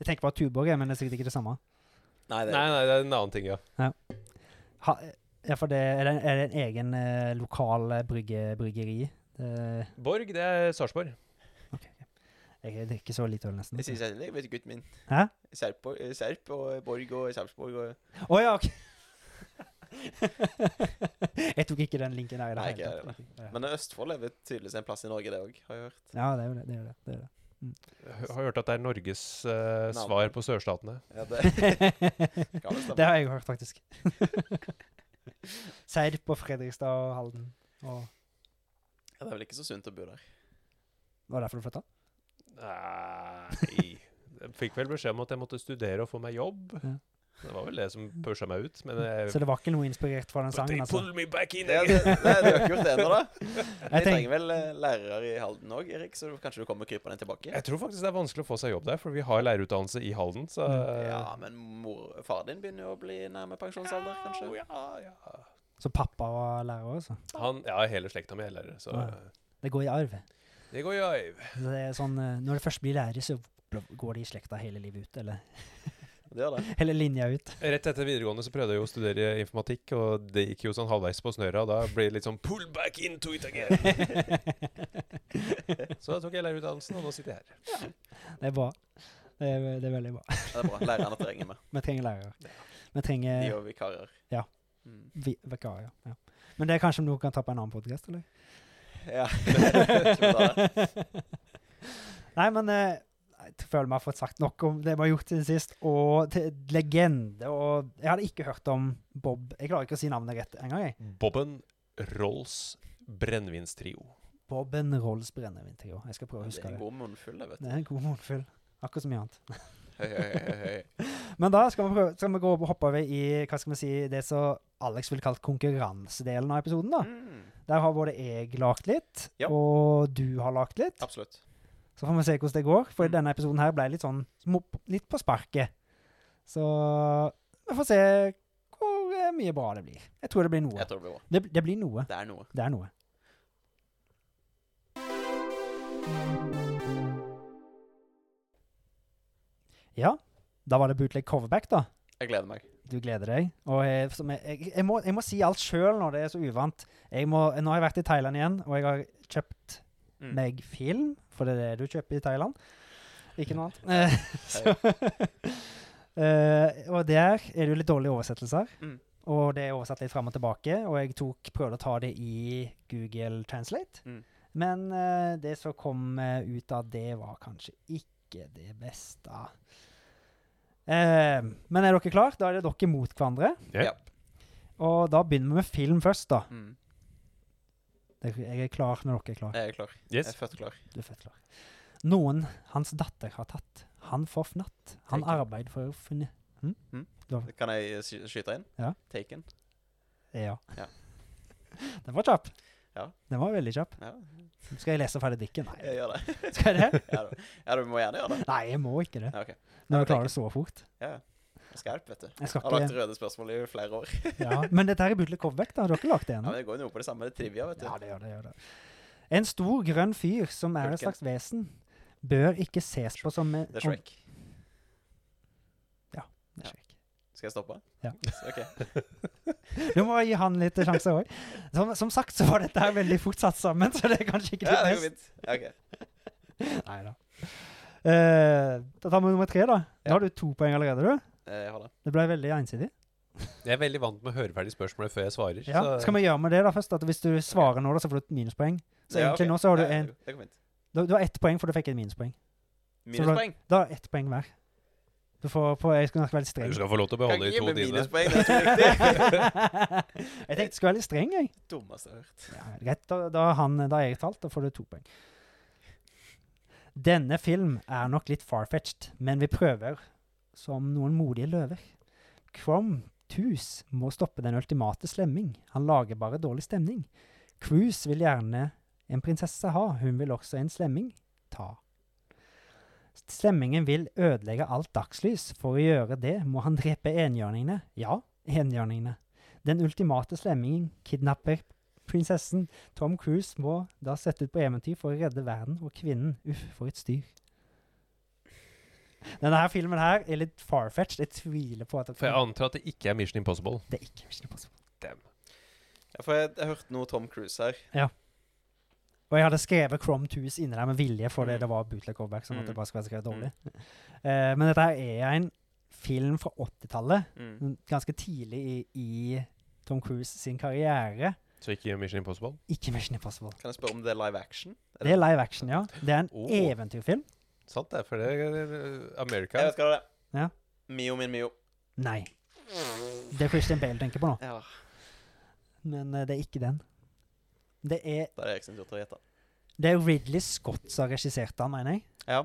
Speaker 1: Jeg tenker på Tuborg, jeg, men det er sikkert ikke det samme.
Speaker 2: Nei, det
Speaker 3: Nei, nei, det er en annen ting, ja.
Speaker 1: Ha, ja, for det, er, det, er det en egen eh, lokal eh, brygge, bryggeri? Det-
Speaker 3: Borg, det er Sarpsborg.
Speaker 1: jeg drikker så lite øl, nesten.
Speaker 2: Jeg sier Kjellvik, vet du, gutten min.
Speaker 1: Hæ?
Speaker 2: Serp og, Serp og Borg og Sarpsborg og
Speaker 1: Å ja, OK! jeg tok ikke den linken der i det
Speaker 2: Nei, ikke
Speaker 1: hele
Speaker 2: jeg
Speaker 1: tatt. Ja.
Speaker 2: Men Østfold er vel tydeligvis en plass i Norge, det òg, har jeg hørt.
Speaker 1: Ja, det er jo det. det, er jo det, det, er det.
Speaker 3: Jeg har hørt at det er Norges eh, svar på sørstatene.
Speaker 2: Ja, det, kan det
Speaker 1: Det
Speaker 2: stemme?
Speaker 1: har jeg hørt, faktisk. Seid på Fredrikstad og Halden. Og
Speaker 2: Ja, det er vel ikke så sunt å bo der.
Speaker 1: det var derfor du flytta?
Speaker 3: Nei Jeg fikk vel beskjed om at jeg måtte studere og få meg jobb.
Speaker 1: Ja.
Speaker 3: Det var vel det som pusha meg ut. Men jeg,
Speaker 1: Så det var ikke noe inspirert fra den sangen? altså.
Speaker 3: me back in
Speaker 2: Det, det, nei, de har ikke gjort det ennå, da. Vi
Speaker 1: Jeg tenk-
Speaker 2: trenger vel eh, lærere i Halden òg, Erik, så kanskje du kommer krypende tilbake?
Speaker 3: Jeg tror faktisk det er vanskelig å få seg jobb der, for vi har lærerutdannelse i Halden. Så
Speaker 1: Mm.
Speaker 2: Ja, men mor, far din begynner jo å bli nærme
Speaker 1: sånn
Speaker 2: pensjonsalder, kanskje?
Speaker 3: Au, ja, ja.
Speaker 1: Så pappa var lærer også?
Speaker 3: Han, ja, hele slekta mi er lærer, så
Speaker 1: Ja. Det går i arv.
Speaker 3: det går jo av.
Speaker 1: Så Det er sånn, eh, når det først blir lærer, så bl- går det i slekta hele livet ut. Eller
Speaker 2: Det gjør det.
Speaker 1: hele linja ut.
Speaker 3: Rett etter videregående så prøvde jeg jo å studere informatikk, og det gikk jo sånn halvveis på snøra. og Da ble det litt sånn pull back into it again. Så da tok jeg lærerutdannelsen, og nå sitter jeg her.
Speaker 1: Det er bra. Det er, det er veldig bra.
Speaker 2: Ja, Det er bra. Lærerne trenger meg.
Speaker 1: Vi trenger lærere. Vi
Speaker 2: De
Speaker 1: trenger
Speaker 2: og vikarer.
Speaker 1: Ja.
Speaker 2: Mm.
Speaker 1: vi vikarer. Ja. Men det er kanskje noe vi kan ta på en annen podkast, eller?
Speaker 2: Ja. Skal vi ta det?
Speaker 1: Nei, men eh, jeg føler meg fått sagt nok om det vi har gjort siden sist. Og til legende og Jeg hadde ikke hørt om Bob Jeg klarer ikke å si navnet rett engang, jeg.
Speaker 3: Bobben Rolls brennevinstrio.
Speaker 1: Bobben Rolls Brennevintrio. Jeg skal prøve å
Speaker 2: Det
Speaker 1: huske
Speaker 2: er en
Speaker 1: det.
Speaker 2: god munnfull, det, vet du.
Speaker 1: Det er en god målfull. Akkurat som mye annet.
Speaker 2: Høy, høy, høy, høy.
Speaker 1: Men da skal vi, prøve, skal vi gå og hoppe over i hva skal vi si, det som Alex ville kalt konkurransedelen av episoden. da.
Speaker 2: Mm.
Speaker 1: Der har både jeg lagt litt,
Speaker 2: Ja.
Speaker 1: og du har lagt litt.
Speaker 2: Absolutt.
Speaker 1: Så får vi se hvordan det går, for
Speaker 2: Mm.
Speaker 1: denne episoden her ble litt sånn små- litt på sparket. Så vi får se hvor eh, mye bra det blir. Jeg tror det blir noe.
Speaker 2: Jeg tror det blir bra.
Speaker 1: Det, det blir noe.
Speaker 2: Det er noe.
Speaker 1: Det er noe. Ja, da var det bootleg coverback, da.
Speaker 2: Jeg gleder meg.
Speaker 1: Du gleder deg. Og jeg, som jeg, jeg, jeg, må, jeg må si alt sjøl når det er så uvant. Jeg må, nå har jeg vært i Thailand igjen, og jeg har kjøpt
Speaker 2: Mm.
Speaker 1: meg film, for det er det du kjøper i Thailand. Ikke noe annet. Eh, så, Eh, og der er det jo litt dårlige oversettelser.
Speaker 2: Mm.
Speaker 1: Og det er oversatt litt fram og tilbake, og jeg tok, prøvde å ta det i Google Translate.
Speaker 2: Mm.
Speaker 1: Men eh, det som kom eh, ut av det, var kanskje ikke det beste. Eh, men er dere klar? Da er det dere mot hverandre.
Speaker 3: Ja.
Speaker 1: Og da begynner vi med film først, da.
Speaker 2: Mm.
Speaker 1: Det- Jeg er klar når dere er klar.
Speaker 2: Jeg er klar. Jeg
Speaker 3: Yes.
Speaker 2: er født klar.
Speaker 1: Du er født klar. Noen hans datter har tatt. Han forfnatt. Han
Speaker 2: Taken.
Speaker 1: arbeid for å funne
Speaker 2: Kan jeg sky- skyte inn?
Speaker 1: Ja.
Speaker 2: Taken?
Speaker 1: Ja.
Speaker 2: Ja.
Speaker 1: Den var kjapp.
Speaker 2: Ja.
Speaker 1: Den var veldig kjapp.
Speaker 2: Ja,
Speaker 1: Skal jeg lese ferdig dikken? Nei.
Speaker 2: jeg gjør det.
Speaker 1: Skal jeg det?
Speaker 2: Ja, du, ja, du må gjerne gjøre det.
Speaker 1: Nei, jeg må ikke det.
Speaker 2: Ja, ok.
Speaker 1: Når jeg klarer det så fort.
Speaker 2: Ja, ja. Jeg skal hjelpe, vet du.
Speaker 1: Jeg
Speaker 2: Jeg
Speaker 1: skal
Speaker 2: har lagt
Speaker 1: ikke
Speaker 2: røde spørsmål i flere år.
Speaker 1: ja. Men dette her er Bootleg Coverback, da. Har dere lagt det
Speaker 2: Ja,
Speaker 1: ennå?
Speaker 2: men Det går jo noe på det samme. Det er trivia, vet du.
Speaker 1: Ja, det gjør det. gjør det. En stor, grønn fyr som er et
Speaker 2: Hulken.
Speaker 1: slags vesen, bør ikke ses på som en
Speaker 2: Det er Shrek.
Speaker 1: Ja, det er Shrek.
Speaker 2: Skal jeg stoppe?
Speaker 1: Ja.
Speaker 2: Så, ok.
Speaker 1: Du må gi han litt sjanse òg. Som, som sagt så var dette her veldig fort satt sammen, så det er kanskje ikke
Speaker 2: Ja,
Speaker 1: det
Speaker 2: det går
Speaker 1: beste.
Speaker 2: fint. Ok.
Speaker 1: Nei da. Eh, da tar vi nummer tre, da.
Speaker 2: Ja.
Speaker 1: Da har du to poeng allerede, du.
Speaker 2: Eh, Jeg har det.
Speaker 1: Det ble veldig ensidig.
Speaker 3: Jeg er veldig vant med å høre ferdig spørsmålet før jeg svarer.
Speaker 1: Ja.
Speaker 3: så-
Speaker 1: Skal vi gjøre med det da først? At hvis du svarer nå, da, så får du et minuspoeng. Så
Speaker 2: Ja,
Speaker 1: egentlig
Speaker 2: ok.
Speaker 1: nå så har du
Speaker 2: Ja,
Speaker 1: en-
Speaker 2: Det går fint.
Speaker 1: Du, du har ett poeng, for du fikk et minuspoeng. Så bra.
Speaker 2: Minuspoeng.
Speaker 1: Da er ett poeng hver. Du får på, Jeg skulle nok være litt
Speaker 3: Du
Speaker 1: streng.
Speaker 3: skal få lov til å
Speaker 2: Kan
Speaker 3: beholde
Speaker 2: ikke
Speaker 3: de
Speaker 2: gi
Speaker 3: to
Speaker 2: meg
Speaker 3: dine.
Speaker 2: minuspoeng. Det er så viktig.
Speaker 1: jeg tenkte jeg skulle være litt streng, jeg.
Speaker 2: Dummeste jeg har hørt.
Speaker 1: Ja, greit, da, da, har han, da har jeg talt, da får du to poeng. Denne film er nok litt farfetched, men vi prøver som noen modige løver. Crom Tus må stoppe den ultimate slemming. Han lager bare dårlig stemning. Cruise vil gjerne en prinsesse ha, hun vil også en slemming ta. Slemmingen vil ødelegge alt dagslys. For å gjøre det må han drepe enhjørningene. Ja, enhjørningene. Den ultimate slemmingen kidnapper prinsessen. Tom Cruise må da sette ut på eventyr for å redde verden og kvinnen. Uff, for et styr. Denne her filmen her er litt farfetched. Jeg tviler på at
Speaker 3: For jeg antar at det ikke er Mission Impossible.
Speaker 1: det er ikke Mission Impossible.
Speaker 2: Ja, for jeg, jeg hørte noe Tom Cruise her.
Speaker 1: Og jeg hadde skrevet Crom Tus inni der med vilje fordi
Speaker 2: Mm.
Speaker 1: det var bootleg coverback. Sånn at det
Speaker 2: Mm.
Speaker 1: bare skulle være skrevet dårlig. Eh, men dette her er en film fra 80-tallet.
Speaker 2: Mm.
Speaker 1: sånn Ganske tidlig i, i Tom Cruise sin karriere.
Speaker 3: Så ikke Mission Impossible.
Speaker 1: Ikke Mission Impossible.
Speaker 2: Kan jeg spørre om det er live action? Er
Speaker 1: Det er live action, ja. Det er en
Speaker 3: Oh.
Speaker 1: eventyrfilm.
Speaker 3: Sant det, for det er eh,
Speaker 2: Jeg
Speaker 3: America.
Speaker 2: vet hva det er.
Speaker 1: Ja.
Speaker 2: Mio min Mio.
Speaker 1: Nei. Det er Christian Bale tenker på nå.
Speaker 4: Oh.
Speaker 2: Ja.
Speaker 1: Men eh, det er ikke den. Det er,
Speaker 2: Da er det Eriksen tur til å gjette.
Speaker 1: det er Ridley Scott som har regissert den, mener jeg.
Speaker 2: Ja.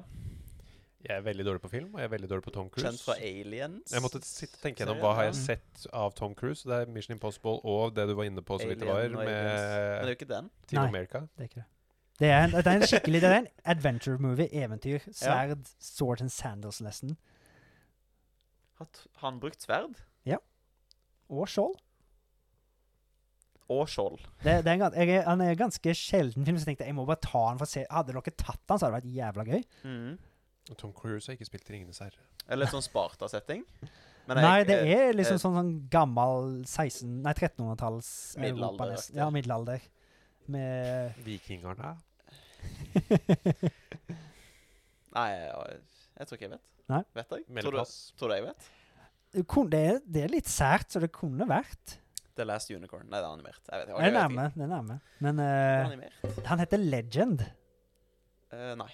Speaker 3: Jeg er veldig dårlig på film, og jeg er veldig dårlig på Tom Cruise.
Speaker 2: Kjent fra Aliens.
Speaker 3: Jeg måtte sitte og tenke gjennom
Speaker 2: Serien,
Speaker 3: hva har
Speaker 2: ja.
Speaker 3: jeg sett av Tom Cruise. Det er Mission Impossible og det du var inne på så vidt det var,
Speaker 2: Alien og Aliens. Men det
Speaker 3: med
Speaker 2: er jo ikke den.
Speaker 3: Team
Speaker 1: Nei.
Speaker 3: America.
Speaker 1: Det er ikke det. Det er en, det er en skikkelig det er en adventure movie. Eventyr. Sverd. Swords and sandals, nesten.
Speaker 2: Har t- har han brukt sverd?
Speaker 1: Og skjold.
Speaker 2: Og skjold.
Speaker 1: Det, det er en, gans- jeg, er- han er en ganske sjelden film, så jeg tenkte jeg må bare ta han for å se. Hadde dere tatt han, så hadde det vært jævla gøy.
Speaker 2: Mm.
Speaker 3: Og Tom Cruise har ikke spilt i Ringenes herre.
Speaker 2: Eller litt sånn Sparta-setting.
Speaker 1: Nei, det er liksom
Speaker 2: eh,
Speaker 1: sånn, sånn gammel 16... Nei, 1300-talls Europa,
Speaker 2: Middelalderaktig.
Speaker 1: nesten. Ja, middelalder. Med
Speaker 3: Vikingerne.
Speaker 2: Nei, jeg, jeg tror ikke jeg vet.
Speaker 1: Nei.
Speaker 2: Vet jeg? Tror du,
Speaker 3: Meldeplass.
Speaker 2: tror du jeg vet?
Speaker 1: det, kun- det, er- det er litt sært, så det kunne vært.
Speaker 2: The Last Unicorn. Nei, det er animert. Jeg vet,
Speaker 1: Det
Speaker 2: ok,
Speaker 1: er
Speaker 2: jeg vet ikke.
Speaker 1: nærme. det er nærme. Men
Speaker 2: Er det
Speaker 1: eh,
Speaker 2: animert?
Speaker 1: han heter Legend.
Speaker 2: Eh, nei.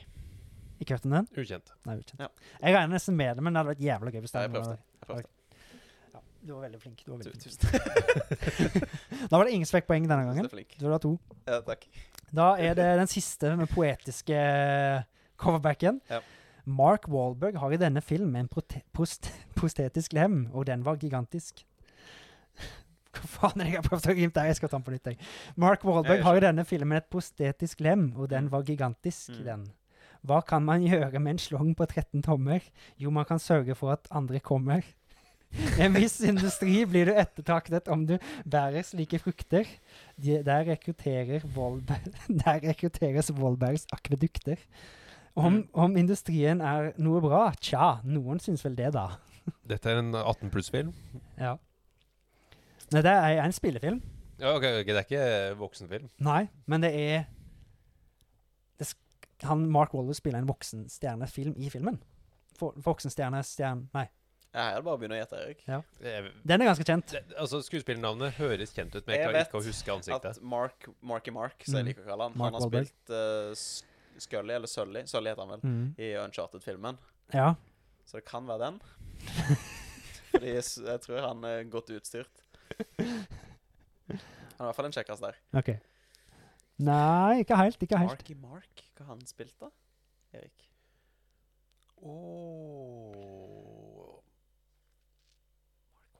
Speaker 1: Ikke hørt om den?
Speaker 3: Ukjent.
Speaker 1: Nei, ukjent.
Speaker 2: Ja.
Speaker 1: Jeg regner nesten med det, men det hadde vært jævla gøy hvis det
Speaker 2: Nei, jeg
Speaker 1: hadde vært-
Speaker 2: prøvde. Jeg prøvde.
Speaker 1: Ja, du var veldig flink. Du var
Speaker 2: Tu-
Speaker 1: veldig flink.
Speaker 2: Tusen takk.
Speaker 1: Da var det ingen spekkpoeng denne
Speaker 2: Du
Speaker 1: gangen.
Speaker 2: er flink.
Speaker 1: Du har to.
Speaker 2: Ja, takk.
Speaker 1: Da er det den siste med poetiske coverbacken.
Speaker 2: Ja.
Speaker 1: Mark Wahlberg har i denne film en prote prost prostetisk lem, og den var gigantisk. Hva faen er det jeg har prøvd å glimte her? Jeg skal ta den på nytt. Jeg. Mark
Speaker 2: Jeg
Speaker 1: Wahlberg har i
Speaker 2: skjønner.
Speaker 1: denne filmen et prostetisk lem, og den
Speaker 2: Mm.
Speaker 1: var gigantisk,
Speaker 2: Mm.
Speaker 1: den. Hva kan man gjøre med en slong på 13 tommer? Jo, man kan sørge for at andre kommer. I en viss industri blir du ettertraktet om du bærer slike frukter. De, der, rekrutterer Vollberg, der rekrutteres Vollbergs akvedukter. Om,
Speaker 2: Mm.
Speaker 1: om industrien er noe bra? Tja, noen syns vel det, da.
Speaker 3: Dette er en 18 pluss-film.
Speaker 1: Ja. Nei, det er en spillefilm.
Speaker 3: Ja, ok, ok, Det er ikke voksenfilm.
Speaker 1: Nei, men det er det sk han, Mark Waller spiller en voksenstjernefilm i filmen. For, voksenstjerne, stjerne Nei.
Speaker 2: Ja, her er det bare å begynne å gjette, Erik.
Speaker 3: Jeg,
Speaker 1: Den er ganske kjent.
Speaker 3: det, altså, Skuespillernavnet høres kjent ut, men jeg
Speaker 2: Jeg
Speaker 3: klarer
Speaker 2: vet
Speaker 3: ikke å huske ansiktet.
Speaker 2: At Mark, Marky Mark, som jeg
Speaker 1: Mm.
Speaker 2: liker å kalle han,
Speaker 1: Mark
Speaker 2: han har
Speaker 1: Wahlberg.
Speaker 2: spilt eh, S- Scully, eller Sully, Sully heter han vel,
Speaker 1: Mm.
Speaker 2: i Uncharted-filmen.
Speaker 1: Ja.
Speaker 2: Så det kan være den. Fordi s- jeg tror han er godt utstyrt. Han er i hvert fall en kjekkas der.
Speaker 1: OK. Nei, ikke helt. Ikke helt.
Speaker 2: Marky Mark, hva har han spilt da? Erik.
Speaker 3: Oh.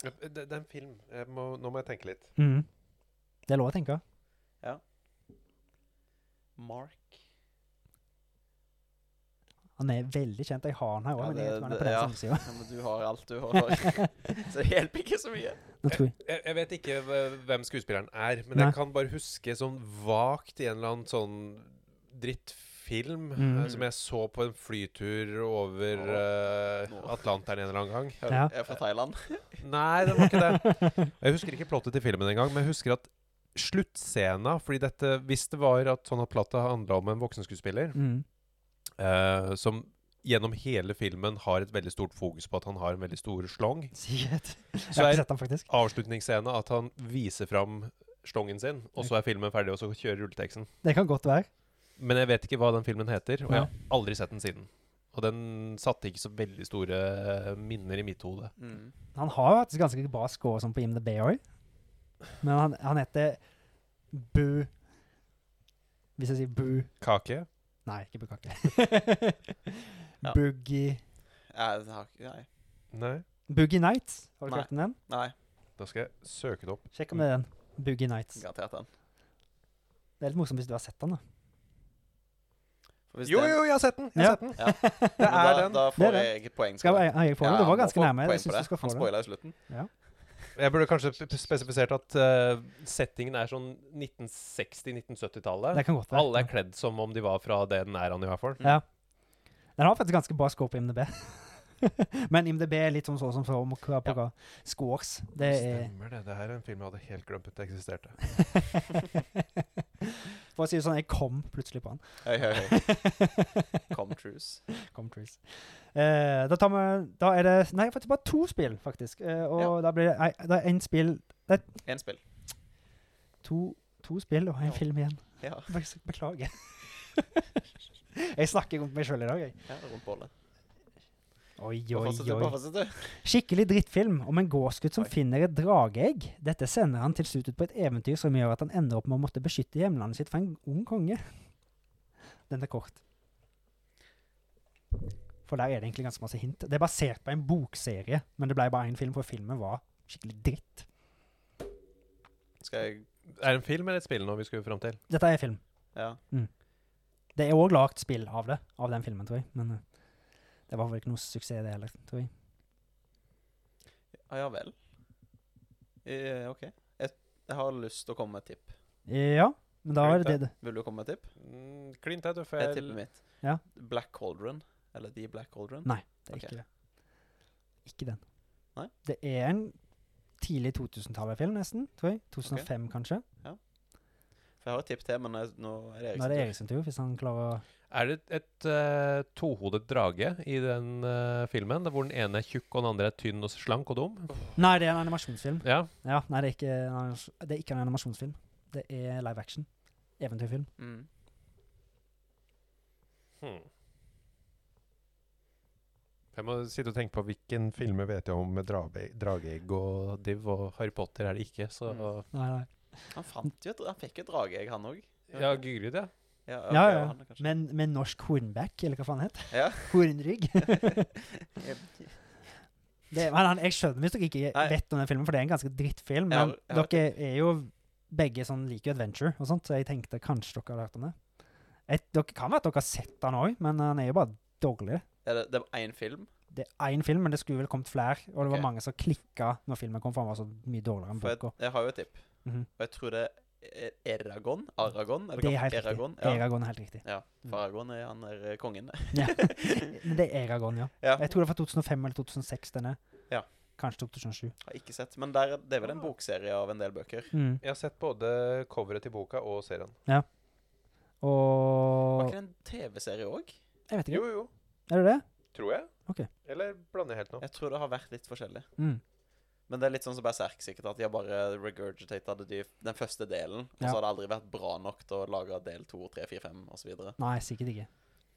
Speaker 3: Det, det er en film. Jeg må, nå må jeg tenke litt.
Speaker 1: Mm. Det er lov å tenke.
Speaker 2: Mark
Speaker 1: Han er veldig kjent. Jeg har han her òg,
Speaker 2: Ja,
Speaker 1: men jeg
Speaker 2: det-
Speaker 1: tror han er
Speaker 2: det-
Speaker 1: på den
Speaker 2: ja.
Speaker 1: samme sida.
Speaker 2: Ja, men Du har alt du har. Så det hjelper ikke så mye.
Speaker 1: Nå tror jeg.
Speaker 3: Jeg, jeg vet ikke hve- hvem skuespilleren er, men
Speaker 1: Nei.
Speaker 3: jeg kan bare huske sånn vagt i en eller annen sånn drittfilm
Speaker 1: Mm.
Speaker 3: eh, som jeg så på en flytur over
Speaker 2: Ja.
Speaker 3: eh, Atlanteren en eller annen gang.
Speaker 1: Ja.
Speaker 2: Jeg er fra Thailand.
Speaker 3: Nei, det var ikke det. Jeg husker ikke plottet til filmen engang, men jeg husker at sluttscena Fordi dette, hvis det var at sånn at plottet handla om en voksenskuespiller
Speaker 1: Mm.
Speaker 3: eh, som gjennom hele filmen har et veldig stort fokus på at han har en veldig stor slong,
Speaker 1: Sikkert. Jeg
Speaker 3: så
Speaker 1: har
Speaker 3: er
Speaker 1: ikke sett den, faktisk.
Speaker 3: avslutningsscena at han viser fram slongen sin, og så er filmen ferdig, og så kjører rulleteksten.
Speaker 1: Det kan godt være.
Speaker 3: Men jeg vet ikke hva den filmen heter, og jeg
Speaker 1: Ja.
Speaker 3: har aldri sett den siden. Og den satte ikke så veldig store eh, minner i mitt hode.
Speaker 2: Mm.
Speaker 1: Han har faktisk ganske bra score sånn på IMDb òg. Men han, han heter Bu Hvis jeg sier Bu
Speaker 3: Kake?
Speaker 1: Nei, ikke Bukake.
Speaker 2: Ja.
Speaker 1: Boogie
Speaker 2: Jeg har ikke Nei.
Speaker 3: Nei.
Speaker 1: Boogie Nights. Har du
Speaker 2: Nei. Mm.
Speaker 1: hørt om den?
Speaker 2: Nei.
Speaker 3: Da skal jeg søke det opp.
Speaker 1: Sjekk om det er den. Boogie Nights.
Speaker 2: Garantert den.
Speaker 1: Det er litt morsomt hvis du har sett den, da.
Speaker 2: For hvis
Speaker 3: Jo,
Speaker 2: den-
Speaker 3: jo, jeg har sett den! Jeg
Speaker 1: Ja.
Speaker 3: har sett den.
Speaker 2: Ja.
Speaker 3: Det
Speaker 2: Men
Speaker 3: er
Speaker 2: da,
Speaker 3: den.
Speaker 2: Da
Speaker 1: Det er
Speaker 2: får jeg poeng.
Speaker 1: Skal
Speaker 2: for
Speaker 1: jeg, jeg gikk på
Speaker 2: Ja,
Speaker 1: den? Du
Speaker 2: han
Speaker 1: var
Speaker 2: må
Speaker 1: ganske
Speaker 2: få
Speaker 1: nærme.
Speaker 2: poeng
Speaker 1: Jeg
Speaker 2: for
Speaker 1: syns du
Speaker 2: det.
Speaker 1: skal få
Speaker 2: Han
Speaker 1: den.
Speaker 2: spoila i slutten.
Speaker 3: Jeg burde kanskje sp- spesifisert at eh, settingen er sånn 1960-1970-tallet.
Speaker 1: Det kan godt være. Mm.
Speaker 3: Alle er kledd som om de var fra den æraen, i hvert fall.
Speaker 1: Ja. Den har faktisk ganske bra score på IMDb. Men IMDb er litt sånn så som så om hva på hva. Scores. Det er
Speaker 3: Stemmer det. Det her er en film jeg hadde helt glemt at eksisterte.
Speaker 1: For å si det sånn, jeg kom plutselig på den.
Speaker 2: Høy, høy, høy. Come trues.
Speaker 1: Kom, Trees. Eh, da, tar vi, da er det Nei, faktisk bare to spill, faktisk. Eh, og da blir det nei, Det er én spill
Speaker 2: Én spill.
Speaker 1: To, to spill og
Speaker 2: Ja.
Speaker 1: en film igjen.
Speaker 2: Ja.
Speaker 1: Be- Beklager. jeg snakker rundt meg sjøl i dag, jeg.
Speaker 2: ja rundt bollet.
Speaker 1: Oi,
Speaker 2: Bare
Speaker 1: oi,
Speaker 2: fortsett du,
Speaker 1: oi.
Speaker 2: bare fortsett du.
Speaker 1: Skikkelig drittfilm om en gårdsgutt som
Speaker 2: Oi.
Speaker 1: finner et drageegg. Dette sender han til slutt ut på et eventyr som gjør at han ender opp med å måtte beskytte hjemlandet sitt fra en ung konge. Den er kort. For der er det egentlig ganske masse hint. Det er basert på en bokserie, men det ble bare én film, for filmen var skikkelig dritt.
Speaker 2: Skal jeg
Speaker 3: Er det en film eller et spill nå vi skulle fram til?
Speaker 1: Dette er film.
Speaker 2: Ja.
Speaker 1: Det er òg lagd spill av det, av den filmen, tror jeg. Men eh, det var vel ikke noe suksess, det heller, tror jeg.
Speaker 2: Ah, ja vel. Eh, OK. Jeg, jeg har lyst til å komme med et tipp.
Speaker 1: Ja, men da er det det.
Speaker 2: Vil du komme med et tipp?
Speaker 3: Mm, Klin tett, du får
Speaker 2: Jeg
Speaker 3: jeg
Speaker 2: tipper mitt.
Speaker 1: Ja.
Speaker 2: Black Cauldron. Eller The Black Cauldron.
Speaker 1: Nei, det er
Speaker 2: Ok.
Speaker 1: ikke det. Ikke den.
Speaker 2: Nei?
Speaker 1: Det er en tidlig 2000-tallet-film, nesten, tror jeg. 2005, kanskje.
Speaker 2: For jeg har et tipp til, men jeg, nå er
Speaker 1: Nå er
Speaker 2: det
Speaker 1: det
Speaker 2: Eriksen.
Speaker 1: Erik sin tur, hvis han klarer å
Speaker 3: Er det et eh, tohodet drage i den eh, filmen? Der hvor den ene er tjukk, og den andre er tynn og slank og dum?
Speaker 1: Nei, det er en animasjonsfilm.
Speaker 3: Ja.
Speaker 1: Ja, nei, det er ikke, en animas- det er ikke en animasjonsfilm. Det er live action. Eventyrfilm.
Speaker 2: Mm.
Speaker 3: Hmm. Jeg må sitte og tenke på hvilken filmer vet jeg om med drage, drageegg og div, og Harry Potter er det ikke, så
Speaker 2: Mm.
Speaker 1: Nei, nei.
Speaker 2: Han fant jo et, han fikk jo et drageegg, han òg.
Speaker 3: Ja, Gygrid, ja.
Speaker 2: Ja, ok,
Speaker 1: Ja,
Speaker 2: og
Speaker 1: ja.
Speaker 2: han er kanskje-
Speaker 1: Men med norsk hornback, eller hva faen det heter.
Speaker 2: Ja.
Speaker 1: Hornrygg. Det, men han, jeg skjønner hvis dere ikke
Speaker 2: Nei.
Speaker 1: vet om den filmen, for det er en ganske drittfilm.
Speaker 2: Ja,
Speaker 1: Men
Speaker 2: ja.
Speaker 1: dere er jo begge sånn liker jo adventure og sånt, så jeg tenkte kanskje dere hadde hørt om det. Et, dere kan være at dere har sett han òg, men han er jo bare dårlig.
Speaker 2: Er det, det var én film?
Speaker 1: Det er én film, men det skulle vel kommet flere, og det
Speaker 2: Ok.
Speaker 1: var mange som klikka når filmen kom, for han var så mye dårligere enn
Speaker 2: For jeg,
Speaker 1: boka.
Speaker 2: jeg har jo et tipp.
Speaker 1: Mhm.
Speaker 2: Og jeg tror det er Eragon. Aragon? Er
Speaker 1: Det er helt
Speaker 2: Eragon?
Speaker 1: riktig. Eragon er helt riktig.
Speaker 2: Ja. For Aragon er han der eh, kongen.
Speaker 1: Ja. Men det er Eragon, ja.
Speaker 2: Ja.
Speaker 1: Jeg tror det var 2005 eller 2006 den er.
Speaker 2: Ja.
Speaker 1: Kanskje 2007.
Speaker 2: Har ikke sett. Men der, det er vel en
Speaker 1: Ah.
Speaker 2: bokserie av en del bøker.
Speaker 1: Mm.
Speaker 3: Jeg har sett både coveret til boka og serien.
Speaker 2: Var
Speaker 1: Og
Speaker 2: ikke det en TV-serie òg?
Speaker 1: Jeg vet ikke.
Speaker 3: Jo, jo.
Speaker 1: Er det det?
Speaker 3: Tror jeg.
Speaker 1: Ok.
Speaker 3: Eller blander jeg helt nå?
Speaker 2: Jeg tror det har vært litt forskjellig.
Speaker 1: Mm.
Speaker 2: Men det er litt sånn som Berserk, sikkert. At de har bare regurgitated de, den første delen. Og
Speaker 1: Ja.
Speaker 2: så har det aldri vært bra nok til å lage del to, tre, fire, fem osv.
Speaker 1: Nei, sikkert ikke.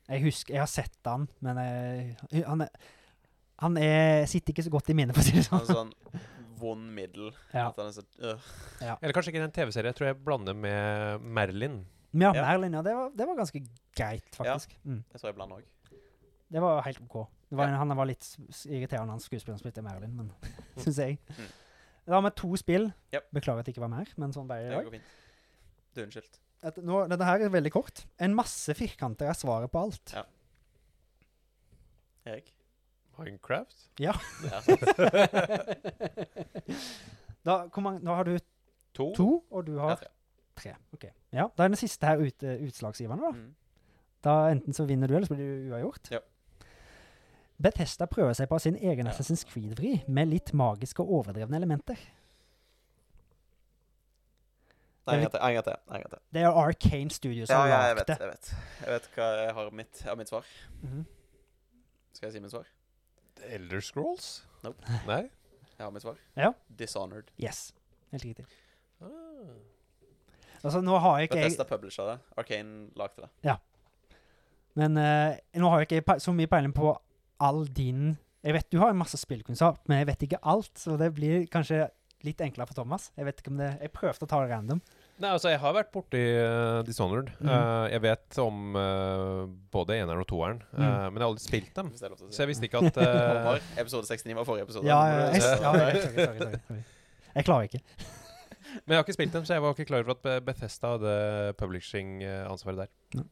Speaker 1: Jeg husker, jeg har sett han, men jeg, han, er, han er, sitter ikke så godt i minnet, for å si det
Speaker 2: En
Speaker 1: sånn.
Speaker 2: sånn vond middel.
Speaker 1: Ja,
Speaker 2: At han er så, øh.
Speaker 3: Eller kanskje ikke den TV-serien. Jeg tror jeg blander med Merlin.
Speaker 1: men ja,
Speaker 2: Ja.
Speaker 1: Merlin, ja, det var, det var ganske greit, faktisk. Mm.
Speaker 2: Jeg tror jeg blander òg.
Speaker 1: Det var helt OK. Det var,
Speaker 2: Ja.
Speaker 1: Han var litt s- s- irriterende, han skuespilleren som heter Merlin, men syns jeg.
Speaker 2: Mm.
Speaker 1: Da har vi to spill.
Speaker 2: Yep.
Speaker 1: Beklager at det ikke var mer, men sånn ble det i
Speaker 2: Det
Speaker 1: dag.
Speaker 2: går fint. Du er unnskyldt.
Speaker 1: At nå, dette her er veldig kort. En masse firkanter er svaret på alt.
Speaker 2: Ja. Erik?
Speaker 3: Minecraft?
Speaker 2: Det er sant.
Speaker 1: da, hvor mange, nå har du
Speaker 3: To?
Speaker 1: to, og du
Speaker 2: Jeg
Speaker 1: har
Speaker 2: er tre.
Speaker 1: tre. Ok. Ja, da er den siste her ut, utslagsgivende, da.
Speaker 2: Mm.
Speaker 1: Da enten så vinner du, eller så blir du uavgjort.
Speaker 2: Ja.
Speaker 1: Bethesda prøver seg på sin egen
Speaker 2: Ja.
Speaker 1: Assassin's Creed-vri med litt magiske og overdrevne elementer.
Speaker 2: Nei, en gang til. En gang til. En gang til.
Speaker 1: Det er jo Arcane Studios
Speaker 2: Ja,
Speaker 1: som har
Speaker 2: ja, jeg
Speaker 1: lagd
Speaker 2: vet,
Speaker 1: det.
Speaker 2: jeg vet. Jeg vet hva jeg har mitt, av mitt svar.
Speaker 1: Mhm.
Speaker 2: Skal jeg si mitt svar?
Speaker 3: Elder Scrolls?
Speaker 2: Nope.
Speaker 3: Nei?
Speaker 2: Jeg har mitt svar.
Speaker 1: Ja.
Speaker 2: Dishonored.
Speaker 1: Yes. Helt riktig.
Speaker 3: Ah.
Speaker 1: Altså, nå har jeg ikke jeg
Speaker 2: Bethesda publisha det. Arcane lagde det.
Speaker 1: Men eh, nå har jeg ikke pe- så mye peiling på all din Jeg vet du har en masse spillkunnskap, men jeg vet ikke alt, så det blir kanskje litt enklere for Thomas. Jeg vet ikke om det Jeg prøvde å ta det random.
Speaker 3: Nei, altså, jeg har vært borti uh, Dishonored.
Speaker 1: Mhm.
Speaker 3: Eh, jeg vet om eh, både eneren og toeren, eh,
Speaker 1: Mhm.
Speaker 3: men jeg har aldri spilt dem.
Speaker 2: Hvis det er lov til å si.
Speaker 3: Så jeg visste ikke at eh,
Speaker 2: Håvard, episode 69 var forrige episode.
Speaker 1: Ja,
Speaker 2: Nå må
Speaker 1: ja,
Speaker 2: du
Speaker 1: jeg,
Speaker 2: se.
Speaker 1: ja, jeg, sorry, sorry, sorry, sorry. jeg klarer ikke.
Speaker 3: Men jeg har ikke spilt dem, så jeg var ikke klar over at Be- Bethesda hadde publishing-ansvaret der.
Speaker 1: Nei.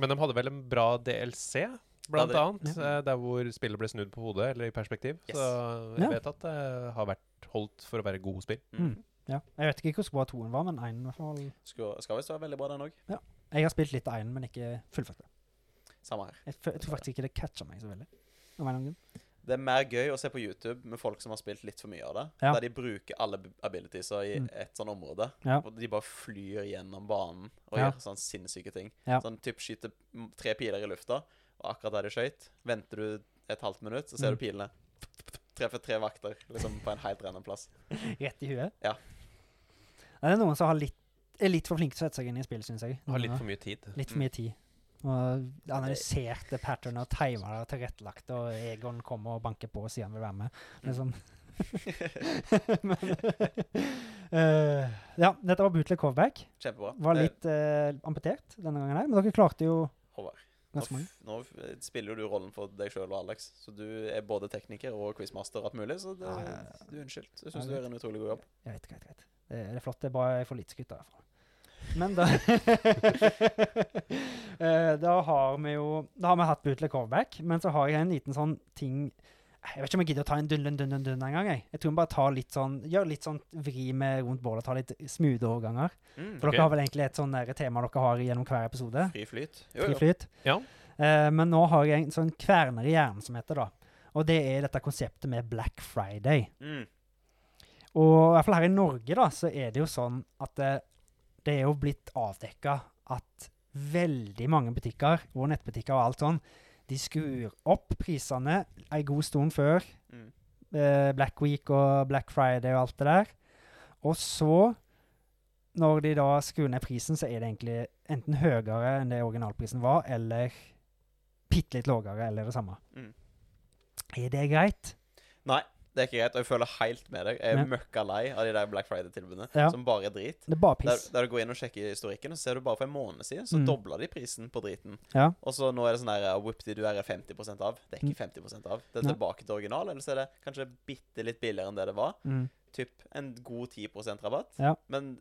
Speaker 3: Men de hadde vel en bra DLC, blant
Speaker 2: Ja,
Speaker 3: annet. eh, Der hvor spillet ble snudd på hodet, eller i perspektiv.
Speaker 2: Yes.
Speaker 3: Så jeg
Speaker 1: Ja.
Speaker 3: vet at det har vært holdt for å være gode spill.
Speaker 2: Mm.
Speaker 1: Ja. Jeg vet ikke hvor bra toen var, men einen i hvert fall.
Speaker 2: Skal, skal visst være veldig bra, den òg.
Speaker 1: Jeg har spilt litt av einen, men ikke fullført det.
Speaker 2: Samme her.
Speaker 1: Jeg, fø- jeg tror faktisk ikke det catcha meg så veldig. Av en eller annen grunn.
Speaker 2: Det er mer gøy å se på YouTube med folk som har spilt litt for mye av det.
Speaker 1: Ja.
Speaker 2: Der de bruker alle b- abilitieser i
Speaker 1: Mm.
Speaker 2: et sånn område.
Speaker 1: Ja.
Speaker 2: Og de bare flyr gjennom banen og
Speaker 1: Ja.
Speaker 2: gjør sånn sinnssyke ting.
Speaker 1: Ja.
Speaker 2: Sånn typ skyter m- tre piler i lufta, og akkurat der de skøyt, venter du et halvt minutt, så ser
Speaker 1: Mm.
Speaker 2: du pilene. Treffer tre vakter liksom på en helt random plass.
Speaker 1: Rett i huet.
Speaker 2: Ja.
Speaker 1: Er det noen som har litt, er litt for flinke til å sette seg inn i spillet, syns jeg.
Speaker 3: Har
Speaker 1: Noen
Speaker 3: litt
Speaker 1: har-
Speaker 3: for mye tid.
Speaker 1: Litt for mye tid. Og analyserte patterner, timet det og tilrettelagt, og Egon kommer og banker på og sier han vil være med. Liksom.
Speaker 2: Mm.
Speaker 1: Men eh, Ja, dette var Bootleg Coverback.
Speaker 2: Kjempebra.
Speaker 1: Var
Speaker 2: Eh,
Speaker 1: litt eh, amputert denne gangen her, men dere klarte jo
Speaker 2: Håvard, nå,
Speaker 1: ganske mange.
Speaker 2: f- nå f- spiller jo du rollen for deg sjøl og Alex, så du er både tekniker og quizmaster og alt mulig, så det,
Speaker 1: Ja, ja, ja.
Speaker 2: du er unnskyldt. Jeg
Speaker 1: Ja,
Speaker 2: syns du gjør en utrolig god jobb.
Speaker 1: Jeg vet, greit, greit. Det er det er flott. Det er bra jeg får litt skutt derfra. Men da Eh, Da har vi jo Da har vi hatt bootleg coverback, men så har jeg en liten sånn ting Jeg vet ikke om jeg gidder å ta en dun-dun-dun-dun engang. Jeg. jeg tror vi bare tar litt sånn gjør litt sånn vri med rundt bålet, ta litt smooth overganger.
Speaker 2: Mm.
Speaker 1: For
Speaker 3: Ok.
Speaker 1: dere har vel egentlig et sånn der tema dere har gjennom hver episode.
Speaker 2: Fri flyt. Jo,
Speaker 1: Fri
Speaker 2: jo.
Speaker 1: flyt.
Speaker 3: Ja.
Speaker 1: Eh, men nå har jeg en sånn kverner i hjernen som heter, da. Og det er dette konseptet med Black Friday.
Speaker 2: Mm.
Speaker 1: Og i hvert fall her i Norge da, så er det jo sånn at det, det er jo blitt avdekka at veldig mange butikker og nettbutikker og alt sånn, de skrur opp prisene ei god stund før
Speaker 2: Mm.
Speaker 1: eh, Black Week og Black Friday og alt det der. Og så, når de da skrur ned prisen, så er det egentlig enten høyere enn det originalprisen var, eller bitte litt lavere, eller det samme.
Speaker 2: Mm.
Speaker 1: Er det greit?
Speaker 2: Nei, det er ikke greit. Og jeg føler helt med deg. Jeg er
Speaker 1: Ja.
Speaker 2: møkka lei av de der Black Friday-tilbudene
Speaker 1: Ja.
Speaker 2: som bare er drit.
Speaker 1: Det er bare
Speaker 2: Der,
Speaker 1: piss.
Speaker 2: der du går inn og sjekker historikken, og så ser du bare for en måned siden, så
Speaker 1: Mm.
Speaker 2: dobla de prisen på driten.
Speaker 1: Ja.
Speaker 2: Og så nå er det sånn der Whoopty, du er 50 av. Det er ikke 50 av. Det er
Speaker 1: Mm. Nei.
Speaker 2: tilbake til original, eller så er det kanskje bitte litt billigere enn det det var.
Speaker 1: Mm.
Speaker 2: Typ en god 10 rabatt.
Speaker 1: Ja.
Speaker 2: Men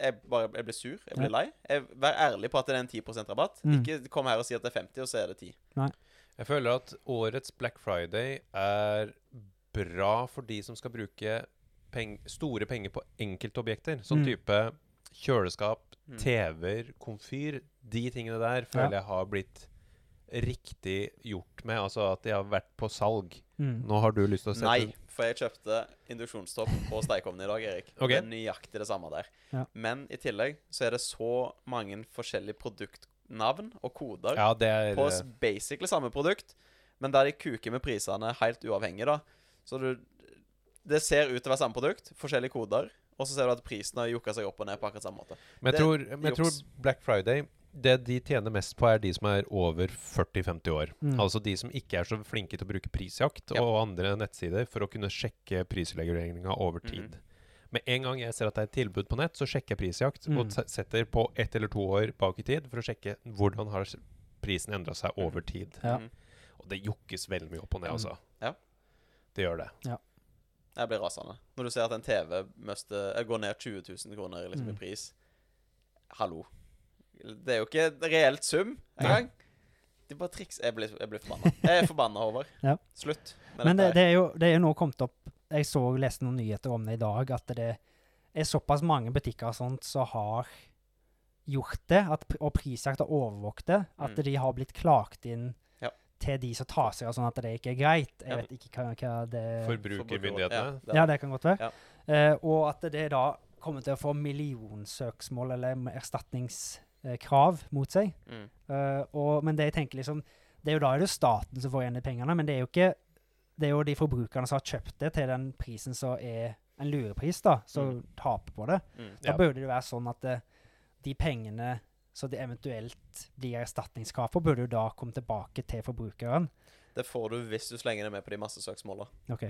Speaker 2: eh, jeg bare jeg blir sur. Jeg blir lei. Jeg, vær ærlig på at det er en 10 rabatt.
Speaker 1: Mm.
Speaker 2: Ikke kom her og si at det er 50, og så er det 10.
Speaker 3: Jeg føler at årets Black Friday er bra for de som skal bruke peng store penger på enkeltobjekter.
Speaker 1: Mm.
Speaker 3: Sånn type kjøleskap,
Speaker 2: Mm.
Speaker 3: TV-er, komfyr. De tingene der føler jeg har blitt riktig gjort med. Altså at de har vært på salg.
Speaker 1: Mm.
Speaker 3: Nå har du lyst til å sette
Speaker 2: Nei, for jeg kjøpte induksjonstopp på steikeovnen i dag, Erik.
Speaker 3: Ok.
Speaker 2: Det er nøyaktig det samme der.
Speaker 1: Ja.
Speaker 2: Men i tillegg så er det så mange forskjellige produktnavn og koder
Speaker 3: Ja, det er eh,
Speaker 2: på s- basically samme produkt, men der de kuker med prisene helt uavhengig, da. Så du Det ser ut til å være samme produkt, forskjellige koder, og så ser du at prisen har jukka seg opp og ned på akkurat samme måte.
Speaker 3: Men jeg,
Speaker 2: det-
Speaker 3: tror, men jeg tror
Speaker 2: juks.
Speaker 3: Black Friday Det de tjener mest på, er de som er over 40-50 år.
Speaker 1: Mm.
Speaker 3: Altså de som ikke er så flinke til å bruke prisjakt
Speaker 2: Ja.
Speaker 3: og andre nettsider for å kunne sjekke prisreguleringa over
Speaker 2: Mhm.
Speaker 3: tid. Med en gang jeg ser at det er et tilbud på nett, så sjekker jeg prisjakt
Speaker 1: Mm.
Speaker 3: og se- setter på ett eller to år bak i tid for å sjekke hvordan har s- prisen endra seg over tid.
Speaker 1: Ja.
Speaker 2: Mhm.
Speaker 3: Og det jukkes veldig mye opp og ned,
Speaker 1: Mm.
Speaker 3: altså.
Speaker 2: Ja.
Speaker 3: Det gjør det.
Speaker 2: Jeg blir rasende. Når du ser at en TV møste, eh, går ned 20 000 kroner liksom,
Speaker 1: Mm.
Speaker 2: i pris. Hallo. Det er jo ikke et reelt sum engang. Det er bare triks. Jeg blir, jeg blir forbanna. Jeg er forbanna, Håvard.
Speaker 1: Ja.
Speaker 2: Slutt. med
Speaker 1: Men det,
Speaker 2: dette
Speaker 1: det, er jo, det er jo nå kommet opp Jeg så leste noen nyheter om det i dag, at det er såpass mange butikker og sånt som har gjort det, at, pr- og prisjakt har overvåket det, at
Speaker 2: Mm.
Speaker 1: de har blitt klagt inn
Speaker 2: Ja.
Speaker 1: til de som tar seg av sånn at det ikke er greit. Jeg
Speaker 2: Ja.
Speaker 1: vet ikke hva, hva det
Speaker 2: Eh,
Speaker 3: Forbrukermyndighetene.
Speaker 2: Ja, det-
Speaker 1: Ja, det kan godt være. Eh, og at det da kommer til å få millionsøksmål eller m- erstatningskrav mot seg.
Speaker 2: Mm.
Speaker 1: Eh, og, men det jeg tenker liksom Det er jo da er det jo staten som får igjen de pengene, men det er jo ikke Det er jo de forbrukerne som har kjøpt det til den prisen som er en lurepris, da, som taper på det.
Speaker 2: Mm.
Speaker 1: Da
Speaker 3: Ja.
Speaker 1: burde det jo være sånn at eh, de pengene som det eventuelt blir erstatningskrav for, burde jo da komme tilbake til forbrukeren.
Speaker 2: Det får du hvis du slenger det med på de massesøksmåla.
Speaker 1: Ok.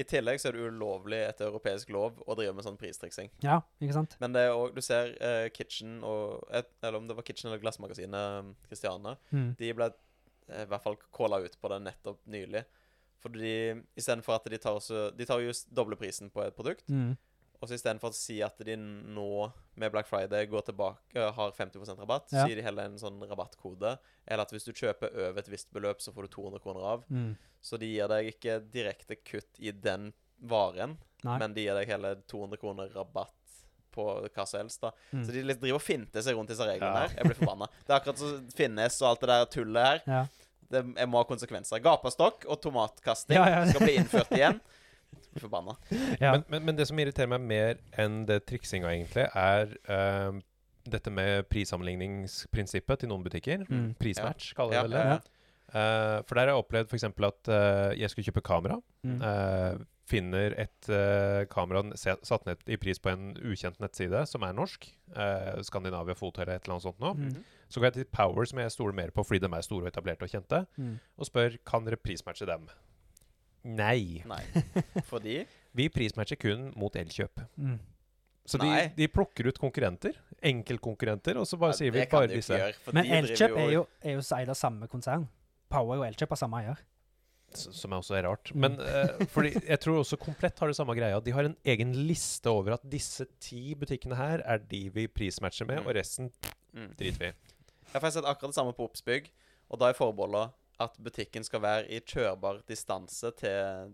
Speaker 2: I tillegg så er det ulovlig etter europeisk lov å drive med sånn pristriksing.
Speaker 1: Ja, ikke sant?
Speaker 2: Men det er òg Du ser eh, Kitchen og et, Eller om det var Kitchen eller Glassmagasinet eh, Kristiane.
Speaker 1: Mm.
Speaker 2: De ble eh, i hvert fall calla ut på det nettopp nylig. Fordi istedenfor at de tar, også, de tar jo s- doble prisen på et produkt,
Speaker 1: Mm.
Speaker 2: og så istedenfor å si at de nå med Black Friday går tilbake, eh, har 50 rabatt,
Speaker 1: Ja.
Speaker 2: sier de heller en sånn rabattkode. Eller at hvis du kjøper over et visst beløp, så får du 200 kroner av.
Speaker 1: Mm.
Speaker 2: Så de gir deg ikke direkte kutt i den varen,
Speaker 1: Nei.
Speaker 2: men de gir deg hele 200 kroner rabatt på hva som helst. da.
Speaker 1: Mm.
Speaker 2: Så de litt driver og finter seg rundt disse reglene
Speaker 3: Ja.
Speaker 2: her. Jeg blir forbanna. Det er akkurat som Finnes og alt det der tullet her.
Speaker 1: Ja.
Speaker 2: Det jeg må ha konsekvenser. Gapastokk og tomatkasting
Speaker 1: Ja, ja.
Speaker 2: skal bli innført igjen. Jeg blir Forbanna.
Speaker 1: Ja.
Speaker 3: Men, men, men det som irriterer meg mer enn det triksinga, egentlig, er eh, dette med prissammenligningsprinsippet til noen butikker.
Speaker 1: Mm.
Speaker 3: Prismatch, kaller
Speaker 2: Ja,
Speaker 3: de det.
Speaker 2: ja, ja.
Speaker 3: Eh, for der har jeg opplevd f.eks. at eh, jeg skulle kjøpe kamera.
Speaker 1: Mm.
Speaker 3: eh, finner et eh, kamera n- se- satt ned i pris på en ukjent nettside som er norsk. eh, Skandinavia Foto eller et eller annet sånt nå.
Speaker 1: Mm.
Speaker 3: Så går jeg til Power, som jeg stoler mer på fordi de er store og etablerte og kjente,
Speaker 1: Mm.
Speaker 3: og spør kan dere prismatche dem. Nei.
Speaker 2: Nei. Fordi
Speaker 3: Vi prismatcher kun mot Elkjøp.
Speaker 1: Mm.
Speaker 3: Så de,
Speaker 2: Nei.
Speaker 3: de plukker ut konkurrenter, enkeltkonkurrenter, og så bare sier vi
Speaker 2: det kan
Speaker 3: bare
Speaker 2: de jo ikke
Speaker 3: disse.
Speaker 2: gjøre, for
Speaker 1: Men
Speaker 2: de driver
Speaker 1: Elkjøp er jo, er jo eid av samme konsern. Power og Elkjøp har samme eier.
Speaker 3: S- Som også er rart. Men
Speaker 2: Mm.
Speaker 3: eh, fordi jeg tror også Komplett har det samme greia. De har en egen liste over at disse ti butikkene her er de vi prismatcher med,
Speaker 2: Mm.
Speaker 3: og resten
Speaker 2: Mm.
Speaker 3: driter vi i.
Speaker 2: Jeg har sett akkurat det samme på Oppsbygg, og da er forbeholdet at butikken skal være i kjørbar distanse til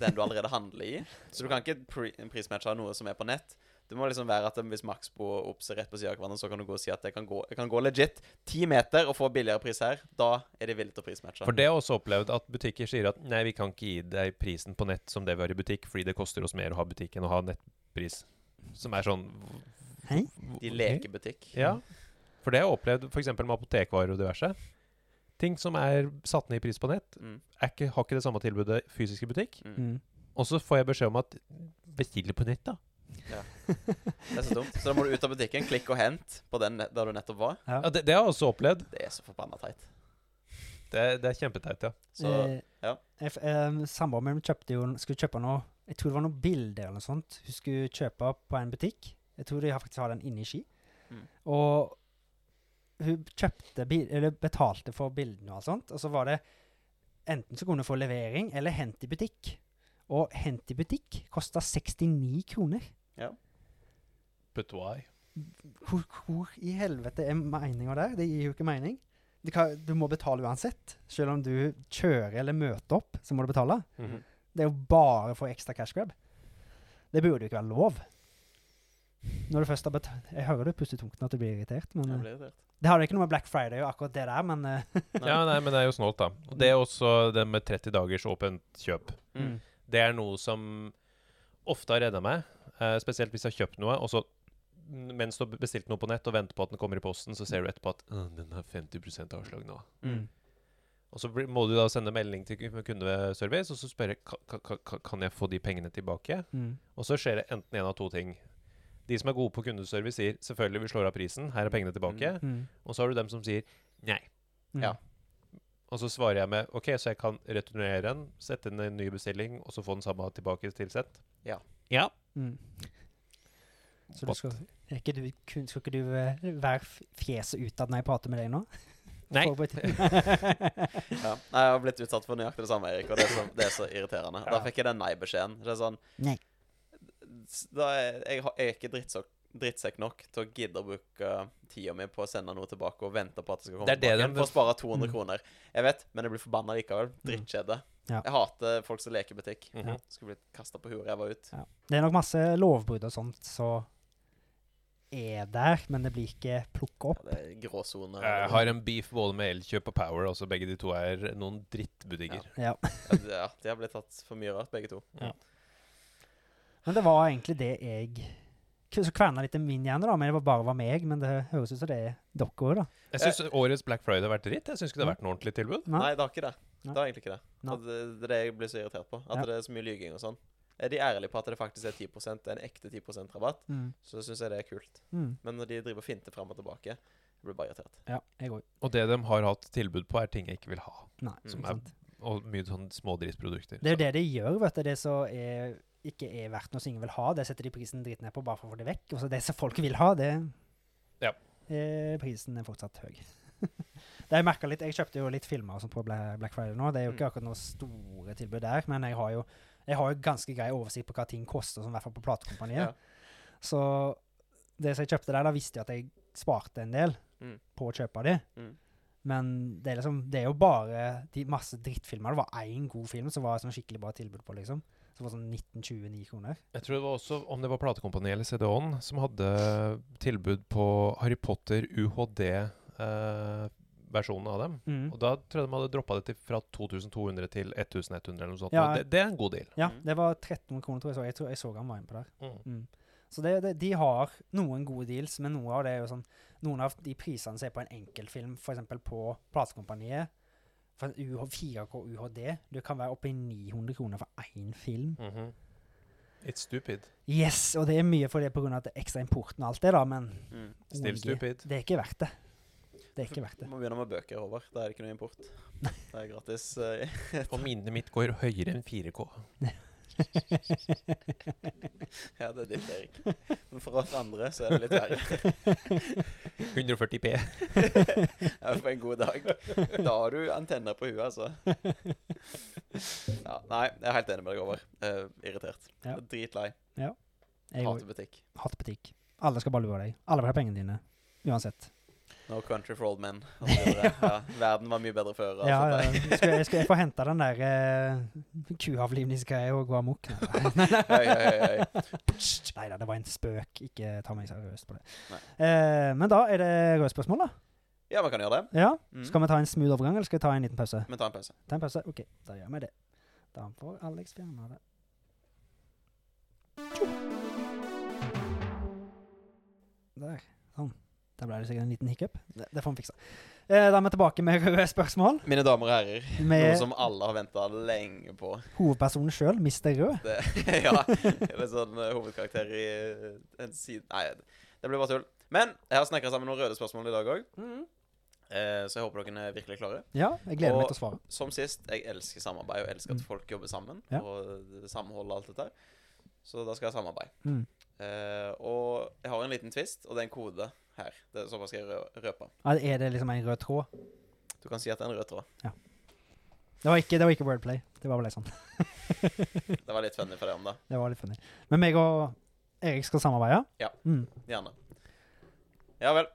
Speaker 2: den du allerede handler i. Så du kan ikke pri prismatche noe som er på nett. Det må liksom være at Hvis Maxbo og Obs er rett på siden av hverandre, så kan du gå og si at jeg kan gå, jeg kan gå legit ti meter og få billigere pris her. Da er de villige til å prismatche.
Speaker 3: For det har jeg også opplevd at butikker sier at nei, vi kan ikke gi deg prisen på nett som det vi har i butikk, fordi det koster oss mer å ha butikk enn å ha nettpris. Som er sånn
Speaker 1: Hæ?
Speaker 2: De leker butikk.
Speaker 3: Ja. For det har jeg opplevd f.eks. med apotekvarer og diverse. Ting som er satt ned i pris på nett,
Speaker 2: Mm.
Speaker 3: er ikke, har ikke det samme tilbudet fysisk i butikk.
Speaker 2: Mm.
Speaker 1: Mm.
Speaker 3: Og så får jeg beskjed om at bestill det på nett, da.
Speaker 2: Det er så dumt. Så da må du ut av butikken, klikk og hent på den net- der du nettopp var.
Speaker 1: Ja.
Speaker 3: Ja, det, det har jeg også opplevd.
Speaker 2: Det er så forbanna teit.
Speaker 3: Det, det er kjempeteit, ja.
Speaker 2: Så
Speaker 1: Eh,
Speaker 2: ja.
Speaker 1: jeg f- eh, Samboeren min kjøpte jo, skulle kjøpe noe Jeg tror det var noen bilder eller noe sånt hun skulle kjøpe på en butikk. Jeg tror de har faktisk har den inne i Ski.
Speaker 2: Mm.
Speaker 1: Og hun kjøpte bil, eller betalte for bildene og alt sånt. Og så var det enten så kunne hun få levering eller hent i butikk. Og hent i butikk kosta 69 kroner.
Speaker 3: But why?
Speaker 1: Hvor, hvor i helvete er meninga der? Det gir jo ikke mening. Du, kan, du må betale uansett. Selv om du kjører eller møter opp, så må du betale.
Speaker 2: Mhm.
Speaker 1: Det er jo bare for ekstra cash grab. Det burde jo ikke være lov. Når du først har betalt Jeg hører du puster tungt at du blir irritert, men
Speaker 2: jeg
Speaker 1: eh,
Speaker 2: blir irritert.
Speaker 1: Det har jo ikke noe med Black Friday og akkurat det der, men eh,
Speaker 3: Ja, nei, men det er jo snålt, da. Og det er også det med 30 dagers åpent kjøp.
Speaker 2: Mm.
Speaker 3: Det er noe som ofte har redda meg, eh, spesielt hvis jeg har kjøpt noe, og så n- mens du har bestilt noe på nett og venter på at den kommer i posten, så ser du etterpå at «Åh, den har 50 avslag nå.
Speaker 2: Mm.
Speaker 3: Og så blir- må du da sende melding til kun- kundeservice og så spørre "Ka- ka- ka- kan jeg få de pengene tilbake.
Speaker 1: mm,
Speaker 3: Og så skjer det enten en av to ting. De som er gode på kundeservice, sier selvfølgelig vi slår av prisen, her er pengene tilbake.
Speaker 1: mm, mm,
Speaker 3: Og så har du dem som sier nei.
Speaker 1: mm.
Speaker 2: Ja.
Speaker 3: Og så svarer jeg med OK, så jeg kan returnere den, sette inn en ny bestilling, og så få den samme tilbake tilsendt?
Speaker 2: Ja.
Speaker 3: ja.
Speaker 1: Mm. Så du
Speaker 3: What?
Speaker 1: skal, er ikke du, kun, skal ikke du eh, være f- fjeset utad når jeg prater med deg nå?
Speaker 3: Nei.
Speaker 1: For å bety-
Speaker 2: Ja. Nei, jeg har blitt utsatt for nøyaktig det samme, Erik, og det er så, det er så irriterende. Da fikk jeg den nei-beskjeden. Det er sånn
Speaker 1: Nei.
Speaker 2: S- Da er, jeg, har- jeg er ikke drittsekk, drittsekk nok til å gidde å bruke tida mi på å sende noe tilbake og vente på at det skal komme
Speaker 3: Det er det
Speaker 2: tilbake
Speaker 3: de-
Speaker 2: igjen for å spare 200
Speaker 1: Mm.
Speaker 2: kroner. Jeg vet, men jeg blir forbanna likevel. Drittkjede.
Speaker 1: Ja.
Speaker 2: Jeg hater folk som leker butikk.
Speaker 3: Mhm.
Speaker 2: Skulle blitt kasta på huet ræva ut.
Speaker 1: Det er nok masse lovbrudd og sånt, så er der, men det blir ikke plukka opp.
Speaker 2: Ja, det er gråsoner.
Speaker 3: Jeg har en beef både med Elkjøp og Power. Også begge de to er noen drittbutikker.
Speaker 1: Ja.
Speaker 2: Ja, det- ja, de har blitt tatt for mye rart, begge to.
Speaker 1: Men det var egentlig det jeg K- Så kverna litt i min hjerne, da, men det var bare var meg. Men det høres ut som det er dere òg, da.
Speaker 3: Jeg Mm. syns Eh, årets Black Friday har vært dritt. Jeg syns ikke det har vært noe ordentlig tilbud.
Speaker 1: Nei.
Speaker 2: Nei, det har ikke det.
Speaker 1: Nei.
Speaker 2: Det har egentlig ikke det.
Speaker 1: Nei.
Speaker 2: Og det det er det jeg blir så irritert på. At
Speaker 1: Ja.
Speaker 2: det er så mye lyging og sånn. Er de ærlige på at det faktisk er 10 en ekte 10 rabatt,
Speaker 1: Mm.
Speaker 2: så syns jeg det er kult.
Speaker 1: Mm.
Speaker 2: Men når de driver og finter fram og tilbake, jeg blir bare irritert.
Speaker 1: Ja, jeg òg.
Speaker 3: Og det de har hatt tilbud på, er ting jeg ikke vil ha.
Speaker 1: Nei.
Speaker 3: Som
Speaker 1: ikke
Speaker 3: er
Speaker 1: sant.
Speaker 3: Og mye sånn små drittprodukter.
Speaker 1: Det er jo det de gjør, vet du. Det som er, ikke er verdt noe som ingen vil ha, det setter de prisen dritt ned på bare for å få det vekk. Og så det som folk vil ha, det
Speaker 3: Ja.
Speaker 1: eh, Prisen er fortsatt høy. det har jeg merket litt. Jeg kjøpte jo litt filmer og sånt på Bla- Black Friday nå.
Speaker 2: Mm.
Speaker 1: Det er jo ikke akkurat noe store tilbud der, men jeg har jo, jeg har jo ganske grei oversikt på hva ting koster, sånn, i hvert fall på platekompaniet.
Speaker 2: Ja.
Speaker 1: Så det som jeg kjøpte der, da visste jeg at jeg sparte en del
Speaker 2: Mm.
Speaker 1: på å kjøpe de.
Speaker 2: Mm.
Speaker 1: Men det er, liksom, det er jo bare de masse drittfilmer. Det var én god film som var sånn skikkelig bra tilbud på, liksom. Som var sånn 1929 kroner.
Speaker 3: Jeg tror det var også, om det var platekompaniet eller CD-ON, som hadde tilbud på Harry Potter UHD-versjonen eh, av dem.
Speaker 1: Mm.
Speaker 2: Mm.
Speaker 3: Og da tror jeg de hadde droppa det til fra 2200 til 1100 eller noe sånt.
Speaker 1: Ja.
Speaker 3: Og Det, det er en god deal.
Speaker 1: Ja,
Speaker 2: Mm.
Speaker 1: det var 13 kroner, tror jeg. Så jeg, tror jeg så han var inne på der.
Speaker 3: Mm.
Speaker 1: Mm. Så det, det, de har noen gode deals, men noe av det er jo sånn Noen av de prisene som er på en enkeltfilm, f.eks. på platekompaniet for en UH 4K UHD, du kan være oppe i 900 kroner for én film.
Speaker 3: Mhm. It's stupid.
Speaker 1: Yes, og det er mye for det pga. at det er ekstra importen og alt det, da, men
Speaker 2: Mm.
Speaker 3: Still
Speaker 1: OMG,
Speaker 3: stupid.
Speaker 1: det er ikke verdt det. Det er ikke verdt
Speaker 2: Du
Speaker 1: det.
Speaker 2: må begynne med bøker, Håvard. Da er det ikke noe import. Det er gratis. eh,
Speaker 3: Og minnet mitt går høyere enn 4K.
Speaker 2: ja, det er ditt, Erik. Men for oss andre så er det litt verre.
Speaker 3: 140P.
Speaker 2: Ja, for en god dag. Da har du antenner på huet, altså. Ja, nei, jeg er helt enig med deg, Håvard. Eh, irritert.
Speaker 1: Ja.
Speaker 2: Dritlei.
Speaker 1: Jeg
Speaker 2: Hater butikk.
Speaker 1: hater butikk. Alle skal bare lure deg. Alle vil ha pengene dine. Uansett.
Speaker 2: No country for old men. og så videre. ja, verden var mye bedre før. altså. og
Speaker 1: Ja,
Speaker 2: sånt der.
Speaker 1: ja. Skal, jeg, skal jeg få hente den der eh, kuavlivningsgreia og gå amok? Nei da,
Speaker 2: Hei, hei, hei, hei.
Speaker 1: Neida, det var en spøk. Ikke ta meg seriøst på det.
Speaker 2: Nei.
Speaker 1: Eh, men da er det røde spørsmål, da.
Speaker 2: Ja, man kan gjøre det.
Speaker 1: Ja.
Speaker 2: Mm.
Speaker 1: Skal vi ta en smooth overgang, eller skal vi ta en liten pause?
Speaker 2: Men ta en pause.
Speaker 1: Ta en pause? OK, da gjør vi det. Da får Alex fjerne det. Tjo. Der. Sånn. Der ble det sikkert en liten hiccup. Det, det får vi fiksa. Eh, da er vi tilbake med røde spørsmål.
Speaker 2: Mine damer og herrer, noe
Speaker 1: Med
Speaker 2: som alle har venta lenge på.
Speaker 1: hovedpersonen sjøl, Mr. Rød.
Speaker 2: Det, ja, det er sånn eh, hovedkarakter i eh, en side Nei, det blir bare tull. Men jeg har snekra sammen noen røde spørsmål i dag òg, eh, så jeg håper dere er virkelig klare.
Speaker 1: Ja, jeg gleder
Speaker 2: Og-
Speaker 1: meg til å svare.
Speaker 2: Som sist, jeg elsker samarbeid, og elsker
Speaker 1: Mm.
Speaker 2: at folk jobber sammen
Speaker 1: Ja.
Speaker 2: og samhold og alt dette her. Så da skal jeg ha samarbeid.
Speaker 1: Mm.
Speaker 2: Eh, og jeg har en liten twist, og det er en kode her. Det er Såpass skal jeg rø- røpe.
Speaker 1: Ja, Er det liksom en rød tråd?
Speaker 2: Du kan si at det er en rød tråd.
Speaker 1: Det var ikke, det var ikke wordplay. Det var bare litt sånn.
Speaker 2: Det var litt funny for deg om det.
Speaker 1: Det var litt funny. Men meg og Erik skal samarbeide.
Speaker 2: Ja.
Speaker 1: Mm.
Speaker 2: Gjerne. Ja vel.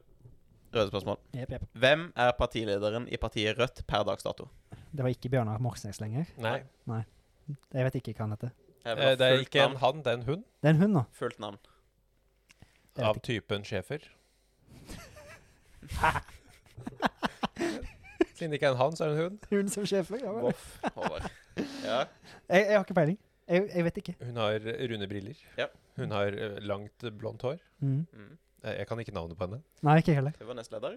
Speaker 2: Røde spørsmål.
Speaker 1: Jep, jep.
Speaker 2: Hvem er partilederen i partiet Rødt per dags dato?
Speaker 1: Det var ikke Bjørnar Moxnes lenger.
Speaker 3: Nei.
Speaker 1: Jeg vet ikke hva han heter.
Speaker 2: Jeg vil ha
Speaker 3: Eh, Det er
Speaker 2: fullt
Speaker 3: ikke en
Speaker 2: navn.
Speaker 3: han, det er en hund.
Speaker 1: Det er en hund nå.
Speaker 2: Fullt navn.
Speaker 1: Jeg vet
Speaker 3: Av
Speaker 1: ikke.
Speaker 3: typen schæfer. Siden det ikke er en han, så er det en hund.
Speaker 1: Hun som sjefer? Ja, vel.
Speaker 2: Voff, Håvard. Ja.
Speaker 1: jeg, jeg har ikke peiling. Jeg, jeg vet ikke.
Speaker 3: Hun har eh, runde briller.
Speaker 2: Ja.
Speaker 3: Hun har eh, langt, eh, blondt hår.
Speaker 1: Mm.
Speaker 2: Mm.
Speaker 3: Eh, Jeg kan ikke navnet på henne.
Speaker 1: Nei, ikke jeg heller.
Speaker 2: Det var nestleder.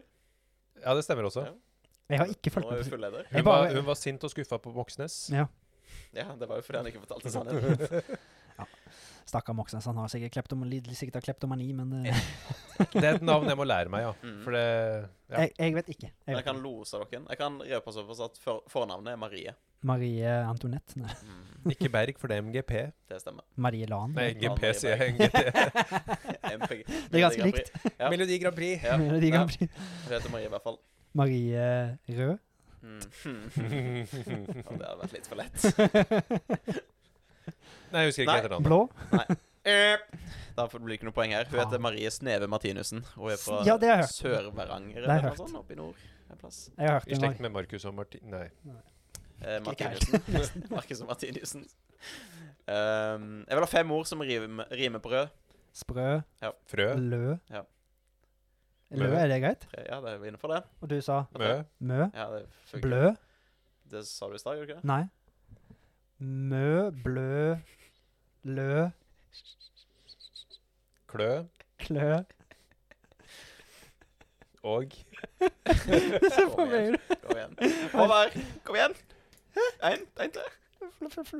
Speaker 3: Ja, det stemmer også.
Speaker 2: Ja.
Speaker 1: Jeg har ikke
Speaker 2: Nå
Speaker 1: fulgt
Speaker 2: er
Speaker 1: med.
Speaker 2: hun
Speaker 1: på-
Speaker 2: fulleder.
Speaker 1: Jeg
Speaker 3: Hun,
Speaker 1: bare-
Speaker 3: var, hun var sint og skuffa på Moxnes.
Speaker 1: Ja.
Speaker 2: Ja, det var jo fordi han ikke fortalte sannheten.
Speaker 1: Stakkar Moxnes, han har sikkert kleptomani, sikkert har kleptomani men eh,
Speaker 3: Det er et navn jeg må lære meg, ja.
Speaker 2: Mm.
Speaker 3: For det ja.
Speaker 1: jeg, jeg vet ikke. Jeg
Speaker 2: Men
Speaker 1: vet
Speaker 2: jeg kan
Speaker 1: ikke.
Speaker 2: lose dere. Jeg kan røpe såpass at for fornavnet er Marie.
Speaker 1: Marie Antoinette? Nei.
Speaker 2: Mm.
Speaker 3: Ikke Berg, for det er MGP.
Speaker 2: Det stemmer.
Speaker 1: Marie Lan?
Speaker 3: Nei,
Speaker 2: Marie
Speaker 3: MGP sier jeg.
Speaker 2: Berg.
Speaker 3: MGT.
Speaker 2: MPG.
Speaker 1: Det er ganske likt.
Speaker 2: Ja.
Speaker 3: Melodi Grand Prix.
Speaker 2: Ja.
Speaker 1: Eller de
Speaker 2: Nei,
Speaker 1: kan bli-
Speaker 2: Hun heter Marie i hvert fall.
Speaker 1: Marie Rød?
Speaker 2: Mm. Ja, det hadde vært litt for lett.
Speaker 3: Nei, jeg husker ikke
Speaker 2: Nei.
Speaker 3: etternavnet.
Speaker 1: Blå?
Speaker 2: Da får- blir det ikke noe poeng her. Hun heter
Speaker 1: Faen.
Speaker 2: Marie Sneve Martinussen og er fra
Speaker 1: Ja, det har jeg hørt.
Speaker 2: Sør-Varanger
Speaker 1: har jeg
Speaker 2: eller noe
Speaker 1: hørt.
Speaker 2: sånt, oppe i nord. En plass.
Speaker 1: Jeg har hørt
Speaker 3: I
Speaker 1: det.
Speaker 3: slekt med Markus og Martin... Nei.
Speaker 2: Eh,
Speaker 1: Ikke helt.
Speaker 2: Martinussen. Ehm, Markus og Martinussen. Um, jeg vil ha fem ord som rimer, rimer på rød.
Speaker 1: Sprø,
Speaker 3: Frø.
Speaker 1: lø.
Speaker 2: Ja.
Speaker 1: Lø, er det greit?
Speaker 2: Tre- Ja, det er vi inne for det.
Speaker 1: Og du sa
Speaker 3: Mø.
Speaker 1: mø,
Speaker 2: Ja, det funker.
Speaker 1: blø.
Speaker 2: Det sa du i stad, gjorde du ikke det?
Speaker 1: Nei. Mø, blø, lø,
Speaker 3: Klø.
Speaker 1: klø.
Speaker 3: Og
Speaker 1: Det ser på
Speaker 2: Kom
Speaker 1: meg
Speaker 2: igjen.
Speaker 1: ut.
Speaker 2: Kom igjen. Over. Kom igjen. Én, én til.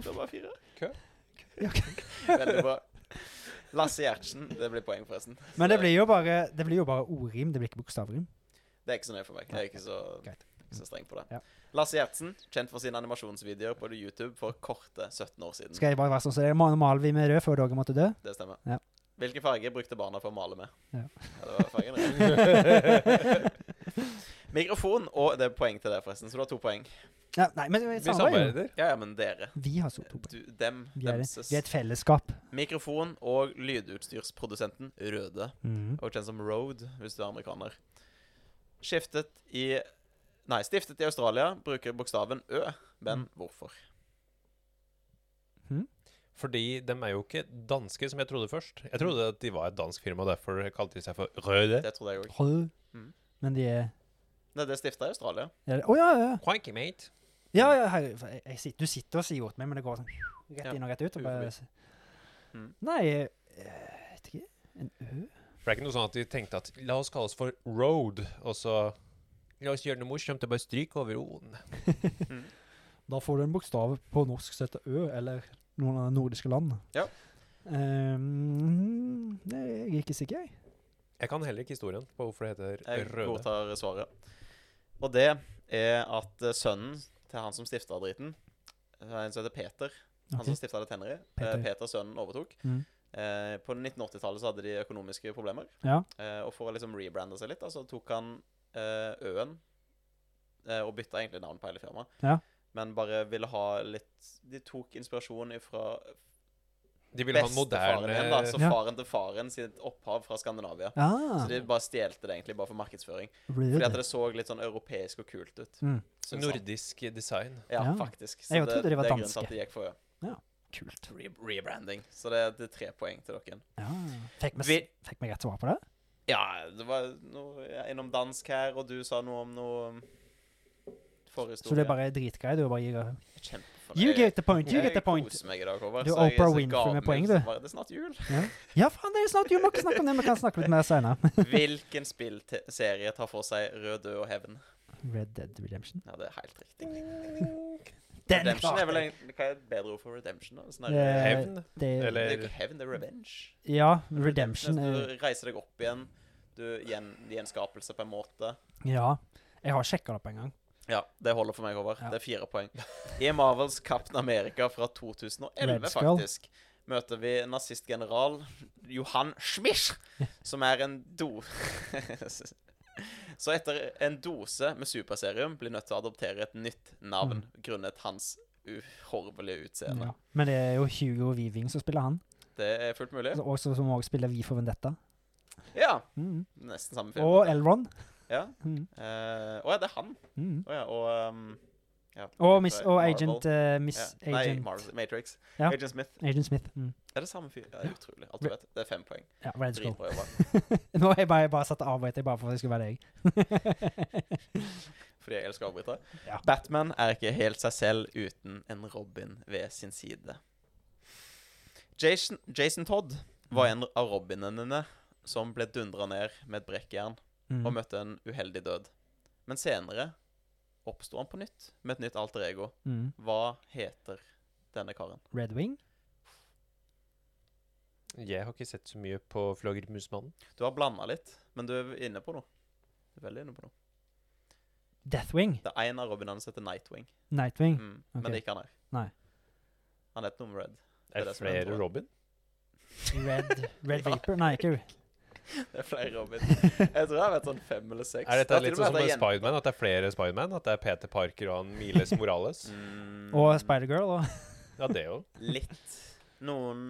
Speaker 2: Det var fire.
Speaker 3: Kø.
Speaker 1: Ja,
Speaker 2: Veldig bra. Lasse Gjertsen. Det blir poeng, forresten.
Speaker 1: Men det blir jo bare, det blir jo bare ordrim, det blir ikke bokstavrim.
Speaker 2: Det er ikke så nøye for meg. Jeg er ikke så,
Speaker 1: Greit.
Speaker 2: ikke så streng på det.
Speaker 1: Ja.
Speaker 2: Lasse Gjertsen, kjent for sine animasjonsvideoer på YouTube for korte 17 år siden.
Speaker 1: Skal jeg bare være sånn som det er? Nå maler vi med rød før dere måtte dø?
Speaker 2: Det stemmer.
Speaker 1: Ja.
Speaker 2: Hvilke farger brukte barna for å male med?
Speaker 1: Ja.
Speaker 2: det var fargen rød. Mikrofon og Det er poeng til det, forresten, så du har to poeng.
Speaker 1: Ja, nei, men vi
Speaker 3: Vi
Speaker 1: samarbeider jo.
Speaker 3: samarbeider.
Speaker 2: Ja, ja, men dere.
Speaker 1: Vi har så to poeng.
Speaker 2: Du, dem,
Speaker 1: Vi er,
Speaker 2: demses.
Speaker 1: vi er et fellesskap.
Speaker 2: Mikrofon og lydutstyrsprodusenten Røde,
Speaker 1: Mhm.
Speaker 2: og kjent som Road hvis du er amerikaner. Skiftet i Nei, stiftet i Australia, bruker bokstaven Ø, men
Speaker 1: Mm.
Speaker 2: hvorfor?
Speaker 3: Fordi de er jo ikke danske, som jeg trodde først. Jeg trodde at de var et dansk firma, og derfor kalte de seg for Røde.
Speaker 2: Det trodde jeg òg.
Speaker 1: Hold.
Speaker 2: Mhm.
Speaker 1: Men de er
Speaker 2: Nei, det stifta i Australia.
Speaker 1: er det- Å ja, ja, ja.
Speaker 3: Quanky, mate.
Speaker 1: ja, ja herre, for jeg, jeg, sitter- du sitter og sier åt meg, men det går sånn rett
Speaker 2: Ja,
Speaker 1: inn og rett ut. Og bare,
Speaker 2: Mhm.
Speaker 1: nei, jeg vet ikke. En ø?
Speaker 3: For det er ikke noe sånn at de tenkte at la oss kalle oss for Road, og så La oss gjøre noe morsomt og bare stryke over O-en.
Speaker 2: Mm.
Speaker 1: Da får du en bokstav på norsk som heter Ø, eller noen av de nordiske land.
Speaker 2: Ja.
Speaker 1: Ehm, nei, jeg er ikke sikker, jeg.
Speaker 3: Jeg kan heller ikke historien på hvorfor det
Speaker 2: Jeg
Speaker 3: heter Røde.
Speaker 2: godtar svaret. Og det er at eh, sønnen til han som stifta driten, eh, en som heter Peter Han
Speaker 1: Ok.
Speaker 2: som stifta det Tennery. Peter.
Speaker 1: Peter.
Speaker 2: Peter, sønnen, overtok.
Speaker 1: Mm.
Speaker 2: Eh, på 1980-tallet så hadde de økonomiske problemer.
Speaker 1: Ja.
Speaker 2: Eh, og for å liksom rebrande seg litt, da, så tok han eh, Øen eh, og bytta egentlig navn på hele firmaet.
Speaker 1: Ja.
Speaker 2: Men bare ville ha litt De tok inspirasjon fra
Speaker 3: De ville ha en
Speaker 2: bestefaren
Speaker 3: moderne
Speaker 2: din, da. Så
Speaker 1: Ja.
Speaker 2: faren til faren sitt opphav fra Skandinavia.
Speaker 1: Ah,
Speaker 2: Så de bare stjelte det egentlig bare for markedsføring.
Speaker 1: really?
Speaker 2: Fordi at det så litt sånn europeisk og kult ut.
Speaker 1: mm,
Speaker 2: synes han.
Speaker 3: nordisk design.
Speaker 2: Ja,
Speaker 1: Ja.
Speaker 2: faktisk.
Speaker 1: Jeg trodde de var
Speaker 2: det er grunnen
Speaker 1: danske.
Speaker 2: til at de gikk for Ø.
Speaker 1: kult.
Speaker 2: Re rebranding. Så det, det er tre poeng til dere.
Speaker 1: Ja. Fikk vi
Speaker 2: Vi-
Speaker 1: s- fikk vi rett svar på det?
Speaker 2: Ja, det var noe ja, innom dansk her, og du sa noe om noe um, forhistorie.
Speaker 1: Så det er bare dritgrei? Du bare gir
Speaker 2: Kjempefornøyd.
Speaker 1: You get the point! You
Speaker 2: Jeg
Speaker 1: get the point!
Speaker 2: koser meg i dag, Håvard.
Speaker 1: Du er
Speaker 2: så jeg er
Speaker 1: Oprah
Speaker 2: så
Speaker 1: Winfrey
Speaker 2: gav
Speaker 1: med
Speaker 2: meg
Speaker 1: poeng,
Speaker 2: så
Speaker 1: du.
Speaker 2: bare, Det er snart jul.
Speaker 1: Ja, ja faen, det er snart jul! Vi må ikke snakke om det, vi kan snakke litt mer senere.
Speaker 2: Hvilken spillserie tar for seg Rød, død og hevn?
Speaker 1: Red Dead Redemption.
Speaker 2: Ja, det er helt riktig.
Speaker 1: Den
Speaker 2: Redemption
Speaker 1: klarte
Speaker 2: er vel
Speaker 1: jeg.
Speaker 2: egentlig Hva er et bedre ord for redemption? da? Sånn
Speaker 1: Eh,
Speaker 2: her-
Speaker 3: Hevn?
Speaker 1: Det,
Speaker 2: det er jo
Speaker 3: Eller
Speaker 2: ikke hevn, det er revenge.
Speaker 1: ja, Redemption er
Speaker 2: Du reiser deg opp igjen. Du gjen, gjenskapelse på en måte.
Speaker 1: Ja. Jeg har sjekka det på en gang.
Speaker 2: Ja, det holder for meg, Håvard.
Speaker 1: Ja.
Speaker 2: Det er fire poeng. I Marvels Captain America fra 2011,
Speaker 1: Red Skull.
Speaker 2: faktisk, møter vi nazistgeneral Johan Schmisch, som er en do... Så etter en dose med superserium blir nødt til å adoptere et nytt navn grunnet hans uhorvelige utseende.
Speaker 1: Mm. Ja. Men det er jo Hugo Weaving som spiller han,
Speaker 2: Det er fullt mulig.
Speaker 1: altså, også, som òg spiller Vi for Vendetta.
Speaker 2: Ja,
Speaker 1: Mm.
Speaker 2: nesten samme film.
Speaker 1: Og Elron.
Speaker 2: Ja.
Speaker 1: Mm.
Speaker 2: Eh, Å ja, det er han.
Speaker 1: Mm.
Speaker 2: Å ja, og um, ja.
Speaker 1: Og, miss, og
Speaker 2: Marvel.
Speaker 1: agent eh, Miss
Speaker 2: Ja. Nei,
Speaker 1: agent,
Speaker 2: Marvel, Matrix.
Speaker 1: Ja.
Speaker 2: Agent Smith.
Speaker 1: agent Smith. Mm.
Speaker 2: Er det samme fyr? Ja, det er utrolig. Alt du vet. Det er fem poeng.
Speaker 1: Ja, Red Skull.
Speaker 2: Dritbra jobba.
Speaker 1: Nå har jeg bare, jeg bare satt og avbrøt deg bare for at det skulle være deg.
Speaker 2: Fordi jeg elsker avbrytere.
Speaker 1: Ja.
Speaker 2: Batman er ikke helt seg selv uten en Robin ved sin side. Jason, Jason Todd var en av robinene som ble dundra ned med et brekkjern og
Speaker 1: mm.
Speaker 2: møtte en uheldig død. Men senere oppsto han på nytt med et nytt alter ego.
Speaker 1: Mm.
Speaker 2: Hva heter denne karen?
Speaker 1: Red Wing.
Speaker 3: Jeg har ikke sett så mye på Flaggermusmannen.
Speaker 2: Du har blanda litt, men du er inne på noe. Du er veldig inne på noe.
Speaker 1: Death Wing.
Speaker 2: Det er en av robinene som heter Nightwing.
Speaker 1: Nightwing.
Speaker 2: Mm. Men det er ikke han her.
Speaker 1: Nei.
Speaker 2: Han het noe med Red. Det
Speaker 3: Er
Speaker 2: er
Speaker 3: det
Speaker 2: det som er
Speaker 3: flere
Speaker 2: bra.
Speaker 3: Robin?
Speaker 1: Red, Red Reaper. Nei, ikke
Speaker 2: Det er flere Robin. Jeg tror jeg har vært sånn fem eller seks.
Speaker 3: Er
Speaker 2: Det
Speaker 3: dette
Speaker 2: til
Speaker 3: litt
Speaker 2: og med
Speaker 3: sånn
Speaker 2: at
Speaker 3: som med
Speaker 2: det er
Speaker 3: Spiderman? At det er flere Spiderman? At det er Peter Parker og han Miles Morales?
Speaker 2: jen- Mm,
Speaker 1: Og Spider-Girl og
Speaker 3: Ja, det jo.
Speaker 2: Litt. Noen,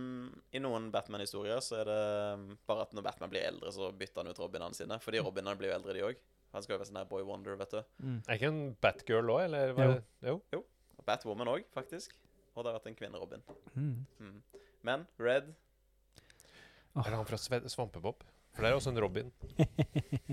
Speaker 2: I noen Batman-historier så er det um, bare at når Batman blir eldre, så bytter han ut Robinene sine. Fordi Robinene blir jo eldre, de òg. Han skal jo være sånn her Boy Wonder, vet du.
Speaker 1: mm.
Speaker 3: Er ikke en Batgirl òg, eller? Hva? Jo.
Speaker 2: Og Batwoman òg, Mm. faktisk. Og det har vært en kvinne-Robin.
Speaker 1: Mm.
Speaker 2: Mm. Men Red
Speaker 1: Åh.
Speaker 3: Eller han fra Sve Svampebob. For det er også en Robin.
Speaker 1: Mm.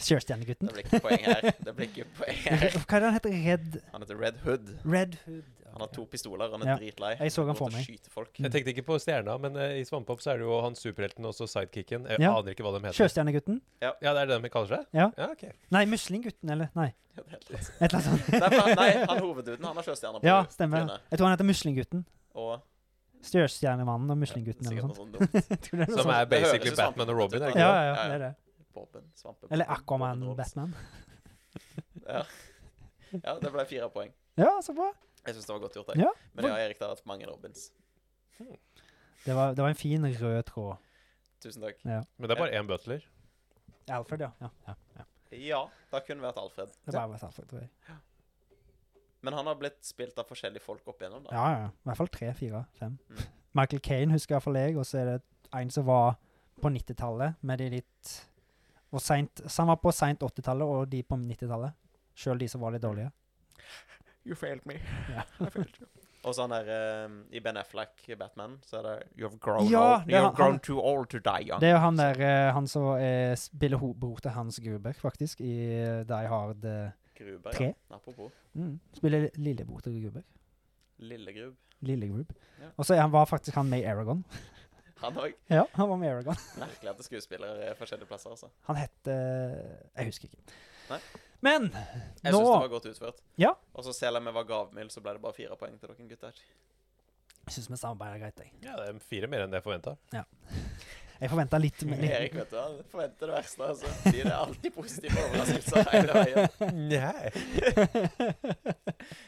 Speaker 1: Sjøstjernegutten.
Speaker 2: Det blir ikke poeng her. Det blir ikke poeng her.
Speaker 1: Hva er det han heter? Red,
Speaker 2: Han heter Red Hood.
Speaker 1: Red Hood?
Speaker 2: Han har to pistoler, han er
Speaker 1: Ja,
Speaker 2: dritlei.
Speaker 1: jeg så han
Speaker 2: går
Speaker 1: for
Speaker 2: til å
Speaker 1: meg.
Speaker 2: skyte folk.
Speaker 3: Jeg tenkte ikke på stjerna, men eh, i Svampebob så er det jo han superhelten og så sidekicken. Jeg
Speaker 1: Ja.
Speaker 3: aner ikke hva de heter.
Speaker 1: Sjøstjernegutten?
Speaker 3: Ja, det er det de kaller seg?
Speaker 1: Ja.
Speaker 3: ja ok.
Speaker 1: Nei, Muslinggutten, eller? Nei,
Speaker 2: Det er helt latterlig.
Speaker 1: et eller annet
Speaker 2: Nei,
Speaker 1: sånt.
Speaker 2: for han- nei, han hovedduden, han har sjøstjerner på
Speaker 1: Ja,
Speaker 2: trynet.
Speaker 1: stemmer. Jeg tror han heter Muslinggutten.
Speaker 2: Og
Speaker 1: Sjøstjernemannen og Muslinggutten eller noe
Speaker 2: sikkert
Speaker 1: sånt.
Speaker 2: noe sånt dumt.
Speaker 1: Jeg tror det er noe
Speaker 3: Som
Speaker 1: sånt.
Speaker 3: er
Speaker 2: Det høres
Speaker 3: basically
Speaker 2: ut som
Speaker 3: Batman og
Speaker 2: Svampebob,
Speaker 3: Robin, er det
Speaker 1: Ja,
Speaker 3: ikke
Speaker 1: ja,
Speaker 3: det?
Speaker 1: ja,
Speaker 2: Ja, ja.
Speaker 1: det er det.
Speaker 2: Bobben, svampe,
Speaker 1: Eller
Speaker 2: Bobben,
Speaker 1: Aquaman
Speaker 2: Bobben Robs.
Speaker 1: Batman.
Speaker 2: Ja, det ble fire poeng.
Speaker 1: Ja, så bra.
Speaker 2: Jeg syns det var godt gjort.
Speaker 1: Ja.
Speaker 2: Jeg. Men ja, Erik, det har vært mange Robins.
Speaker 1: Det var, det var en fin rød tråd.
Speaker 2: Tusen takk.
Speaker 3: Men det er bare én butler.
Speaker 1: Alfred, ja. ja, ja, ja.
Speaker 2: Ja, det kunne vært Alfred.
Speaker 1: Det var bare Alfred, tror jeg.
Speaker 2: Men han har blitt spilt av forskjellige folk opp igjennom. da.
Speaker 1: Ja, ja. ja. I hvert fall tre, fire, fem.
Speaker 2: Mm.
Speaker 1: Michael Kane husker iallfall jeg, og så er det en som var på 90-tallet, med de litt og sent, Så han var på seint 80-tallet og de på 90-tallet. Sjøl de som var litt dårlige.
Speaker 2: You failed me.
Speaker 1: Ja.
Speaker 2: Og så han der eh, i Ben Affleck i Batman, så er det You have grown,
Speaker 1: Ja,
Speaker 2: old.
Speaker 1: det er
Speaker 2: You have
Speaker 1: han-
Speaker 2: grown
Speaker 1: han-
Speaker 2: too old to die young.
Speaker 1: Det er jo han der eh, Han som er s- Billy Ho bror til Hans Gruber, faktisk, i eh, Die Hard eh,
Speaker 2: Gruber,
Speaker 1: Tre.
Speaker 2: ja. Apropos.
Speaker 1: mm, Spiller lillebror til Gruber.
Speaker 2: Lillegrub.
Speaker 1: Lille Grub.
Speaker 2: Ja.
Speaker 1: Og så er han, var faktisk han med i Aragon.
Speaker 2: Han òg.
Speaker 1: Ja, han var med i Aragon.
Speaker 2: Merkelig at skuespillere er forskjellige plasser, altså.
Speaker 1: Han het eh, Jeg husker ikke.
Speaker 2: Nei.
Speaker 1: Men
Speaker 2: Jeg
Speaker 1: nå
Speaker 2: syns det var godt utført.
Speaker 1: Ja.
Speaker 2: Og så selv om jeg var gavmild, så ble det bare fire poeng til dere gutter.
Speaker 1: Jeg syns vi samarbeider greit, jeg.
Speaker 3: Ja, det er fire mer enn det jeg forventa.
Speaker 1: Jeg forventa litt, men litt
Speaker 2: Erik, vet du, han forventer det verste, altså. De er alltid positive overraskelser hele veien.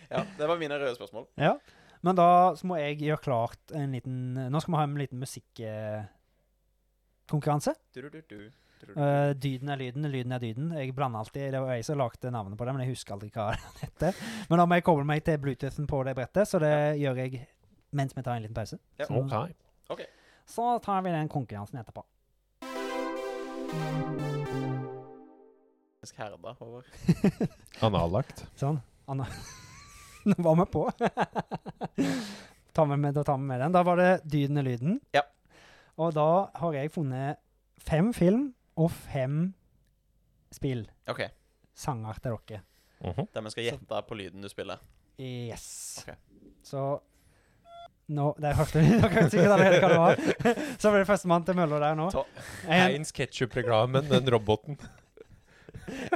Speaker 2: Ja, det var mine røde spørsmål.
Speaker 1: Ja. Men da så må jeg gjøre klart en liten Nå skal vi ha en liten musikkkonkurranse.
Speaker 2: Du, du, du, du. Du, du, du.
Speaker 1: Uh, dyden er lyden, lyden er dyden. Jeg blander alltid Det var jeg som lagde navnet på det, men jeg husker aldri hva den heter. Men da må jeg koble meg til Bluetoothen på det brettet, så det gjør jeg mens vi tar en liten pause.
Speaker 2: Ja.
Speaker 1: Så,
Speaker 3: Ok.
Speaker 1: så tar vi den konkurransen etterpå.
Speaker 2: Faktisk herda over.
Speaker 3: Anallagt.
Speaker 1: Sånn. Anna. Nå var vi på. tar vi med, da tar vi med den. Da var det Dyden er lyden.
Speaker 2: Ja.
Speaker 1: Og da har jeg funnet fem film og fem spill.
Speaker 2: OK.
Speaker 1: Sanger til dere.
Speaker 2: Der vi skal gjette på lyden du spiller.
Speaker 1: Yes.
Speaker 2: Ok.
Speaker 1: Så nå, der hørte vi Dere hørte sikkert allerede hva det var. Så ble det førstemann til mølla der nå.
Speaker 2: Ta-
Speaker 1: En,
Speaker 3: Heinz Ketchup-reklamen, den roboten.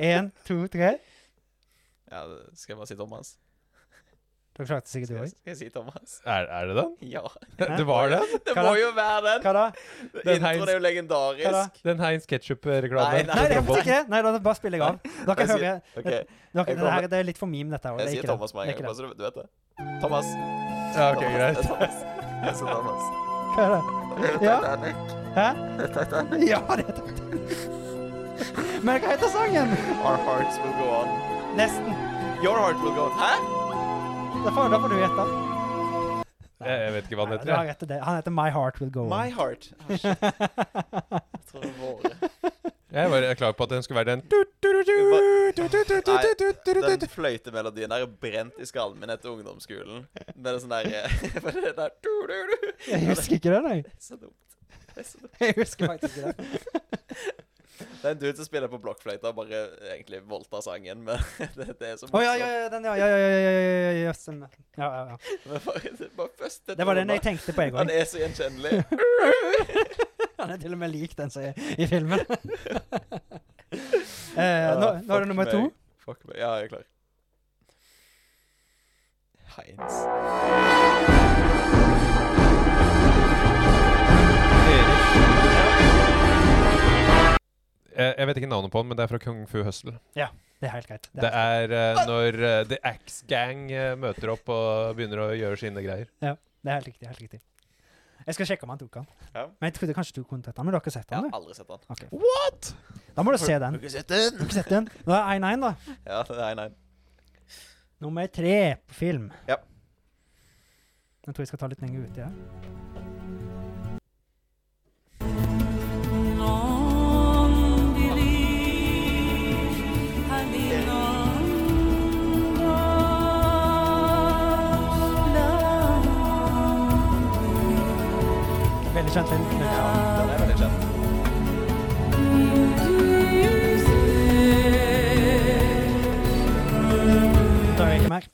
Speaker 1: en, to, tre.
Speaker 2: Ja, det- skal jeg bare si Thomas?
Speaker 1: Dere klarte sikkert det
Speaker 2: Skal jeg,
Speaker 1: òg.
Speaker 2: skal jeg si Thomas?
Speaker 3: Er, er det den?
Speaker 2: Ja.
Speaker 1: Hæ?
Speaker 3: Det var den?
Speaker 2: Det
Speaker 1: Hva
Speaker 2: må
Speaker 1: da?
Speaker 2: jo være den!
Speaker 1: Hva da?
Speaker 3: Den
Speaker 2: Introen er jo
Speaker 1: Hva da?
Speaker 2: legendarisk.
Speaker 3: Den Heinz
Speaker 2: Nei,
Speaker 3: Ketchup-reklamen.
Speaker 1: Nei, det
Speaker 3: den
Speaker 1: er faktisk ikke det. Nei, da bare spiller jeg av. Dere
Speaker 2: Jeg sier-
Speaker 1: hører
Speaker 2: OK,
Speaker 1: dere,
Speaker 2: Jeg
Speaker 1: det,
Speaker 2: kommer-
Speaker 1: her, det er litt for meme, dette. her, og
Speaker 2: jeg
Speaker 1: det er
Speaker 2: sier
Speaker 1: ikke det.
Speaker 2: Thomas med en
Speaker 1: Det er
Speaker 2: gang,
Speaker 1: ikke
Speaker 2: bare så du vet det. Thomas.
Speaker 3: Ja, ok,
Speaker 2: Thomas,
Speaker 3: greit.
Speaker 2: det er Thomas. Jeg sier Thomas.
Speaker 1: det. Hva er det? Ja. Hæ? Ja, det er Titanic. Men hva heter sangen?
Speaker 2: Our hearts will go on.
Speaker 1: Nesten.
Speaker 2: Your heart will go on. Hæ?
Speaker 1: Da får, da får du gjette.
Speaker 3: Jeg, jeg vet ikke hva den
Speaker 1: Du har
Speaker 3: heter. jeg.
Speaker 1: rett i det. Han heter My Heart Will Go On.
Speaker 2: My heart. Ah, shit. Jeg tror det var våre.
Speaker 3: Jeg var klar på at den skulle være den
Speaker 2: Nei, den fløytemelodien der er brent i skallen min etter ungdomsskolen. Det er sånn der, for det der du, du, du.
Speaker 1: Jeg husker ikke det, nei.
Speaker 2: Det er så dumt. Det er så dumt.
Speaker 1: Jeg husker faktisk ikke det.
Speaker 2: Det er en dude som spiller på blokkfløyta og bare eh, egentlig voldtar sangen, men det, det er så
Speaker 1: Å ja, ja, ja, den, ja, ja, ja, ja, ja, ja, ja, ja, stemmer. ja, ja, ja.
Speaker 2: Men bare, det er bare første
Speaker 1: Det var den jeg
Speaker 2: tonen.
Speaker 1: tenkte på en
Speaker 2: Han
Speaker 1: gang.
Speaker 2: er så gjenkjennelig.
Speaker 1: Han er til og med lik den som er i filmen. Eh, nå, nå er det nummer to.
Speaker 2: Fuck meg. Ja, jeg er klar. Heinz.
Speaker 3: Jeg jeg vet ikke navnet på den, men det er fra Kung Fu Hustle.
Speaker 1: Det er helt greit. Det
Speaker 3: Det
Speaker 1: er,
Speaker 3: er eh, når eh, The Axe Gang eh, møter opp og begynner å gjøre sine greier.
Speaker 1: det er helt riktig. helt riktig. Jeg skal sjekke om han tok den.
Speaker 2: Ja.
Speaker 1: Men jeg trodde kanskje du kunne tatt den, men du har ikke sett
Speaker 2: Jeg
Speaker 1: den?
Speaker 2: har
Speaker 1: du?
Speaker 2: aldri sett han.
Speaker 1: Ok. Da må du se den.
Speaker 2: Har du ikke sett den?
Speaker 1: Du har ikke sett den. Nå er det 1-1, da.
Speaker 2: Ja, nei, nei.
Speaker 1: Nummer tre på film.
Speaker 2: Ja.
Speaker 1: Jeg tror jeg skal ta litt lenger uti her. Veldig kjent film. Veldig bra.
Speaker 2: Den er veldig kjent.
Speaker 1: Da er jeg ikke mer.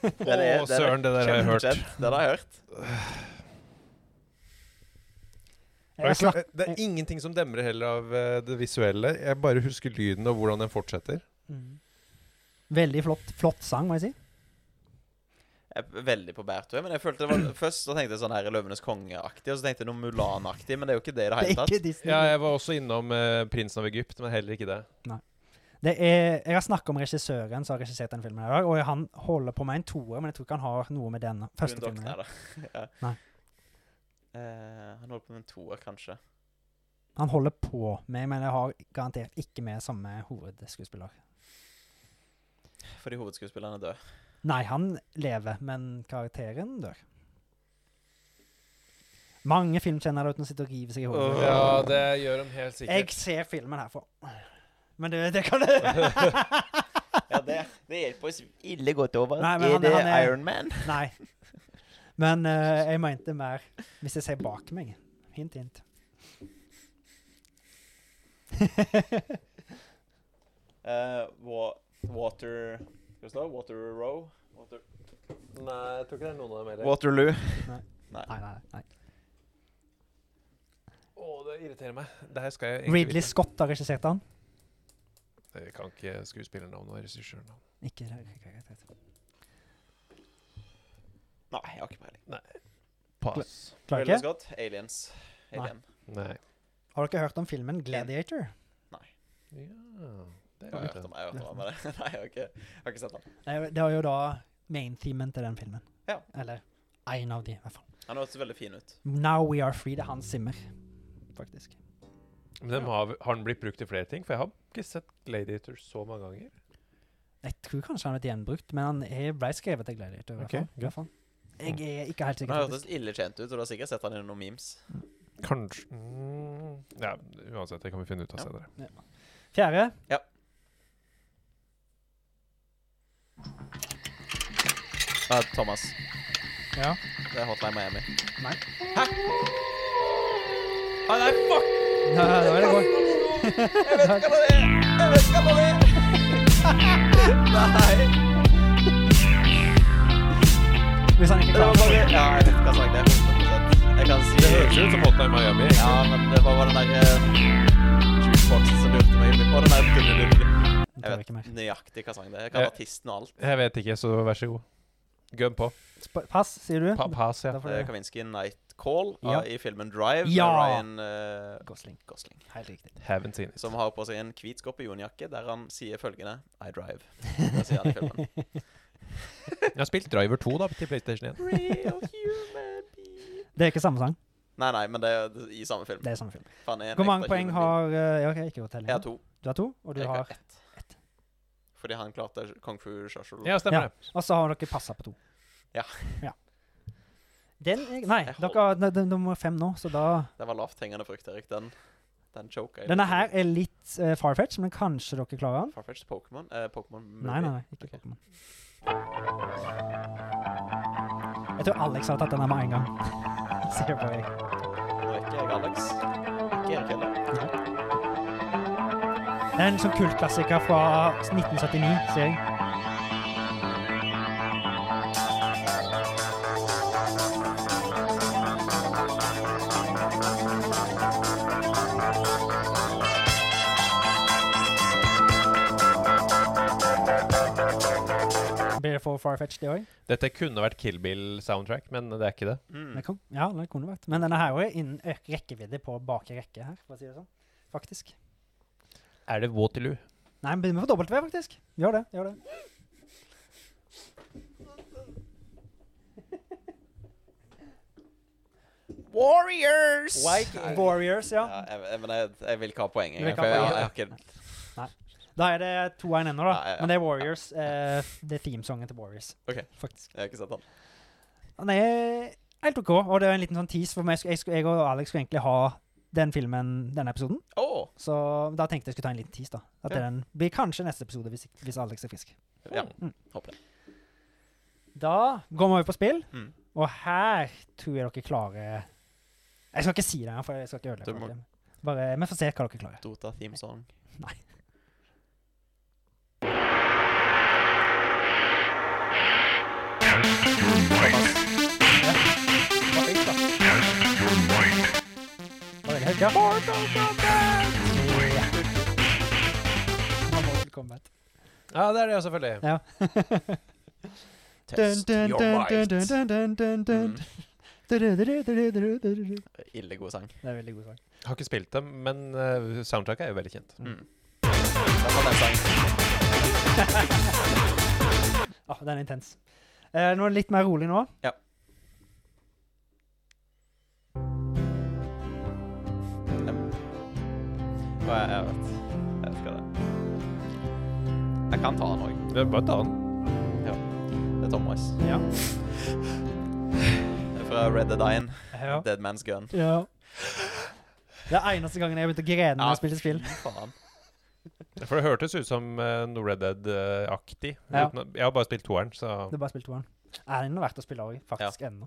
Speaker 2: Den er-
Speaker 3: Å,
Speaker 2: den er
Speaker 3: søren, det der har jeg hørt.
Speaker 2: kjempekjent. Den har jeg hørt.
Speaker 1: Jeg
Speaker 3: Det
Speaker 1: snakker.
Speaker 3: er, det er ingenting som demrer heller av eh, det visuelle. Jeg bare husker lyden og hvordan den fortsetter.
Speaker 1: Mm. Veldig flott, flott sang, må jeg si.
Speaker 2: Jeg er veldig på bærtur. Men jeg følte det var først så tenkte jeg sånn her Løvenes konge-aktig, og så tenkte jeg noe Mulan-aktig, men det er jo ikke det i det
Speaker 1: Det
Speaker 2: hele
Speaker 1: er
Speaker 2: tatt.
Speaker 1: ikke Disney.
Speaker 3: Ja, jeg var også innom eh, 'Prinsen av Egypt', men heller ikke det.
Speaker 1: Det er, jeg har snakket om regissøren som har regissert den filmen i dag, og han holder på med en toer, men jeg tror ikke han har noe med den første
Speaker 2: Hun
Speaker 1: filmen. å gjøre.
Speaker 2: doktor, da. ja.
Speaker 1: Nei.
Speaker 2: Eh, han holdt på med en toer, kanskje.
Speaker 1: Han holder på med, men jeg har garantert ikke med samme hovedskuespiller.
Speaker 2: Fordi hovedskuespilleren er død.
Speaker 1: Nei, han lever, men karakteren dør. Mange filmkjennere der ute som sitter og river seg i hodet.
Speaker 3: Ja, det gjør de helt
Speaker 1: jeg
Speaker 3: sikkert.
Speaker 1: ser filmen herfra. Men det, det kan du
Speaker 2: Ja, det, det hjelper oss ille godt over.
Speaker 1: Nei, men Er han- det han er- Iron
Speaker 2: Man?
Speaker 1: Nei. Men eh, jeg mente mer hvis jeg ser bak meg. Hint, hint.
Speaker 2: Eh, wa water Skal det stå? Water Row? Water
Speaker 3: Nei, jeg tror ikke det er noen av dem
Speaker 2: Waterloo.
Speaker 1: Nei, nei, nei.
Speaker 3: Å, det irriterer meg. Det her skal jeg egentlig
Speaker 1: Ridley
Speaker 3: vite.
Speaker 1: Scott har regissert den.
Speaker 3: Jeg kan ikke skuespillernavn og regissørnavn.
Speaker 1: Ikke det, ikke det, ikke det.
Speaker 2: Nei, jeg har ikke peiling.
Speaker 3: Pass.
Speaker 1: Klarer
Speaker 2: Ridley
Speaker 1: ikke?
Speaker 2: Scott, Aliens. Alien.
Speaker 3: Nei.
Speaker 1: Har dere hørt om filmen Gladiator?
Speaker 3: Ja, det
Speaker 2: Jeg har
Speaker 3: er
Speaker 2: hørt
Speaker 3: det.
Speaker 2: om jeg har hørt om det. Nei, jeg har ikke, jeg har ikke sett den.
Speaker 1: Det er jo- det er jo da main-themen til den filmen.
Speaker 2: Ja.
Speaker 1: Eller en av de, i hvert fall.
Speaker 2: Han hørtes veldig fin ut.
Speaker 1: Now We Are Free, det er Hans Zimmer, faktisk.
Speaker 3: Men dem har, har den blitt brukt i flere ting? For jeg har ikke sett Gladiator så mange ganger.
Speaker 1: Jeg tror kanskje han er gjenbrukt, men han er- ble skrevet til Gladiator. i hvert
Speaker 3: Ok,
Speaker 1: fall. I hvert fall. Jeg er ikke helt sikker.
Speaker 2: Han
Speaker 1: faktisk.
Speaker 2: hørtes ille kjent ut, og du har sikkert sett han i noen memes.
Speaker 3: Kanskje mm, Ja, uansett. Det kan vi finne ut av
Speaker 2: Ja.
Speaker 3: senere.
Speaker 1: Fjerde.
Speaker 2: Ja. Ah, Thomas.
Speaker 1: Ja.
Speaker 2: Det er Hotline Miami.
Speaker 1: Nei.
Speaker 2: Ah, nei, fuck!
Speaker 1: Nei, da er det godt.
Speaker 2: Jeg vet ikke hva det er! Jeg vet ikke hva det er! Nei!
Speaker 1: Hvis han ikke
Speaker 2: Det var
Speaker 1: klarer
Speaker 2: bare Ja, jeg vet ikke hva jeg har sagt. Det er 100%. Jeg kan si
Speaker 3: Det høres ut som Hotline Miami. ikke
Speaker 2: Ja, men det var bare den der eh, jukeboxen som lurte meg inn i Og den der dulle-dulle.
Speaker 1: Jeg
Speaker 2: Jeg
Speaker 1: tør ikke mer.
Speaker 2: vet nøyaktig hva sang det er. Jeg kan
Speaker 3: Ja.
Speaker 2: artisten og alt.
Speaker 3: Jeg vet ikke, så vær så god. Gønn på.
Speaker 1: Sp- Pass, sier du?
Speaker 3: Pa pass, ja.
Speaker 1: Da får
Speaker 2: Det er
Speaker 1: du
Speaker 2: Kavinsky Eh, Night Call
Speaker 1: Ja.
Speaker 2: av- i filmen Drive med
Speaker 1: Ja.
Speaker 2: Ryan eh,
Speaker 1: Gosling.
Speaker 2: Gosling.
Speaker 1: Helt riktig.
Speaker 3: Haven't seen it.
Speaker 2: Som har på seg en hvit skorpionjakke der han sier følgende I drive. Det sier han i filmen.
Speaker 3: Jeg har spilt Driver 2 da, til PlayStation 1.
Speaker 2: Real human being.
Speaker 1: Det er ikke samme sang.
Speaker 2: Nei, nei, men det er det- i samme film.
Speaker 1: Det er samme film.
Speaker 2: For han er en
Speaker 1: Hvor mange
Speaker 2: ekte
Speaker 1: poeng
Speaker 2: human
Speaker 1: har eh, ja, ok, ikke gjort
Speaker 2: being.
Speaker 1: telling.
Speaker 2: Jeg har to.
Speaker 1: Du har to, og du
Speaker 2: Jeg
Speaker 1: har
Speaker 2: har ett. Fordi han klarte kung fu shushul.
Speaker 3: Ja, stemmer det.
Speaker 1: Og så har dere passa på to.
Speaker 2: Ja.
Speaker 1: Ja. Den er- Nei,
Speaker 2: Jeg
Speaker 1: dere har n- den nummer fem nå, så da
Speaker 2: Det var lavt hengende frukt, Erik. Den, den choka jeg
Speaker 1: Denne
Speaker 2: litt.
Speaker 1: her er litt uh, farfetch, men kanskje dere klarer den?
Speaker 2: Farfetch'd Pokémon? Eh, Pokémon
Speaker 1: Nei, nei,
Speaker 2: Movie.
Speaker 1: nei. Ikke
Speaker 2: Ok.
Speaker 1: Pokémon. Jeg tror Alex har tatt denne med en gang. Ser på deg.
Speaker 2: Og ikke jeg, Alex. Ikke Erik heller.
Speaker 1: Det er en sånn kultklassiker fra 1979, ser jeg. Blir det for farfetch, det òg?
Speaker 3: Dette kunne vært Kill Bill soundtrack, men det er ikke det.
Speaker 2: Mm.
Speaker 1: Ja, det kunne vært. Men denne her også er innen ø- rekkevidde på bak i rekke her, for å si det sånn. Faktisk.
Speaker 3: Er det Waterloo?
Speaker 1: Nei, men begynner på W, faktisk. Gjør det. gjør det.
Speaker 2: Warriors!
Speaker 1: White Warriors, ja.
Speaker 2: Ja, jeg, jeg, men jeg, jeg vil ikke ha poeng.
Speaker 1: Du vil
Speaker 2: Jeg,
Speaker 1: ikke
Speaker 2: for
Speaker 1: ha
Speaker 2: jeg,
Speaker 1: poeng.
Speaker 2: jeg, har ikke
Speaker 1: Da er det 2-1 ennå, da.
Speaker 2: Ja, ja, ja.
Speaker 1: Men det er Warriors. Eh, det er themesongen til Warriors,
Speaker 2: Ok.
Speaker 1: faktisk.
Speaker 2: Jeg har ikke sett han.
Speaker 1: Han er helt OK, og det er en liten sånn tease, for meg, jeg, skulle- jeg og Alex skulle egentlig ha den filmen denne episoden,
Speaker 2: Å!
Speaker 1: så da tenkte jeg skulle ta en liten tease, da. At
Speaker 2: Ja.
Speaker 1: den blir kanskje neste episode, hvis, ikke- hvis Alex er frisk.
Speaker 2: Ja.
Speaker 1: Mm.
Speaker 2: Håper det.
Speaker 1: Da går vi over på spill,
Speaker 2: Mm.
Speaker 1: og her tror jeg dere klarer Jeg skal ikke si det, for jeg skal ikke
Speaker 2: Du må-
Speaker 1: ødelegge det. Bare, Vi får se hva dere klarer.
Speaker 2: Dota theme song.
Speaker 1: Nei. Var det høyt, ja? Ja. Mortal Kombat.
Speaker 3: Ja, det er det, selvfølgelig.
Speaker 1: Ja.
Speaker 2: Test
Speaker 1: Dun,
Speaker 2: your
Speaker 1: dun, dun,
Speaker 2: might.
Speaker 1: dun, dun, dun, dun, dun.
Speaker 2: Mm.
Speaker 1: Du-du-du-du-du-du-du-du.
Speaker 2: Ille god sang.
Speaker 1: Det er en veldig god sang.
Speaker 3: Har ikke spilt dem, men eh, soundtracket er jo veldig kjent.
Speaker 2: Mm. Da var den sangen.
Speaker 1: Ah, den er intens. Eh, nå er det litt mer rolig nå.
Speaker 2: Ja. Og jeg, jeg vet. Jeg elsker det. Jeg kan ta den òg.
Speaker 3: Det er bare et annet.
Speaker 2: Det er Thomas.
Speaker 1: Ja.
Speaker 2: Det er Fra Red Dead Dine.
Speaker 1: Ja.
Speaker 2: Dead Man's Gun.
Speaker 1: ja. Det er eneste gangen jeg har begynt å grene når
Speaker 2: Ja,
Speaker 1: jeg spiller spill.
Speaker 2: fy Faen.
Speaker 3: For det hørtes ut som eh, noe Red Dead-aktig.
Speaker 1: Ja.
Speaker 3: Jeg har bare spilt toeren, så
Speaker 1: Det er bare spilt toeren. Er den verdt å spille òg, faktisk, ennå.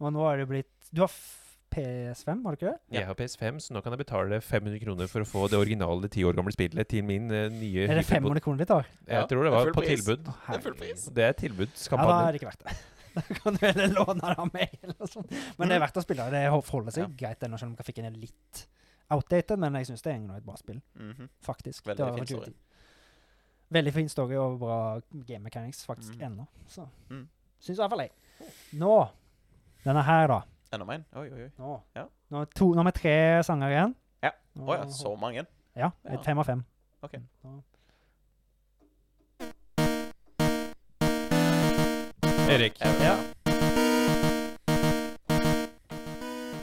Speaker 1: Og nå har det blitt Du har f- PS5, har du ikke det?
Speaker 2: Ja.
Speaker 3: jeg har PS5, så nå kan jeg betale 500 kroner for å få det originale ti år gamle spillet til min eh, nye
Speaker 1: Er det
Speaker 3: hyperbo-
Speaker 1: 500 kroner ditt, da?
Speaker 2: Ja,
Speaker 3: Jeg tror det
Speaker 2: det er
Speaker 3: var
Speaker 2: full
Speaker 3: på
Speaker 2: pris.
Speaker 3: tilbud.
Speaker 1: Å,
Speaker 2: Det er full
Speaker 1: herregud.
Speaker 2: pris.
Speaker 3: Det
Speaker 1: Ja,
Speaker 3: er
Speaker 1: da er
Speaker 3: tilbudskampanje.
Speaker 1: det ikke verdt det. Da kan du heller låne det av meg, eller noe sånt. Men det
Speaker 2: Mm.
Speaker 1: er verdt å spille. Det forholder seg greit ennå, selv om grafikken er litt outdated, men jeg syns det er ennå et bra spill,
Speaker 2: Mhm.
Speaker 1: faktisk.
Speaker 2: Veldig
Speaker 1: Det har
Speaker 2: fin
Speaker 1: vært
Speaker 2: story.
Speaker 1: ute. Veldig fin story og bra game mechanics, faktisk,
Speaker 2: Mhm.
Speaker 1: ennå. Så
Speaker 2: Mm.
Speaker 1: syns i hvert fall jeg. Nå Denne her, da.
Speaker 2: Enda mer? Oi, oi, oi.
Speaker 1: Nå
Speaker 2: Ja.
Speaker 1: Nå er to, nå har vi tre sanger igjen.
Speaker 2: Ja.
Speaker 1: Nå-
Speaker 2: Å ja, så mange?
Speaker 1: Ja.
Speaker 2: Ja.
Speaker 1: Et fem av fem.
Speaker 2: Ok.
Speaker 1: Mm, nå-
Speaker 3: Erik,
Speaker 2: Ja.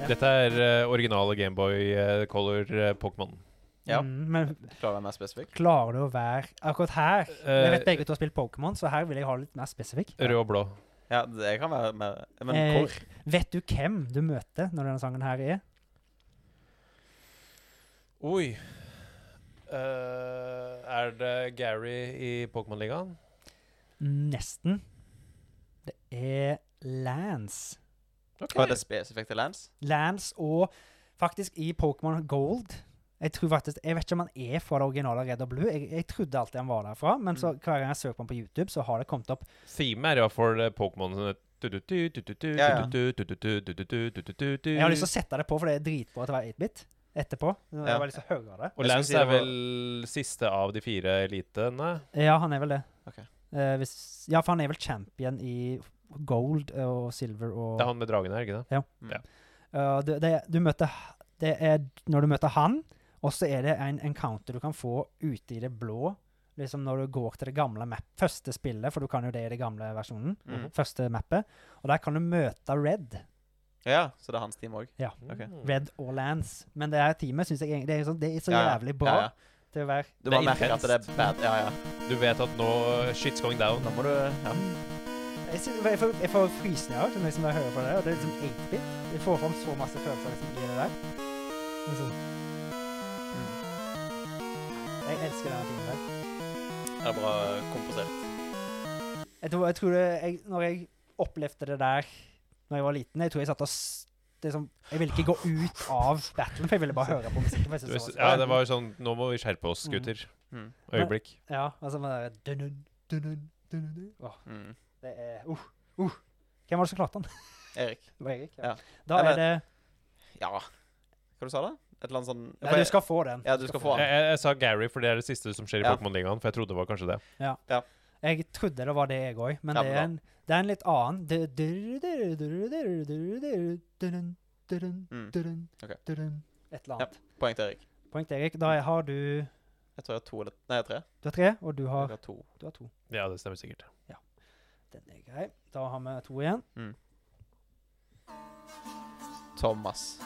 Speaker 3: dette er eh, originale Gameboy eh, Color eh, Pokémon.
Speaker 2: Ja.
Speaker 1: Mm, men
Speaker 2: Klarer jeg å være mer spesifikk?
Speaker 1: klarer du å være Akkurat her Jeg vet
Speaker 3: Eh,
Speaker 1: begge to har spilt Pokémon, så her vil jeg ha litt mer spesifikk.
Speaker 3: Rød og blå.
Speaker 2: Ja, det kan være mer Men
Speaker 1: Eh,
Speaker 2: hvor?
Speaker 1: Vet du hvem du møter når denne sangen her er?
Speaker 3: Oi. er det Gary i Pokémon-ligaen?
Speaker 1: Nesten. Det er Lance.
Speaker 2: Var det spesifikt til Lance?
Speaker 1: Lance og faktisk i Pokémon Gold jeg, tror faktisk, jeg vet ikke om han er fra det originale Red og Blue. Jeg, jeg trodde alltid han var derfra, men så
Speaker 2: Mm.
Speaker 1: hver gang jeg søker på han på YouTube, så har det kommet opp.
Speaker 3: Themet er i hvert fall eh, Pokémon sånn et tututu, tututu,
Speaker 2: Ja, ja.
Speaker 3: tututu, tututu, tututu, tututu.
Speaker 1: Jeg har lyst til å sette det på, for det er dritbra til å være 8-bit etterpå. Jeg
Speaker 2: Ja.
Speaker 1: har bare lyst til å høre det.
Speaker 2: Jeg
Speaker 3: Og
Speaker 2: skulle
Speaker 3: Lance
Speaker 2: si det
Speaker 3: er
Speaker 2: var-
Speaker 3: vel siste av de fire elitene.
Speaker 1: Ja, han er vel det.
Speaker 2: Ok.
Speaker 1: Eh, hvis, ja, for han er vel champion i Gold og Silver og
Speaker 3: Det er han med dragen her, ikke det?
Speaker 1: Uh, det, det, du møter, det er når du møter han, og så er det en encounter du kan få ute i det blå. Liksom når du går til det gamle map, første spillet, for du kan jo det i den gamle versjonen.
Speaker 2: Mhm.
Speaker 1: Første mappet. Og der kan du møte Red.
Speaker 2: Ja, så det er hans team òg? Ok.
Speaker 3: Mm.
Speaker 1: Red og Lance. Men det her teamet syns jeg egentlig det er, sånn, det er så
Speaker 2: Ja, ja.
Speaker 1: jævlig bra
Speaker 2: Ja, ja.
Speaker 1: til å være
Speaker 2: Du
Speaker 3: Det er
Speaker 2: bare merker at det er
Speaker 3: intenst.
Speaker 2: bad. Ja, ja.
Speaker 3: Du vet at nå eh, shit's going down.
Speaker 2: Da må du ja.
Speaker 1: Jeg, synes, jeg, får, jeg får frysninger av det, liksom, når jeg hører på det. Og det er liksom 8-bit. Jeg får fram så masse følelser liksom, i det der. Liksom,
Speaker 2: Mm.
Speaker 1: jeg elsker denne filmen. der.
Speaker 2: Det er bra komposert.
Speaker 1: Jeg tror, jeg tror det, jeg, når jeg opplevde det der Når jeg var liten Jeg tror jeg satt og s- det som, Jeg ville ikke gå ut av battlen, for jeg ville bare høre på musikken. for jeg
Speaker 3: Du,
Speaker 1: synes det var så
Speaker 3: ja, det
Speaker 1: spennende.
Speaker 3: var jo sånn Nå må vi skjerpe oss, gutter.
Speaker 2: Mm.
Speaker 3: Øyeblikk.
Speaker 1: ja, altså, med det der, dun-dun, dun-dun, dun-dun. Åh,
Speaker 2: Mm.
Speaker 1: Det er uh, uh. Hvem var det som klarte den?
Speaker 2: Erik.
Speaker 1: Det var Erik.
Speaker 2: Ja.
Speaker 1: Da er
Speaker 2: Eller-
Speaker 1: det
Speaker 2: Ja. Hva du sa du? Et eller annet sånn
Speaker 1: Nei, du skal få den.
Speaker 2: Ja, du skal få
Speaker 3: Jeg,
Speaker 2: den.
Speaker 3: jeg, jeg sa Gary, for det er det siste som skjer i
Speaker 2: Ja.
Speaker 3: Pokémon-ligaen. For jeg trodde det var kanskje det.
Speaker 1: Jeg trodde det var det, jeg òg, men
Speaker 2: Ja,
Speaker 1: det, er
Speaker 2: men da-
Speaker 1: en, det er en litt annen Du- du- du- du- du- du- du- dun-dun, dun-dun,
Speaker 2: Mm.
Speaker 1: dun-dun,
Speaker 2: Ok.
Speaker 1: dun-dun. Et eller annet.
Speaker 2: Poeng til Erik.
Speaker 1: Poeng til Erik. Da har du
Speaker 2: Jeg tror jeg har to eller Nei, jeg har tre.
Speaker 1: Du har tre, og du
Speaker 2: Jeg
Speaker 1: har,
Speaker 2: har to.
Speaker 1: du har to.
Speaker 3: Ja, det stemmer sikkert.
Speaker 1: Den er grei. Da har vi to igjen.
Speaker 2: Thomas.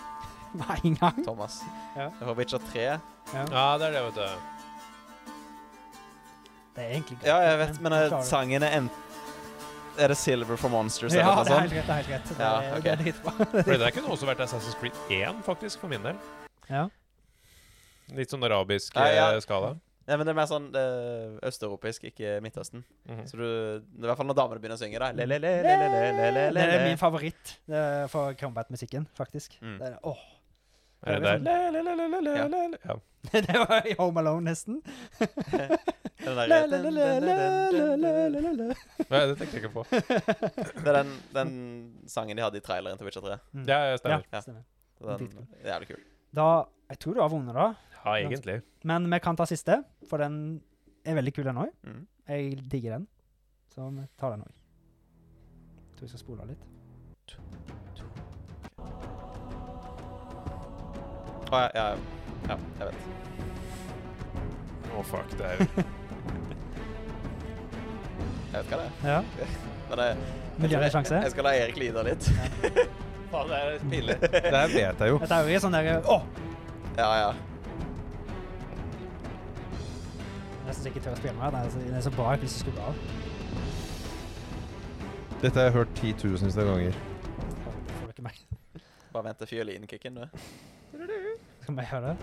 Speaker 1: Hver gang.
Speaker 2: Thomas.
Speaker 1: Ja.
Speaker 2: Jeg har Witcher 3.
Speaker 3: Ja, det er det, vet du.
Speaker 1: Det er egentlig greit.
Speaker 2: Ja, jeg vet, men eh,
Speaker 1: klarer det.
Speaker 2: sangen er enten Er det Silver for Monsters
Speaker 1: Ja,
Speaker 2: eller noe
Speaker 1: det er helt
Speaker 2: sånt?
Speaker 1: greit. Det er helt greit. Det
Speaker 2: sånn. Ja,
Speaker 1: er,
Speaker 2: ok.
Speaker 1: det er dritbra.
Speaker 3: For det der kunne også vært Assassin's Creed 1, faktisk, for min del.
Speaker 1: Ja.
Speaker 3: Litt sånn arabisk
Speaker 2: Ja, ja.
Speaker 3: eh, skala.
Speaker 2: Nei, men det er mer sånn eh, østeuropeisk, ikke Midtøsten.
Speaker 3: Mhm.
Speaker 2: Så du, det er i hvert fall når damene begynner å synge, da. Le, le, le, le, le, le, le, le,
Speaker 1: Det er min
Speaker 2: le.
Speaker 1: favoritt eh, for Combat-musikken, faktisk.
Speaker 2: Mm.
Speaker 1: Det, er, åh,
Speaker 3: Er det der? Le, le, le, le, le, le, le. Ja.
Speaker 1: det var i Home Alone, nesten.
Speaker 2: Den
Speaker 1: La, la, la, la, la, la, la,
Speaker 2: der-
Speaker 1: la, la.
Speaker 3: Nei, det tenkte jeg ikke på.
Speaker 2: Det er den, den sangen de hadde i traileren til Witcher 3.
Speaker 3: Ja, ja, stemmer.
Speaker 2: Ja.
Speaker 1: stemmer.
Speaker 2: Den,
Speaker 1: Dritkul.
Speaker 2: jævlig kul.
Speaker 1: Da, jeg tror du har vunnet, da.
Speaker 3: Ja, egentlig.
Speaker 1: Men vi kan ta siste, for den er veldig kul, den òg.
Speaker 2: Mm.
Speaker 1: Jeg digger den. Så vi tar den òg. Tror jeg skal spole av litt.
Speaker 2: Å, ja, ja, ja, jeg vet.
Speaker 3: Å, fuck, det er jo
Speaker 2: Jeg vet hva det er.
Speaker 1: Ja,
Speaker 2: Men jeg, jeg,
Speaker 1: Miljøvennlig
Speaker 2: jeg,
Speaker 1: sjanse.
Speaker 2: jeg skal la Erik lide litt.
Speaker 3: Faen, det er pinlig. Det her vet jeg jo.
Speaker 1: Dette er jo sånn der Åh!
Speaker 2: Ja, ja.
Speaker 1: Nesten ikke tør å spille mer. Den er så, den er så bra. Jeg har lyst til å skru av.
Speaker 5: Dette har jeg hørt titusenvis av ganger.
Speaker 1: Åh, Får du ikke meg?
Speaker 2: Bare vent til fiolinkicken, du.
Speaker 1: Skal vi høre det?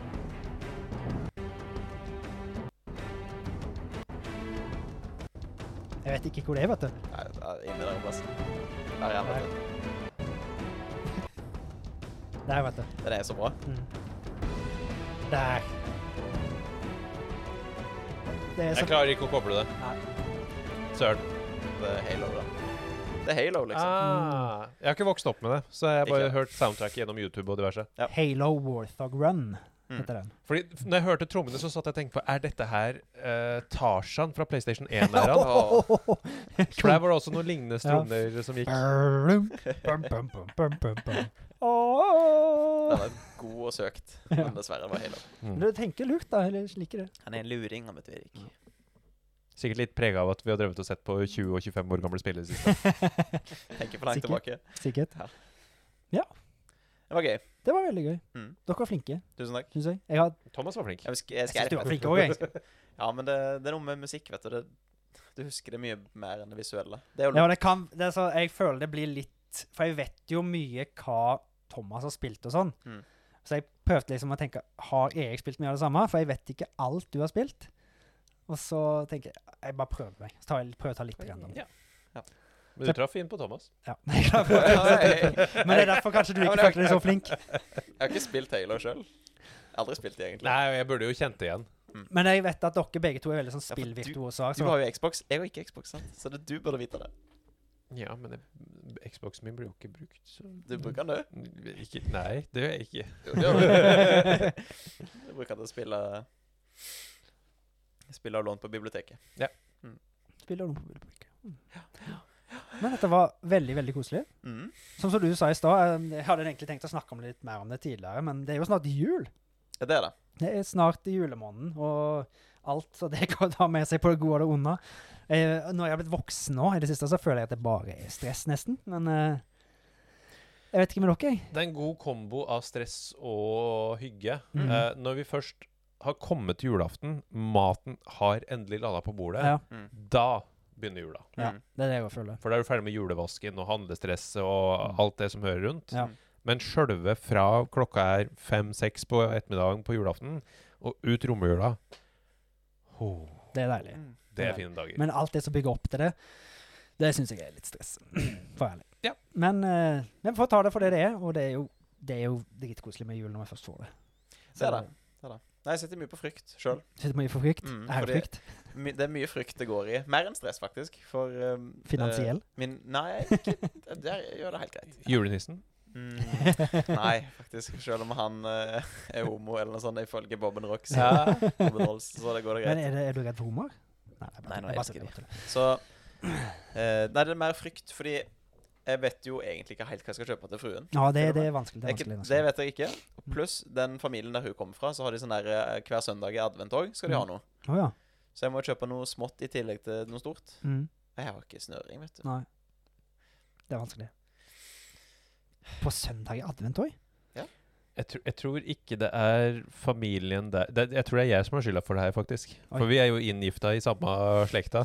Speaker 1: Jeg vet ikke hvor det er, vet du.
Speaker 2: Nei, det er Inni der plassen. Der er han, vet du.
Speaker 1: Der, vet du.
Speaker 2: Den er så bra.
Speaker 1: Mm. Der. Det er
Speaker 3: Jeg
Speaker 1: så
Speaker 3: klarer ikke å koble det. Søren.
Speaker 2: Det er Halo, da. Det er Halo, liksom.
Speaker 3: Ah, jeg har ikke vokst opp med det, så jeg har bare
Speaker 2: Ikke.
Speaker 3: hørt soundtracket gjennom YouTube og diverse.
Speaker 2: Ja.
Speaker 1: Halo Warthog Run
Speaker 2: Mm.
Speaker 1: heter den.
Speaker 3: Fordi f- når jeg hørte trommene, så satt jeg og tenkte på Er dette her eh, Tarzan fra PlayStation 1-æraen? For der var det også noen lignende strommer som gikk.
Speaker 1: Brum, brum, brum, brum, brum, brum, brum. Åh.
Speaker 2: Den er god og søkt, men dessverre var Halo.
Speaker 1: Men Du tenker lurt, da. Eller liker det.
Speaker 2: Han er en luring, han vet du, Erik.
Speaker 3: Sikkert litt prega av at vi har drevet og sett på 20 og 25 år gamle spillere. sist.
Speaker 2: Tenker for langt
Speaker 1: Sikkert.
Speaker 2: tilbake.
Speaker 1: Sikkert.
Speaker 2: Det var gøy.
Speaker 1: Det var veldig gøy.
Speaker 2: Mm.
Speaker 1: Dere var flinke,
Speaker 2: Tusen takk.
Speaker 1: syns jeg. Jeg har
Speaker 3: Thomas var flink.
Speaker 2: Jeg, husker, jeg,
Speaker 1: Jeg synes
Speaker 2: skal
Speaker 1: du var flink òg, jeg.
Speaker 2: Ja, men det, det er noe med musikk, vet du. Det, du husker det mye mer enn det visuelle. Det er jo
Speaker 1: Ja, det kan, det er så, jeg føler det blir litt For jeg vet jo mye hva Thomas har spilt og sånn.
Speaker 2: Mm.
Speaker 1: Så jeg prøvde liksom å tenke Har Erik spilt mye av det samme? For jeg vet ikke alt du har spilt. Og så tenker jeg Jeg bare prøver meg. Så tar jeg, prøver å ta litt random.
Speaker 3: Ja. Men du traff inn på Thomas.
Speaker 1: Ja. Jeg er klar for
Speaker 2: Ja,
Speaker 1: det.
Speaker 2: jeg, jeg,
Speaker 1: Men det er derfor kanskje du ikke
Speaker 2: Ja, men det-
Speaker 1: følte deg så flink.
Speaker 2: jeg har ikke spilt Halo sjøl. Aldri spilt det, egentlig.
Speaker 3: Nei, og jeg burde jo kjent det igjen.
Speaker 1: Men jeg vet at dere begge to er veldig sånn
Speaker 2: for du-
Speaker 1: spillvirtuoser.
Speaker 2: Du
Speaker 1: så-
Speaker 2: har jo Xbox. Jeg har ikke Xbox, sant? så det, du burde vite det.
Speaker 3: Ja, men jeg- Xboxen min blir jo ikke brukt, så
Speaker 2: Du
Speaker 1: Mm.
Speaker 2: bruker den, du.
Speaker 3: ikke, Nei, det gjør jeg ikke.
Speaker 2: Jo, det gjør du. du bruker den til å spille Spille og låne på biblioteket.
Speaker 1: Spiller noen på mobilbruk. Mm. Men dette var veldig, veldig koselig.
Speaker 2: Mm.
Speaker 1: Som som du sa i stad, eh, jeg hadde egentlig tenkt å snakke om litt mer om det tidligere, men det er jo snart jul.
Speaker 2: Ja, det er det.
Speaker 1: Det er snart i julemåneden og alt, så det kan ta med seg på det gode og det onde. Eh, når jeg har blitt voksen nå i det siste, så føler jeg at det bare er stress, nesten. Men eh, jeg vet ikke med dere, jeg.
Speaker 3: Det er en god kombo av stress og hygge.
Speaker 1: Mhm.
Speaker 3: Eh, når vi først har kommet til julaften, maten har endelig landa på bordet,
Speaker 1: Ja,
Speaker 2: Mm.
Speaker 3: da begynner jula.
Speaker 1: ja,
Speaker 2: Mm.
Speaker 1: det er det jeg føler.
Speaker 3: For da er du ferdig med julevasken og handlestresset og
Speaker 1: Mm.
Speaker 3: alt det som hører rundt.
Speaker 1: Ja.
Speaker 3: Men sjølve fra klokka er fem-seks på ettermiddagen på julaften og ut romjula oh,
Speaker 1: Det er deilig.
Speaker 2: Mm.
Speaker 3: Det
Speaker 1: Ja.
Speaker 3: er fine dager.
Speaker 1: Men alt det som bygger opp til det, det syns jeg er litt stress. For ærlig.
Speaker 3: Ja.
Speaker 1: Men eh, men vi får ta det for det det er, og det er jo, det er jo dritkoselig med jul når vi først får det.
Speaker 2: Det er det. det, er det. Nei, jeg sitter mye på frykt sjøl.
Speaker 1: Sitter mye for frykt.
Speaker 2: Mm,
Speaker 1: er det
Speaker 2: fordi-
Speaker 1: frykt?
Speaker 2: My, det er mye frykt det går i. Mer enn stress, faktisk. For um,
Speaker 1: Finansiell?
Speaker 2: eh, min, nei, ikke, der gjør det helt greit.
Speaker 3: Julenissen?
Speaker 2: Mm, nei, faktisk. Selv om han eh, er homo eller noe sånt, ifølge Bobben Rock, så,
Speaker 3: Ja.
Speaker 2: Bobben Rolls, så det går det
Speaker 1: Men
Speaker 2: greit.
Speaker 1: er, det, er du redd for humor? Nei, jeg bare,
Speaker 2: Nei,
Speaker 1: jeg
Speaker 2: nei, jeg
Speaker 1: bare
Speaker 2: elsker
Speaker 1: sier det.
Speaker 2: Så eh, Nei, det er mer frykt, fordi jeg vet jo egentlig ikke helt hva jeg skal kjøpe til fruen.
Speaker 1: Ja, det, det er vanskelig. Det
Speaker 2: Det,
Speaker 1: er vanskelig.
Speaker 2: det
Speaker 1: vanskelig. Mm.
Speaker 2: vet jeg ikke. Pluss den familien der hun kommer fra, så har de sånn der eh, hver søndag i advent òg, skal de ha noe.
Speaker 1: altså. Å ja.
Speaker 2: Så jeg må kjøpe noe smått i tillegg til noe stort.
Speaker 1: Mm,
Speaker 2: Jeg har ikke snøring, vet du.
Speaker 1: nei. Det er vanskelig. På søndag i advent òg?
Speaker 3: Jeg, tr jeg tror ikke det er familien der det, Jeg tror det er jeg som har skylda for det her, faktisk.
Speaker 1: Oi.
Speaker 3: For vi er jo inngifta i samme slekta.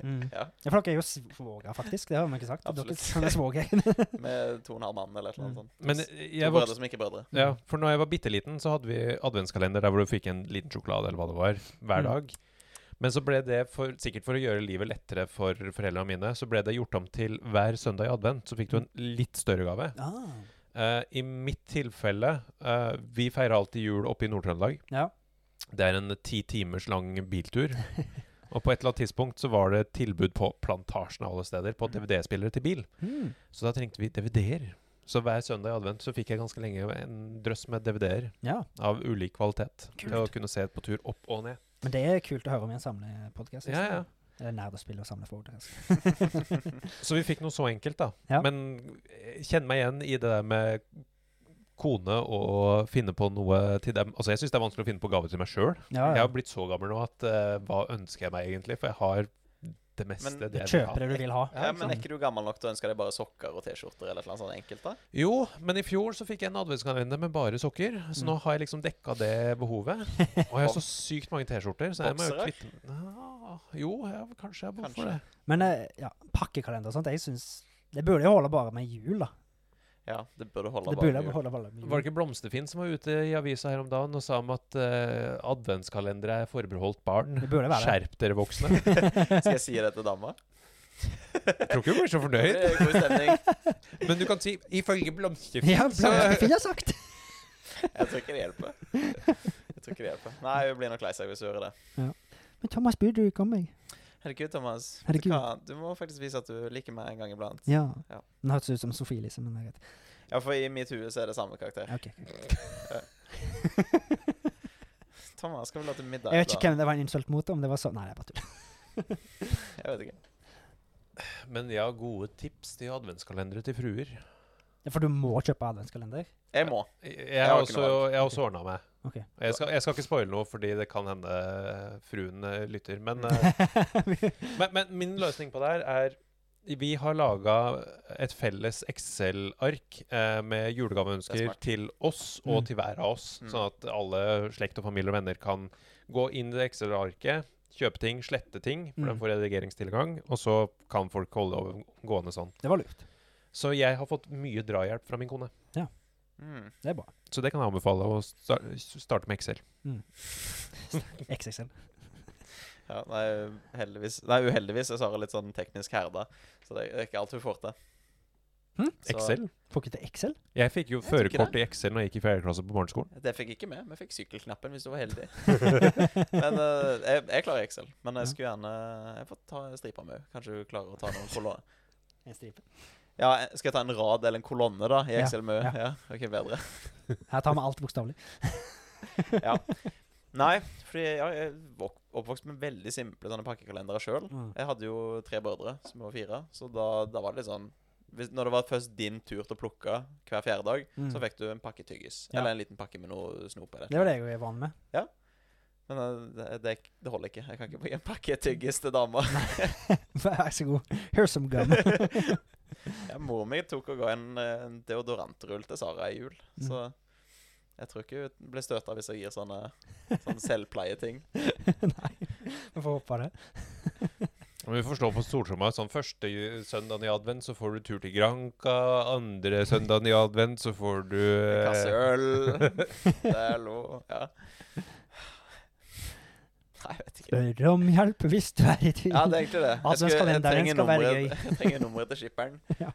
Speaker 1: Mm.
Speaker 2: Ja.
Speaker 1: Ja, for dere er jo svoger, faktisk. Det har vi ikke sagt. Dere
Speaker 2: Absolutt.
Speaker 1: er svoger.
Speaker 2: Med to og en halv mann eller et eller annet
Speaker 1: Mm.
Speaker 2: sånt.
Speaker 3: Men eh,
Speaker 2: To
Speaker 3: jeg vokste
Speaker 2: brødre som ikke er brødre.
Speaker 3: Ja, for når jeg var bitte liten, så hadde vi adventskalender der hvor du fikk en liten sjokolade eller hva det var, hver
Speaker 1: Mm.
Speaker 3: dag. Men så ble det, for, sikkert for å gjøre livet lettere for foreldrene mine, så ble det gjort om til hver søndag i advent. Så fikk du en litt større gave.
Speaker 1: ah.
Speaker 3: Eh, I mitt tilfelle eh, Vi feirer alltid jul oppe i Nord-Trøndelag.
Speaker 1: Ja.
Speaker 3: Det er en ti timers lang biltur. Og på et eller annet tidspunkt så var det tilbud på Plantasjen av alle steder på DVD-spillere til bil.
Speaker 1: Mm.
Speaker 3: Så da trengte vi DVD-er. Så hver søndag i advent så fikk jeg ganske lenge en drøss med DVD-er
Speaker 1: ja.
Speaker 3: av ulik kvalitet. Til å
Speaker 1: Kult.
Speaker 3: kunne se på tur opp og ned.
Speaker 1: Men det er kult å høre om i en samlepodkast.
Speaker 3: Ja, ja.
Speaker 1: Eller nerd å spille og samle altså. foredrag.
Speaker 3: Så vi fikk noe så enkelt, da.
Speaker 1: Ja.
Speaker 3: Men eh, kjenn meg igjen i det der med kone og finne på noe til dem. Altså, jeg syns det er vanskelig å finne på gave til meg sjøl.
Speaker 1: Ja,
Speaker 3: Jeg
Speaker 1: ja.
Speaker 3: har blitt så gammel nå at eh, hva ønsker jeg meg egentlig? For jeg har det meste
Speaker 2: Men
Speaker 1: Du
Speaker 3: det jeg vil ha.
Speaker 1: kjøper det du vil ha.
Speaker 2: Ja, men
Speaker 1: sant.
Speaker 2: er ikke du gammel nok til å ønske deg bare sokker og T-skjorter eller et eller annet sånt enkelt, da?
Speaker 3: Jo, men i fjor så fikk jeg en adventskalender med bare sokker. Så
Speaker 1: Mm.
Speaker 3: nå har jeg liksom dekka det behovet. Og jeg har så sykt mange T-skjorter, så jeg må jo
Speaker 2: Boksere?
Speaker 3: kvitte Nja, Jo, jeg, kanskje jeg har behov for det.
Speaker 2: Kanskje.
Speaker 1: Men eh, ja, pakkekalender og sånt, jeg syns Det burde jo holde bare med jul, da.
Speaker 2: Ja, det burde holde.
Speaker 1: Det
Speaker 2: bare
Speaker 1: burde
Speaker 2: med jul.
Speaker 1: holde bare med
Speaker 3: Var det
Speaker 1: jul.
Speaker 3: ikke Blomsterfinn som var ute i avisa her om dagen og sa om at eh, adventskalendere er forbeholdt barn?
Speaker 1: Det burde være det.
Speaker 3: Skjerp dere voksne.
Speaker 2: Skal jeg si det til dama?
Speaker 3: Jeg tror ikke hun blir så
Speaker 2: Det
Speaker 3: fornøyd.
Speaker 2: blir God stemning.
Speaker 3: Men du kan si 'ifølge Blomsterfinn'.
Speaker 1: Ja,
Speaker 3: så-
Speaker 1: Blomsterfinn har sagt!
Speaker 2: Jeg tror ikke det hjelper. Jeg tror ikke det hjelper. Nei, hun blir nok lei seg hvis hun hører det.
Speaker 1: Men Thomas, burde du komme?
Speaker 2: Herregud, Thomas.
Speaker 1: Herregud.
Speaker 2: Vet du hva? Du må faktisk vise at du liker meg en gang iblant.
Speaker 1: Ja.
Speaker 2: Ja.
Speaker 1: Den hørtes ut som Sofie Lise, men det er greit.
Speaker 2: Ja, for i mitt hue så er det samme karakter.
Speaker 1: Ok.
Speaker 2: Thomas, skal vi lage middag?
Speaker 1: Jeg vet ikke
Speaker 2: da?
Speaker 1: hvem det var en insult mot, om det var så Nei, det er bare tull.
Speaker 2: Jeg vet ikke.
Speaker 3: Men jeg har gode tips til adventskalendere til fruer.
Speaker 1: Ja, For du må kjøpe adventskalender?
Speaker 2: Jeg må.
Speaker 3: Jeg har
Speaker 2: har ikke
Speaker 3: også,
Speaker 2: noe
Speaker 3: jeg har også ordna meg.
Speaker 1: Ok.
Speaker 3: Jeg skal, jeg skal ikke spoile noe, fordi det kan hende eh, fruen eh, lytter. Men, eh,
Speaker 1: ja,
Speaker 3: men, men min løsning på det her er Vi har laga et felles Excel-ark eh, med
Speaker 2: Det er
Speaker 3: julegaveønsker
Speaker 2: smart.
Speaker 3: til oss og
Speaker 1: Mm.
Speaker 3: til hver av oss,
Speaker 2: Mm.
Speaker 3: sånn at alle slekt og familie og venner kan gå inn i det Excel-arket, kjøpe ting, slette ting, for
Speaker 1: Mm.
Speaker 3: den får redigeringstilgang, og så kan folk holde over gående sånn.
Speaker 1: det var lurt.
Speaker 3: Så jeg har fått mye drahjelp fra min kone.
Speaker 2: Mm.
Speaker 1: Det er bra.
Speaker 3: Så det kan jeg anbefale å sta- starte med Excel.
Speaker 1: XXL.
Speaker 2: Ja, nei, heldigvis. Nei, uheldigvis er Sara litt sånn teknisk herda, så det er ikke alt hun får til.
Speaker 1: Hm?
Speaker 2: Så-
Speaker 3: Excel?
Speaker 1: Får ikke til XL?
Speaker 3: Jeg fikk jo
Speaker 2: Jeg tror ikke
Speaker 3: førerkort i Excel når jeg gikk i fjerde klasse på barneskolen.
Speaker 2: Det fikk ikke vi. Vi fikk sykkelknappen hvis du var heldig. men eh, jeg, jeg klarer Excel. Men jeg skulle gjerne eh, Jeg får ta stripa mi òg. Kanskje du klarer å ta noen kolonner.
Speaker 1: En stripe.
Speaker 2: Ja, eh, skal jeg ta en rad eller en kolonne da i
Speaker 1: Ja,
Speaker 2: Excel med
Speaker 1: ja.
Speaker 2: Ja, ok, bedre.
Speaker 1: Her tar vi alt bokstavelig.
Speaker 2: Nei, fordi ja, jeg er oppvokst med veldig simple sånne pakkekalendere sjøl.
Speaker 1: Mm.
Speaker 2: Jeg hadde jo tre brødre som var fire, så da, da var det litt sånn hvis, Når det var først din tur til å plukke hver fjerde dag, så fikk du en pakke tyggis.
Speaker 1: Ja.
Speaker 2: Eller en liten pakke med noe snop. eller
Speaker 1: Mm. Det var det jeg var vant med.
Speaker 2: Men eh, det, det, det holder ikke. Jeg kan ikke gi en pakke tyggis til damer.
Speaker 1: Vær så god. Here's some gum.
Speaker 2: Ja, Mor mi tok og ga en, eh, en deodorantrull til Sara i jul,
Speaker 1: Mm.
Speaker 2: så jeg tror ikke hun blir støta hvis jeg gir sånne, sånne selvpleieting.
Speaker 1: Nei, vi får håpe det.
Speaker 3: Men vi får slå på Stortromma. Sånn første ju- søndagen i advent så får du tur til Granca. Andre søndagen i advent så får du
Speaker 2: En kasse
Speaker 3: eh,
Speaker 2: øl, det er lov. Ja. Nei, jeg vet ikke.
Speaker 1: Spør om hjelp hvis du er i tvil.
Speaker 2: Ja, det er egentlig det. Jeg, skulle- jeg,
Speaker 1: Adventskalenderen
Speaker 2: trenger,
Speaker 1: skal være
Speaker 2: nummeret,
Speaker 1: gøy.
Speaker 2: jeg trenger nummeret til skipperen.
Speaker 1: Ja.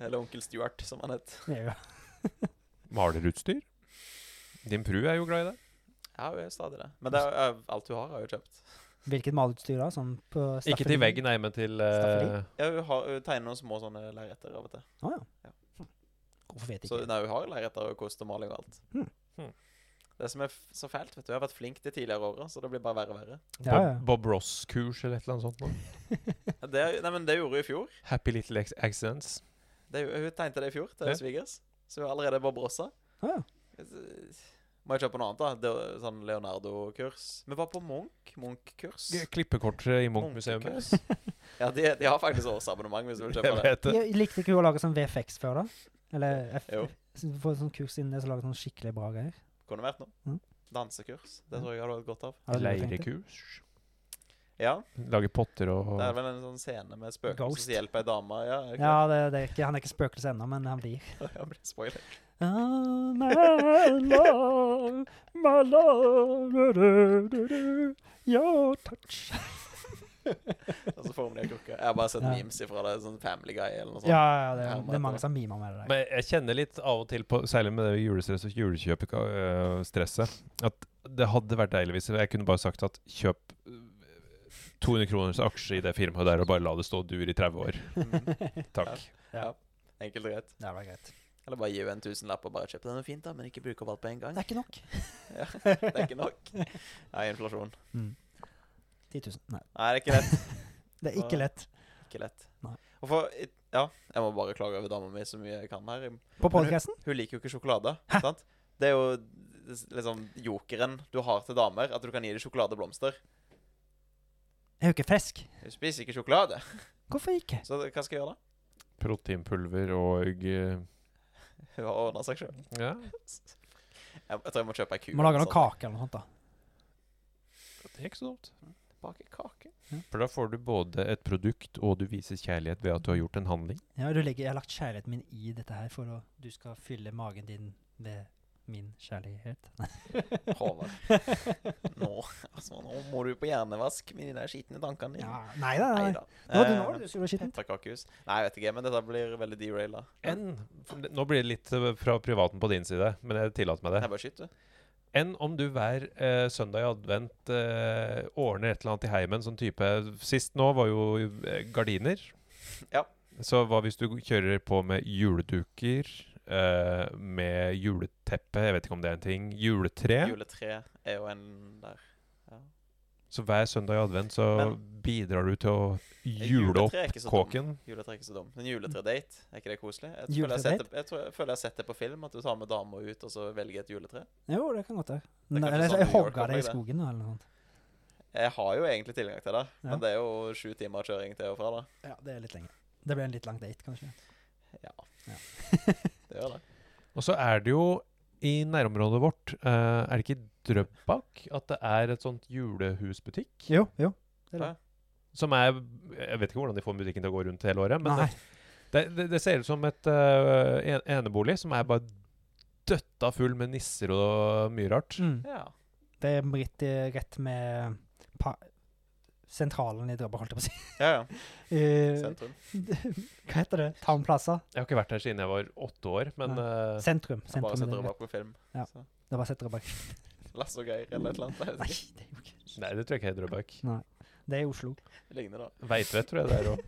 Speaker 2: Eller onkel Stuart, som han het.
Speaker 1: Det er jo-
Speaker 3: malerutstyr. Din fru er jo glad i det.
Speaker 2: Ja, hun er stadig det. Men det er, er, alt hun har, har hun kjøpt.
Speaker 1: Hvilket malutstyr da? Sånn på
Speaker 3: Ikke til veggen, nei, men til eh,
Speaker 1: Staffeli?
Speaker 2: Ja, hun, har, hun tegner noen små sånne lerreter av og til.
Speaker 1: Å
Speaker 2: Ja.
Speaker 1: ja. Hm. Hvorfor vet jeg
Speaker 2: Så
Speaker 1: ikke?
Speaker 2: nei, hun har lerreter og kost og maling og alt.
Speaker 1: Hmm.
Speaker 3: Hmm.
Speaker 2: Det som er f så fælt, vet du, jeg har vært flink de tidligere åra, så det blir bare verre og verre.
Speaker 1: Ja, ja.
Speaker 3: Bob, Bob Ross-kurs eller et eller annet sånt. noe.
Speaker 2: Ja, Det, nei, men det gjorde hun i fjor.
Speaker 3: Happy Little ex- Accidents.
Speaker 2: Det, hun tegnte det i fjor til
Speaker 3: Ja.
Speaker 2: svigers, så hun er allerede Bob Rossa.
Speaker 1: Å ja.
Speaker 2: Må jeg kjøpe noe annet, da? Det, er jo sånn Leonardo-kurs. Vi var på Munch. Munch-kurs.
Speaker 3: Klippekort i Munch-museet.
Speaker 2: Munkekurs. Ja, de, de har faktisk årsabonnement hvis du vil
Speaker 3: Jeg
Speaker 2: kjøpe det.
Speaker 3: vet det.
Speaker 1: Jeg likte ikke hun å lage sånn VFX før, da? Eller F
Speaker 2: Jo.
Speaker 1: så Få sånn kurs innen det, så lage sånn skikkelig bra greier.
Speaker 2: Kunne vært noe.
Speaker 1: Mm. Hmm.
Speaker 2: Dansekurs. Det tror jeg jeg hadde hatt godt av.
Speaker 1: Er det det du tenkte?
Speaker 3: Leirekurs.
Speaker 2: Ja,
Speaker 3: Lager potter og
Speaker 2: det er vel en sånn scene med spøkelser
Speaker 1: Ghost.
Speaker 2: som hjelper ei dame. Ja, er det
Speaker 1: Ja, det, det er ikke, han er ikke spøkelse ennå, men han blir.
Speaker 2: ikke det? Jeg ble spoiler.
Speaker 1: Ah, my love, my love, du, du, du, du, your touch.
Speaker 2: Og så får hun det i krukke. Jeg har bare sett
Speaker 1: Ja.
Speaker 2: memes ifra det. Sånn Family Guy eller noe sånt.
Speaker 1: Ja, ja det, er-
Speaker 2: Ja,
Speaker 1: det er mange som mimer med det der.
Speaker 3: Men jeg kjenner litt av og til på Særlig med det julestress og julekjøp-stresset. At det hadde vært deilig hvis jeg kunne bare sagt at kjøp øh, 200 kroners aksje i det firmaet der og bare la det stå og dur i 30 år.
Speaker 2: Mm.
Speaker 3: Takk.
Speaker 2: Enkelt og greit.
Speaker 1: Det var greit.
Speaker 2: Eller bare gi henne en tusenlapp og bare kjøpe den er fint, da, men ikke bruke opp alt på en gang.
Speaker 1: Det er ikke nok.
Speaker 2: Ja, det er ikke nok. Nei, inflasjon.
Speaker 1: 10 000. Mm. Nei,
Speaker 2: Nei, det er ikke lett.
Speaker 1: det er ikke lett.
Speaker 2: Ikke lett.
Speaker 1: Nei.
Speaker 2: Og for, ja, jeg må bare klage over dama mi så mye jeg kan her.
Speaker 1: På podcasten?
Speaker 2: Hun liker jo ikke sjokolade. sant? Det er jo liksom jokeren du har til damer, at du kan gi dem sjokoladeblomster.
Speaker 1: Jeg er jo ikke frisk.
Speaker 2: Hun spiser ikke sjokolade,
Speaker 1: Hvorfor ikke?
Speaker 2: så hva skal jeg gjøre da?
Speaker 3: Proteinpulver og øh,
Speaker 2: Hun har ordna seg sjøl.
Speaker 3: Ja.
Speaker 2: Jeg, jeg tror jeg må kjøpe ei ku.
Speaker 1: Må lage
Speaker 2: eller
Speaker 1: noen kake eller noe sånt, da.
Speaker 3: Det er ikke så dumt.
Speaker 2: sånt. Bake kake.
Speaker 3: For da får du både et produkt, og du viser kjærlighet ved at du har gjort en handling.
Speaker 1: Ja, du legger, jeg har lagt kjærligheten min i dette her for å du skal fylle magen din med min kjærlighet.
Speaker 2: Håvard. Nå, altså, nå må du på hjernevask med de der skitne tankene dine.
Speaker 1: Ja, nei da. Nei.
Speaker 2: Neida.
Speaker 1: Nå, du, nå
Speaker 2: Eh,
Speaker 1: var det du som gjorde skittent.
Speaker 2: Takakehus. Nei, jeg vet ikke, men dette blir veldig deraila.
Speaker 3: Enn Nå blir det litt øh, fra privaten på din side, men jeg tillater meg det.
Speaker 2: Jeg bare skyter.
Speaker 3: Enn om du hver eh, søndag i advent eh, ordner et eller annet i heimen, sånn type Sist nå var jo eh, gardiner.
Speaker 2: Ja.
Speaker 3: Så hva hvis du kjører på med juleduker, eh, med juleteppe, jeg vet ikke om det er en ting, juletre?
Speaker 2: Juletre er jo en der. Ja.
Speaker 3: Så hver søndag i advent så bidrar du til å jule
Speaker 2: Juletre
Speaker 3: opp
Speaker 2: er ikke så dumt.
Speaker 3: kåken.
Speaker 2: Juletre er ikke så dumt. Men juletredate, er ikke det koselig? Jeg føler jeg, har sett det, jeg, tror, jeg føler jeg har sett det på film, at du tar med dama ut og så velger et juletre.
Speaker 1: Jo, eh. det kan godt være.
Speaker 2: er kanskje
Speaker 1: Eller
Speaker 2: sånn
Speaker 1: jeg
Speaker 2: New York
Speaker 1: hogga det i
Speaker 2: opplegg, det.
Speaker 1: skogen nå, eller noe sånt.
Speaker 2: Jeg har jo egentlig tilgang til det,
Speaker 1: Ja.
Speaker 2: men det er jo sju timer kjøring til og fra, da.
Speaker 1: Ja, det er litt lenge. Det ble en litt lang date, kanskje.
Speaker 2: Ja,
Speaker 1: Ja.
Speaker 2: det gjør det.
Speaker 3: Og så er det jo i nærområdet vårt, eh, er det ikke i Drøbak at det er et sånt julehusbutikk?
Speaker 1: Jo, jo.
Speaker 3: Som er Jeg vet ikke hvordan de får butikken til å gå rundt hele året, men
Speaker 1: Nei.
Speaker 3: Det, det, det ser ut som et øh, en, enebolig som er bare døtta full med nisser og mye rart.
Speaker 1: Mm.
Speaker 2: Ja.
Speaker 1: Det er rett, i- rett med pa sentralen i Drøbak, holdt jeg på å si.
Speaker 2: ja, ja.
Speaker 1: Eh,
Speaker 2: Sentrum.
Speaker 1: Hva heter det? Townplaza?
Speaker 3: Jeg har ikke vært her siden jeg var åtte år, men øh,
Speaker 1: Sentrum.
Speaker 2: Jeg bare
Speaker 1: sentrum i
Speaker 2: setter det
Speaker 1: Drøbak.
Speaker 2: bak på film.
Speaker 1: Ja.
Speaker 2: Så,
Speaker 1: Det var sett Drøbak.
Speaker 2: Lasse og Geir eller et eller annet. Jeg
Speaker 1: Nei,
Speaker 2: vet ikke.
Speaker 1: det er jo ikke
Speaker 3: Nei, det tror jeg ikke er Drøbak.
Speaker 1: Nei. Det er i Oslo.
Speaker 2: Det ligner, da.
Speaker 3: Veitvet tror jeg det er òg.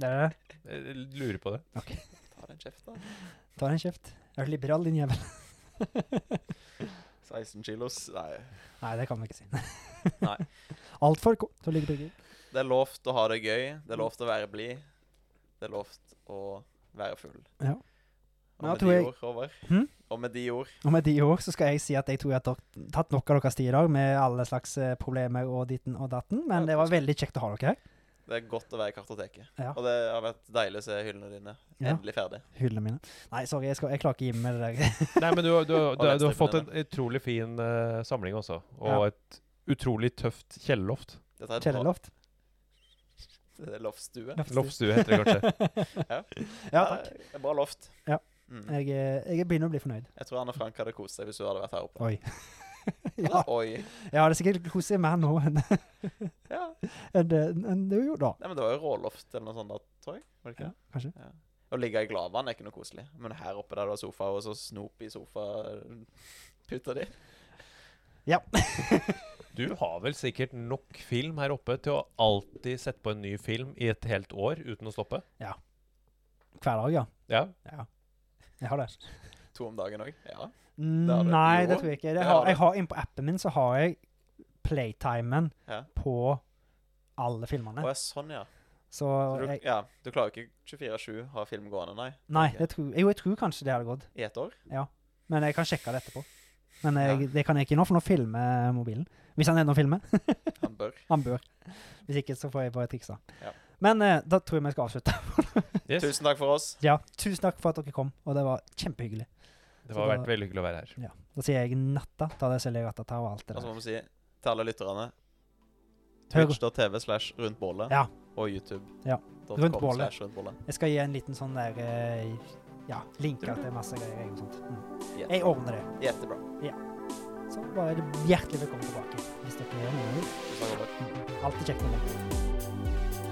Speaker 1: Det er det.
Speaker 3: Jeg Lurer på det.
Speaker 2: Ta deg en kjeft, da.
Speaker 1: Ta deg en kjeft. Er du liberal, din jævel?
Speaker 2: 16 kilos. Nei.
Speaker 1: Nei, det kan man ikke si.
Speaker 2: Nei.
Speaker 1: Altfor ko... Så ligger begge
Speaker 2: Det er lovt å ha det gøy. Det
Speaker 1: Mm.
Speaker 2: er lovt å være blid. Det er lovt å være full.
Speaker 1: Ja.
Speaker 2: Og
Speaker 1: Men da
Speaker 2: med
Speaker 1: tror
Speaker 2: de
Speaker 1: jeg-
Speaker 2: ord, Håvard.
Speaker 1: Hm?
Speaker 2: Og med de ord
Speaker 1: Og med de ord så skal jeg si at jeg tror jeg har tatt- tatt nok av deres tid i dag med alle slags eh, problemer og ditten og datten, men det var veldig kjekt å ha dere her.
Speaker 2: Det er godt å være i kartoteket.
Speaker 1: Ja.
Speaker 2: Og det har vært deilig å se hyllene dine.
Speaker 1: Ja.
Speaker 2: Endelig ferdig.
Speaker 1: Hyllene mine. Nei, sorry, jeg, skal, jeg klarer ikke å gi meg med det der.
Speaker 3: Nei, men du, du, du, du har
Speaker 2: leppestiftene
Speaker 3: fått en utrolig fin øh, samling også, og
Speaker 1: Ja.
Speaker 3: et utrolig tøft kjellerloft.
Speaker 2: Dette er et bra-
Speaker 1: Kjellerloft.
Speaker 2: Det er loftstue.
Speaker 3: Loftstue heter det kanskje.
Speaker 1: Ja, takk.
Speaker 2: Det er et bra loft.
Speaker 1: Ja.
Speaker 2: Mm.
Speaker 1: Jeg, eh, jeg begynner å bli fornøyd.
Speaker 2: Jeg tror Anne Frank hadde kost seg hvis hun hadde vært her oppe.
Speaker 1: Oi. ja,
Speaker 2: Oi.
Speaker 1: ja, det er sikkert koselig mer nå enn
Speaker 2: Ja.
Speaker 1: enn det enn det gjorde da.
Speaker 2: Nei, men det var jo råloft eller noe sånt da, tror jeg. Var det ikke
Speaker 1: Ja,
Speaker 2: det?
Speaker 1: kanskje.
Speaker 2: Å ligge i Glavan er ikke noe koselig. Men her oppe der du har sofa, og så snop i sofaputa di
Speaker 3: Du har vel sikkert nok film her oppe til å alltid sette på en ny film i et helt år uten å stoppe?
Speaker 1: Hver dag, ja.
Speaker 3: Ja.
Speaker 1: ja. Jeg har det.
Speaker 2: to om dagen òg. Ja. har du.
Speaker 1: Nei, det
Speaker 2: Jo,
Speaker 1: tror jeg ikke.
Speaker 2: det
Speaker 1: Jeg
Speaker 2: har
Speaker 1: har, jeg har Inne på appen min så har jeg playtimen
Speaker 2: Ja.
Speaker 1: på alle
Speaker 2: Å
Speaker 1: filmene.
Speaker 2: ja, sånn, ja.
Speaker 1: Så
Speaker 2: Så du,
Speaker 1: jeg,
Speaker 2: ja, du klarer ikke 24-7 ha film gående, nei?
Speaker 1: Nei,
Speaker 2: ok.
Speaker 1: det tror, jo, jeg tror kanskje det hadde gått.
Speaker 2: I ett år?
Speaker 1: Men jeg kan sjekke det etterpå. Men jeg,
Speaker 2: Ja.
Speaker 1: det kan jeg ikke nå, for nå filmer mobilen. Hvis han ennå filmer.
Speaker 2: Han bør.
Speaker 1: Han bør. Hvis ikke, så får jeg bare triksa.
Speaker 2: Ja.
Speaker 1: Men eh, da tror jeg vi skal avslutte.
Speaker 3: Yes.
Speaker 2: Tusen takk for oss.
Speaker 1: Ja, tusen takk for at dere kom, og det var kjempehyggelig.
Speaker 3: Det har
Speaker 1: Så da-
Speaker 3: vært veldig hyggelig å være her.
Speaker 2: Altså,
Speaker 1: Da sier jeg natta, ta deg selv i ratata og alt det
Speaker 2: Og så
Speaker 1: der.
Speaker 2: må vi si til alle lytterne Twitch.tv slash rundt bålet
Speaker 1: Ja.
Speaker 2: og YouTube.
Speaker 1: Ja.
Speaker 2: .com
Speaker 1: Rundt bålet.
Speaker 2: slash rundt bålet.
Speaker 1: Jeg skal gi en liten sånn der eh, Ja, linker til masse greier. og sånt. Mm. Jeg
Speaker 2: Jette-
Speaker 1: ordner det.
Speaker 2: Jettebra.
Speaker 1: Så bare hjertelig velkommen tilbake hvis dere er noen.
Speaker 2: Tusen takk.
Speaker 1: Alltid kjekt med deg.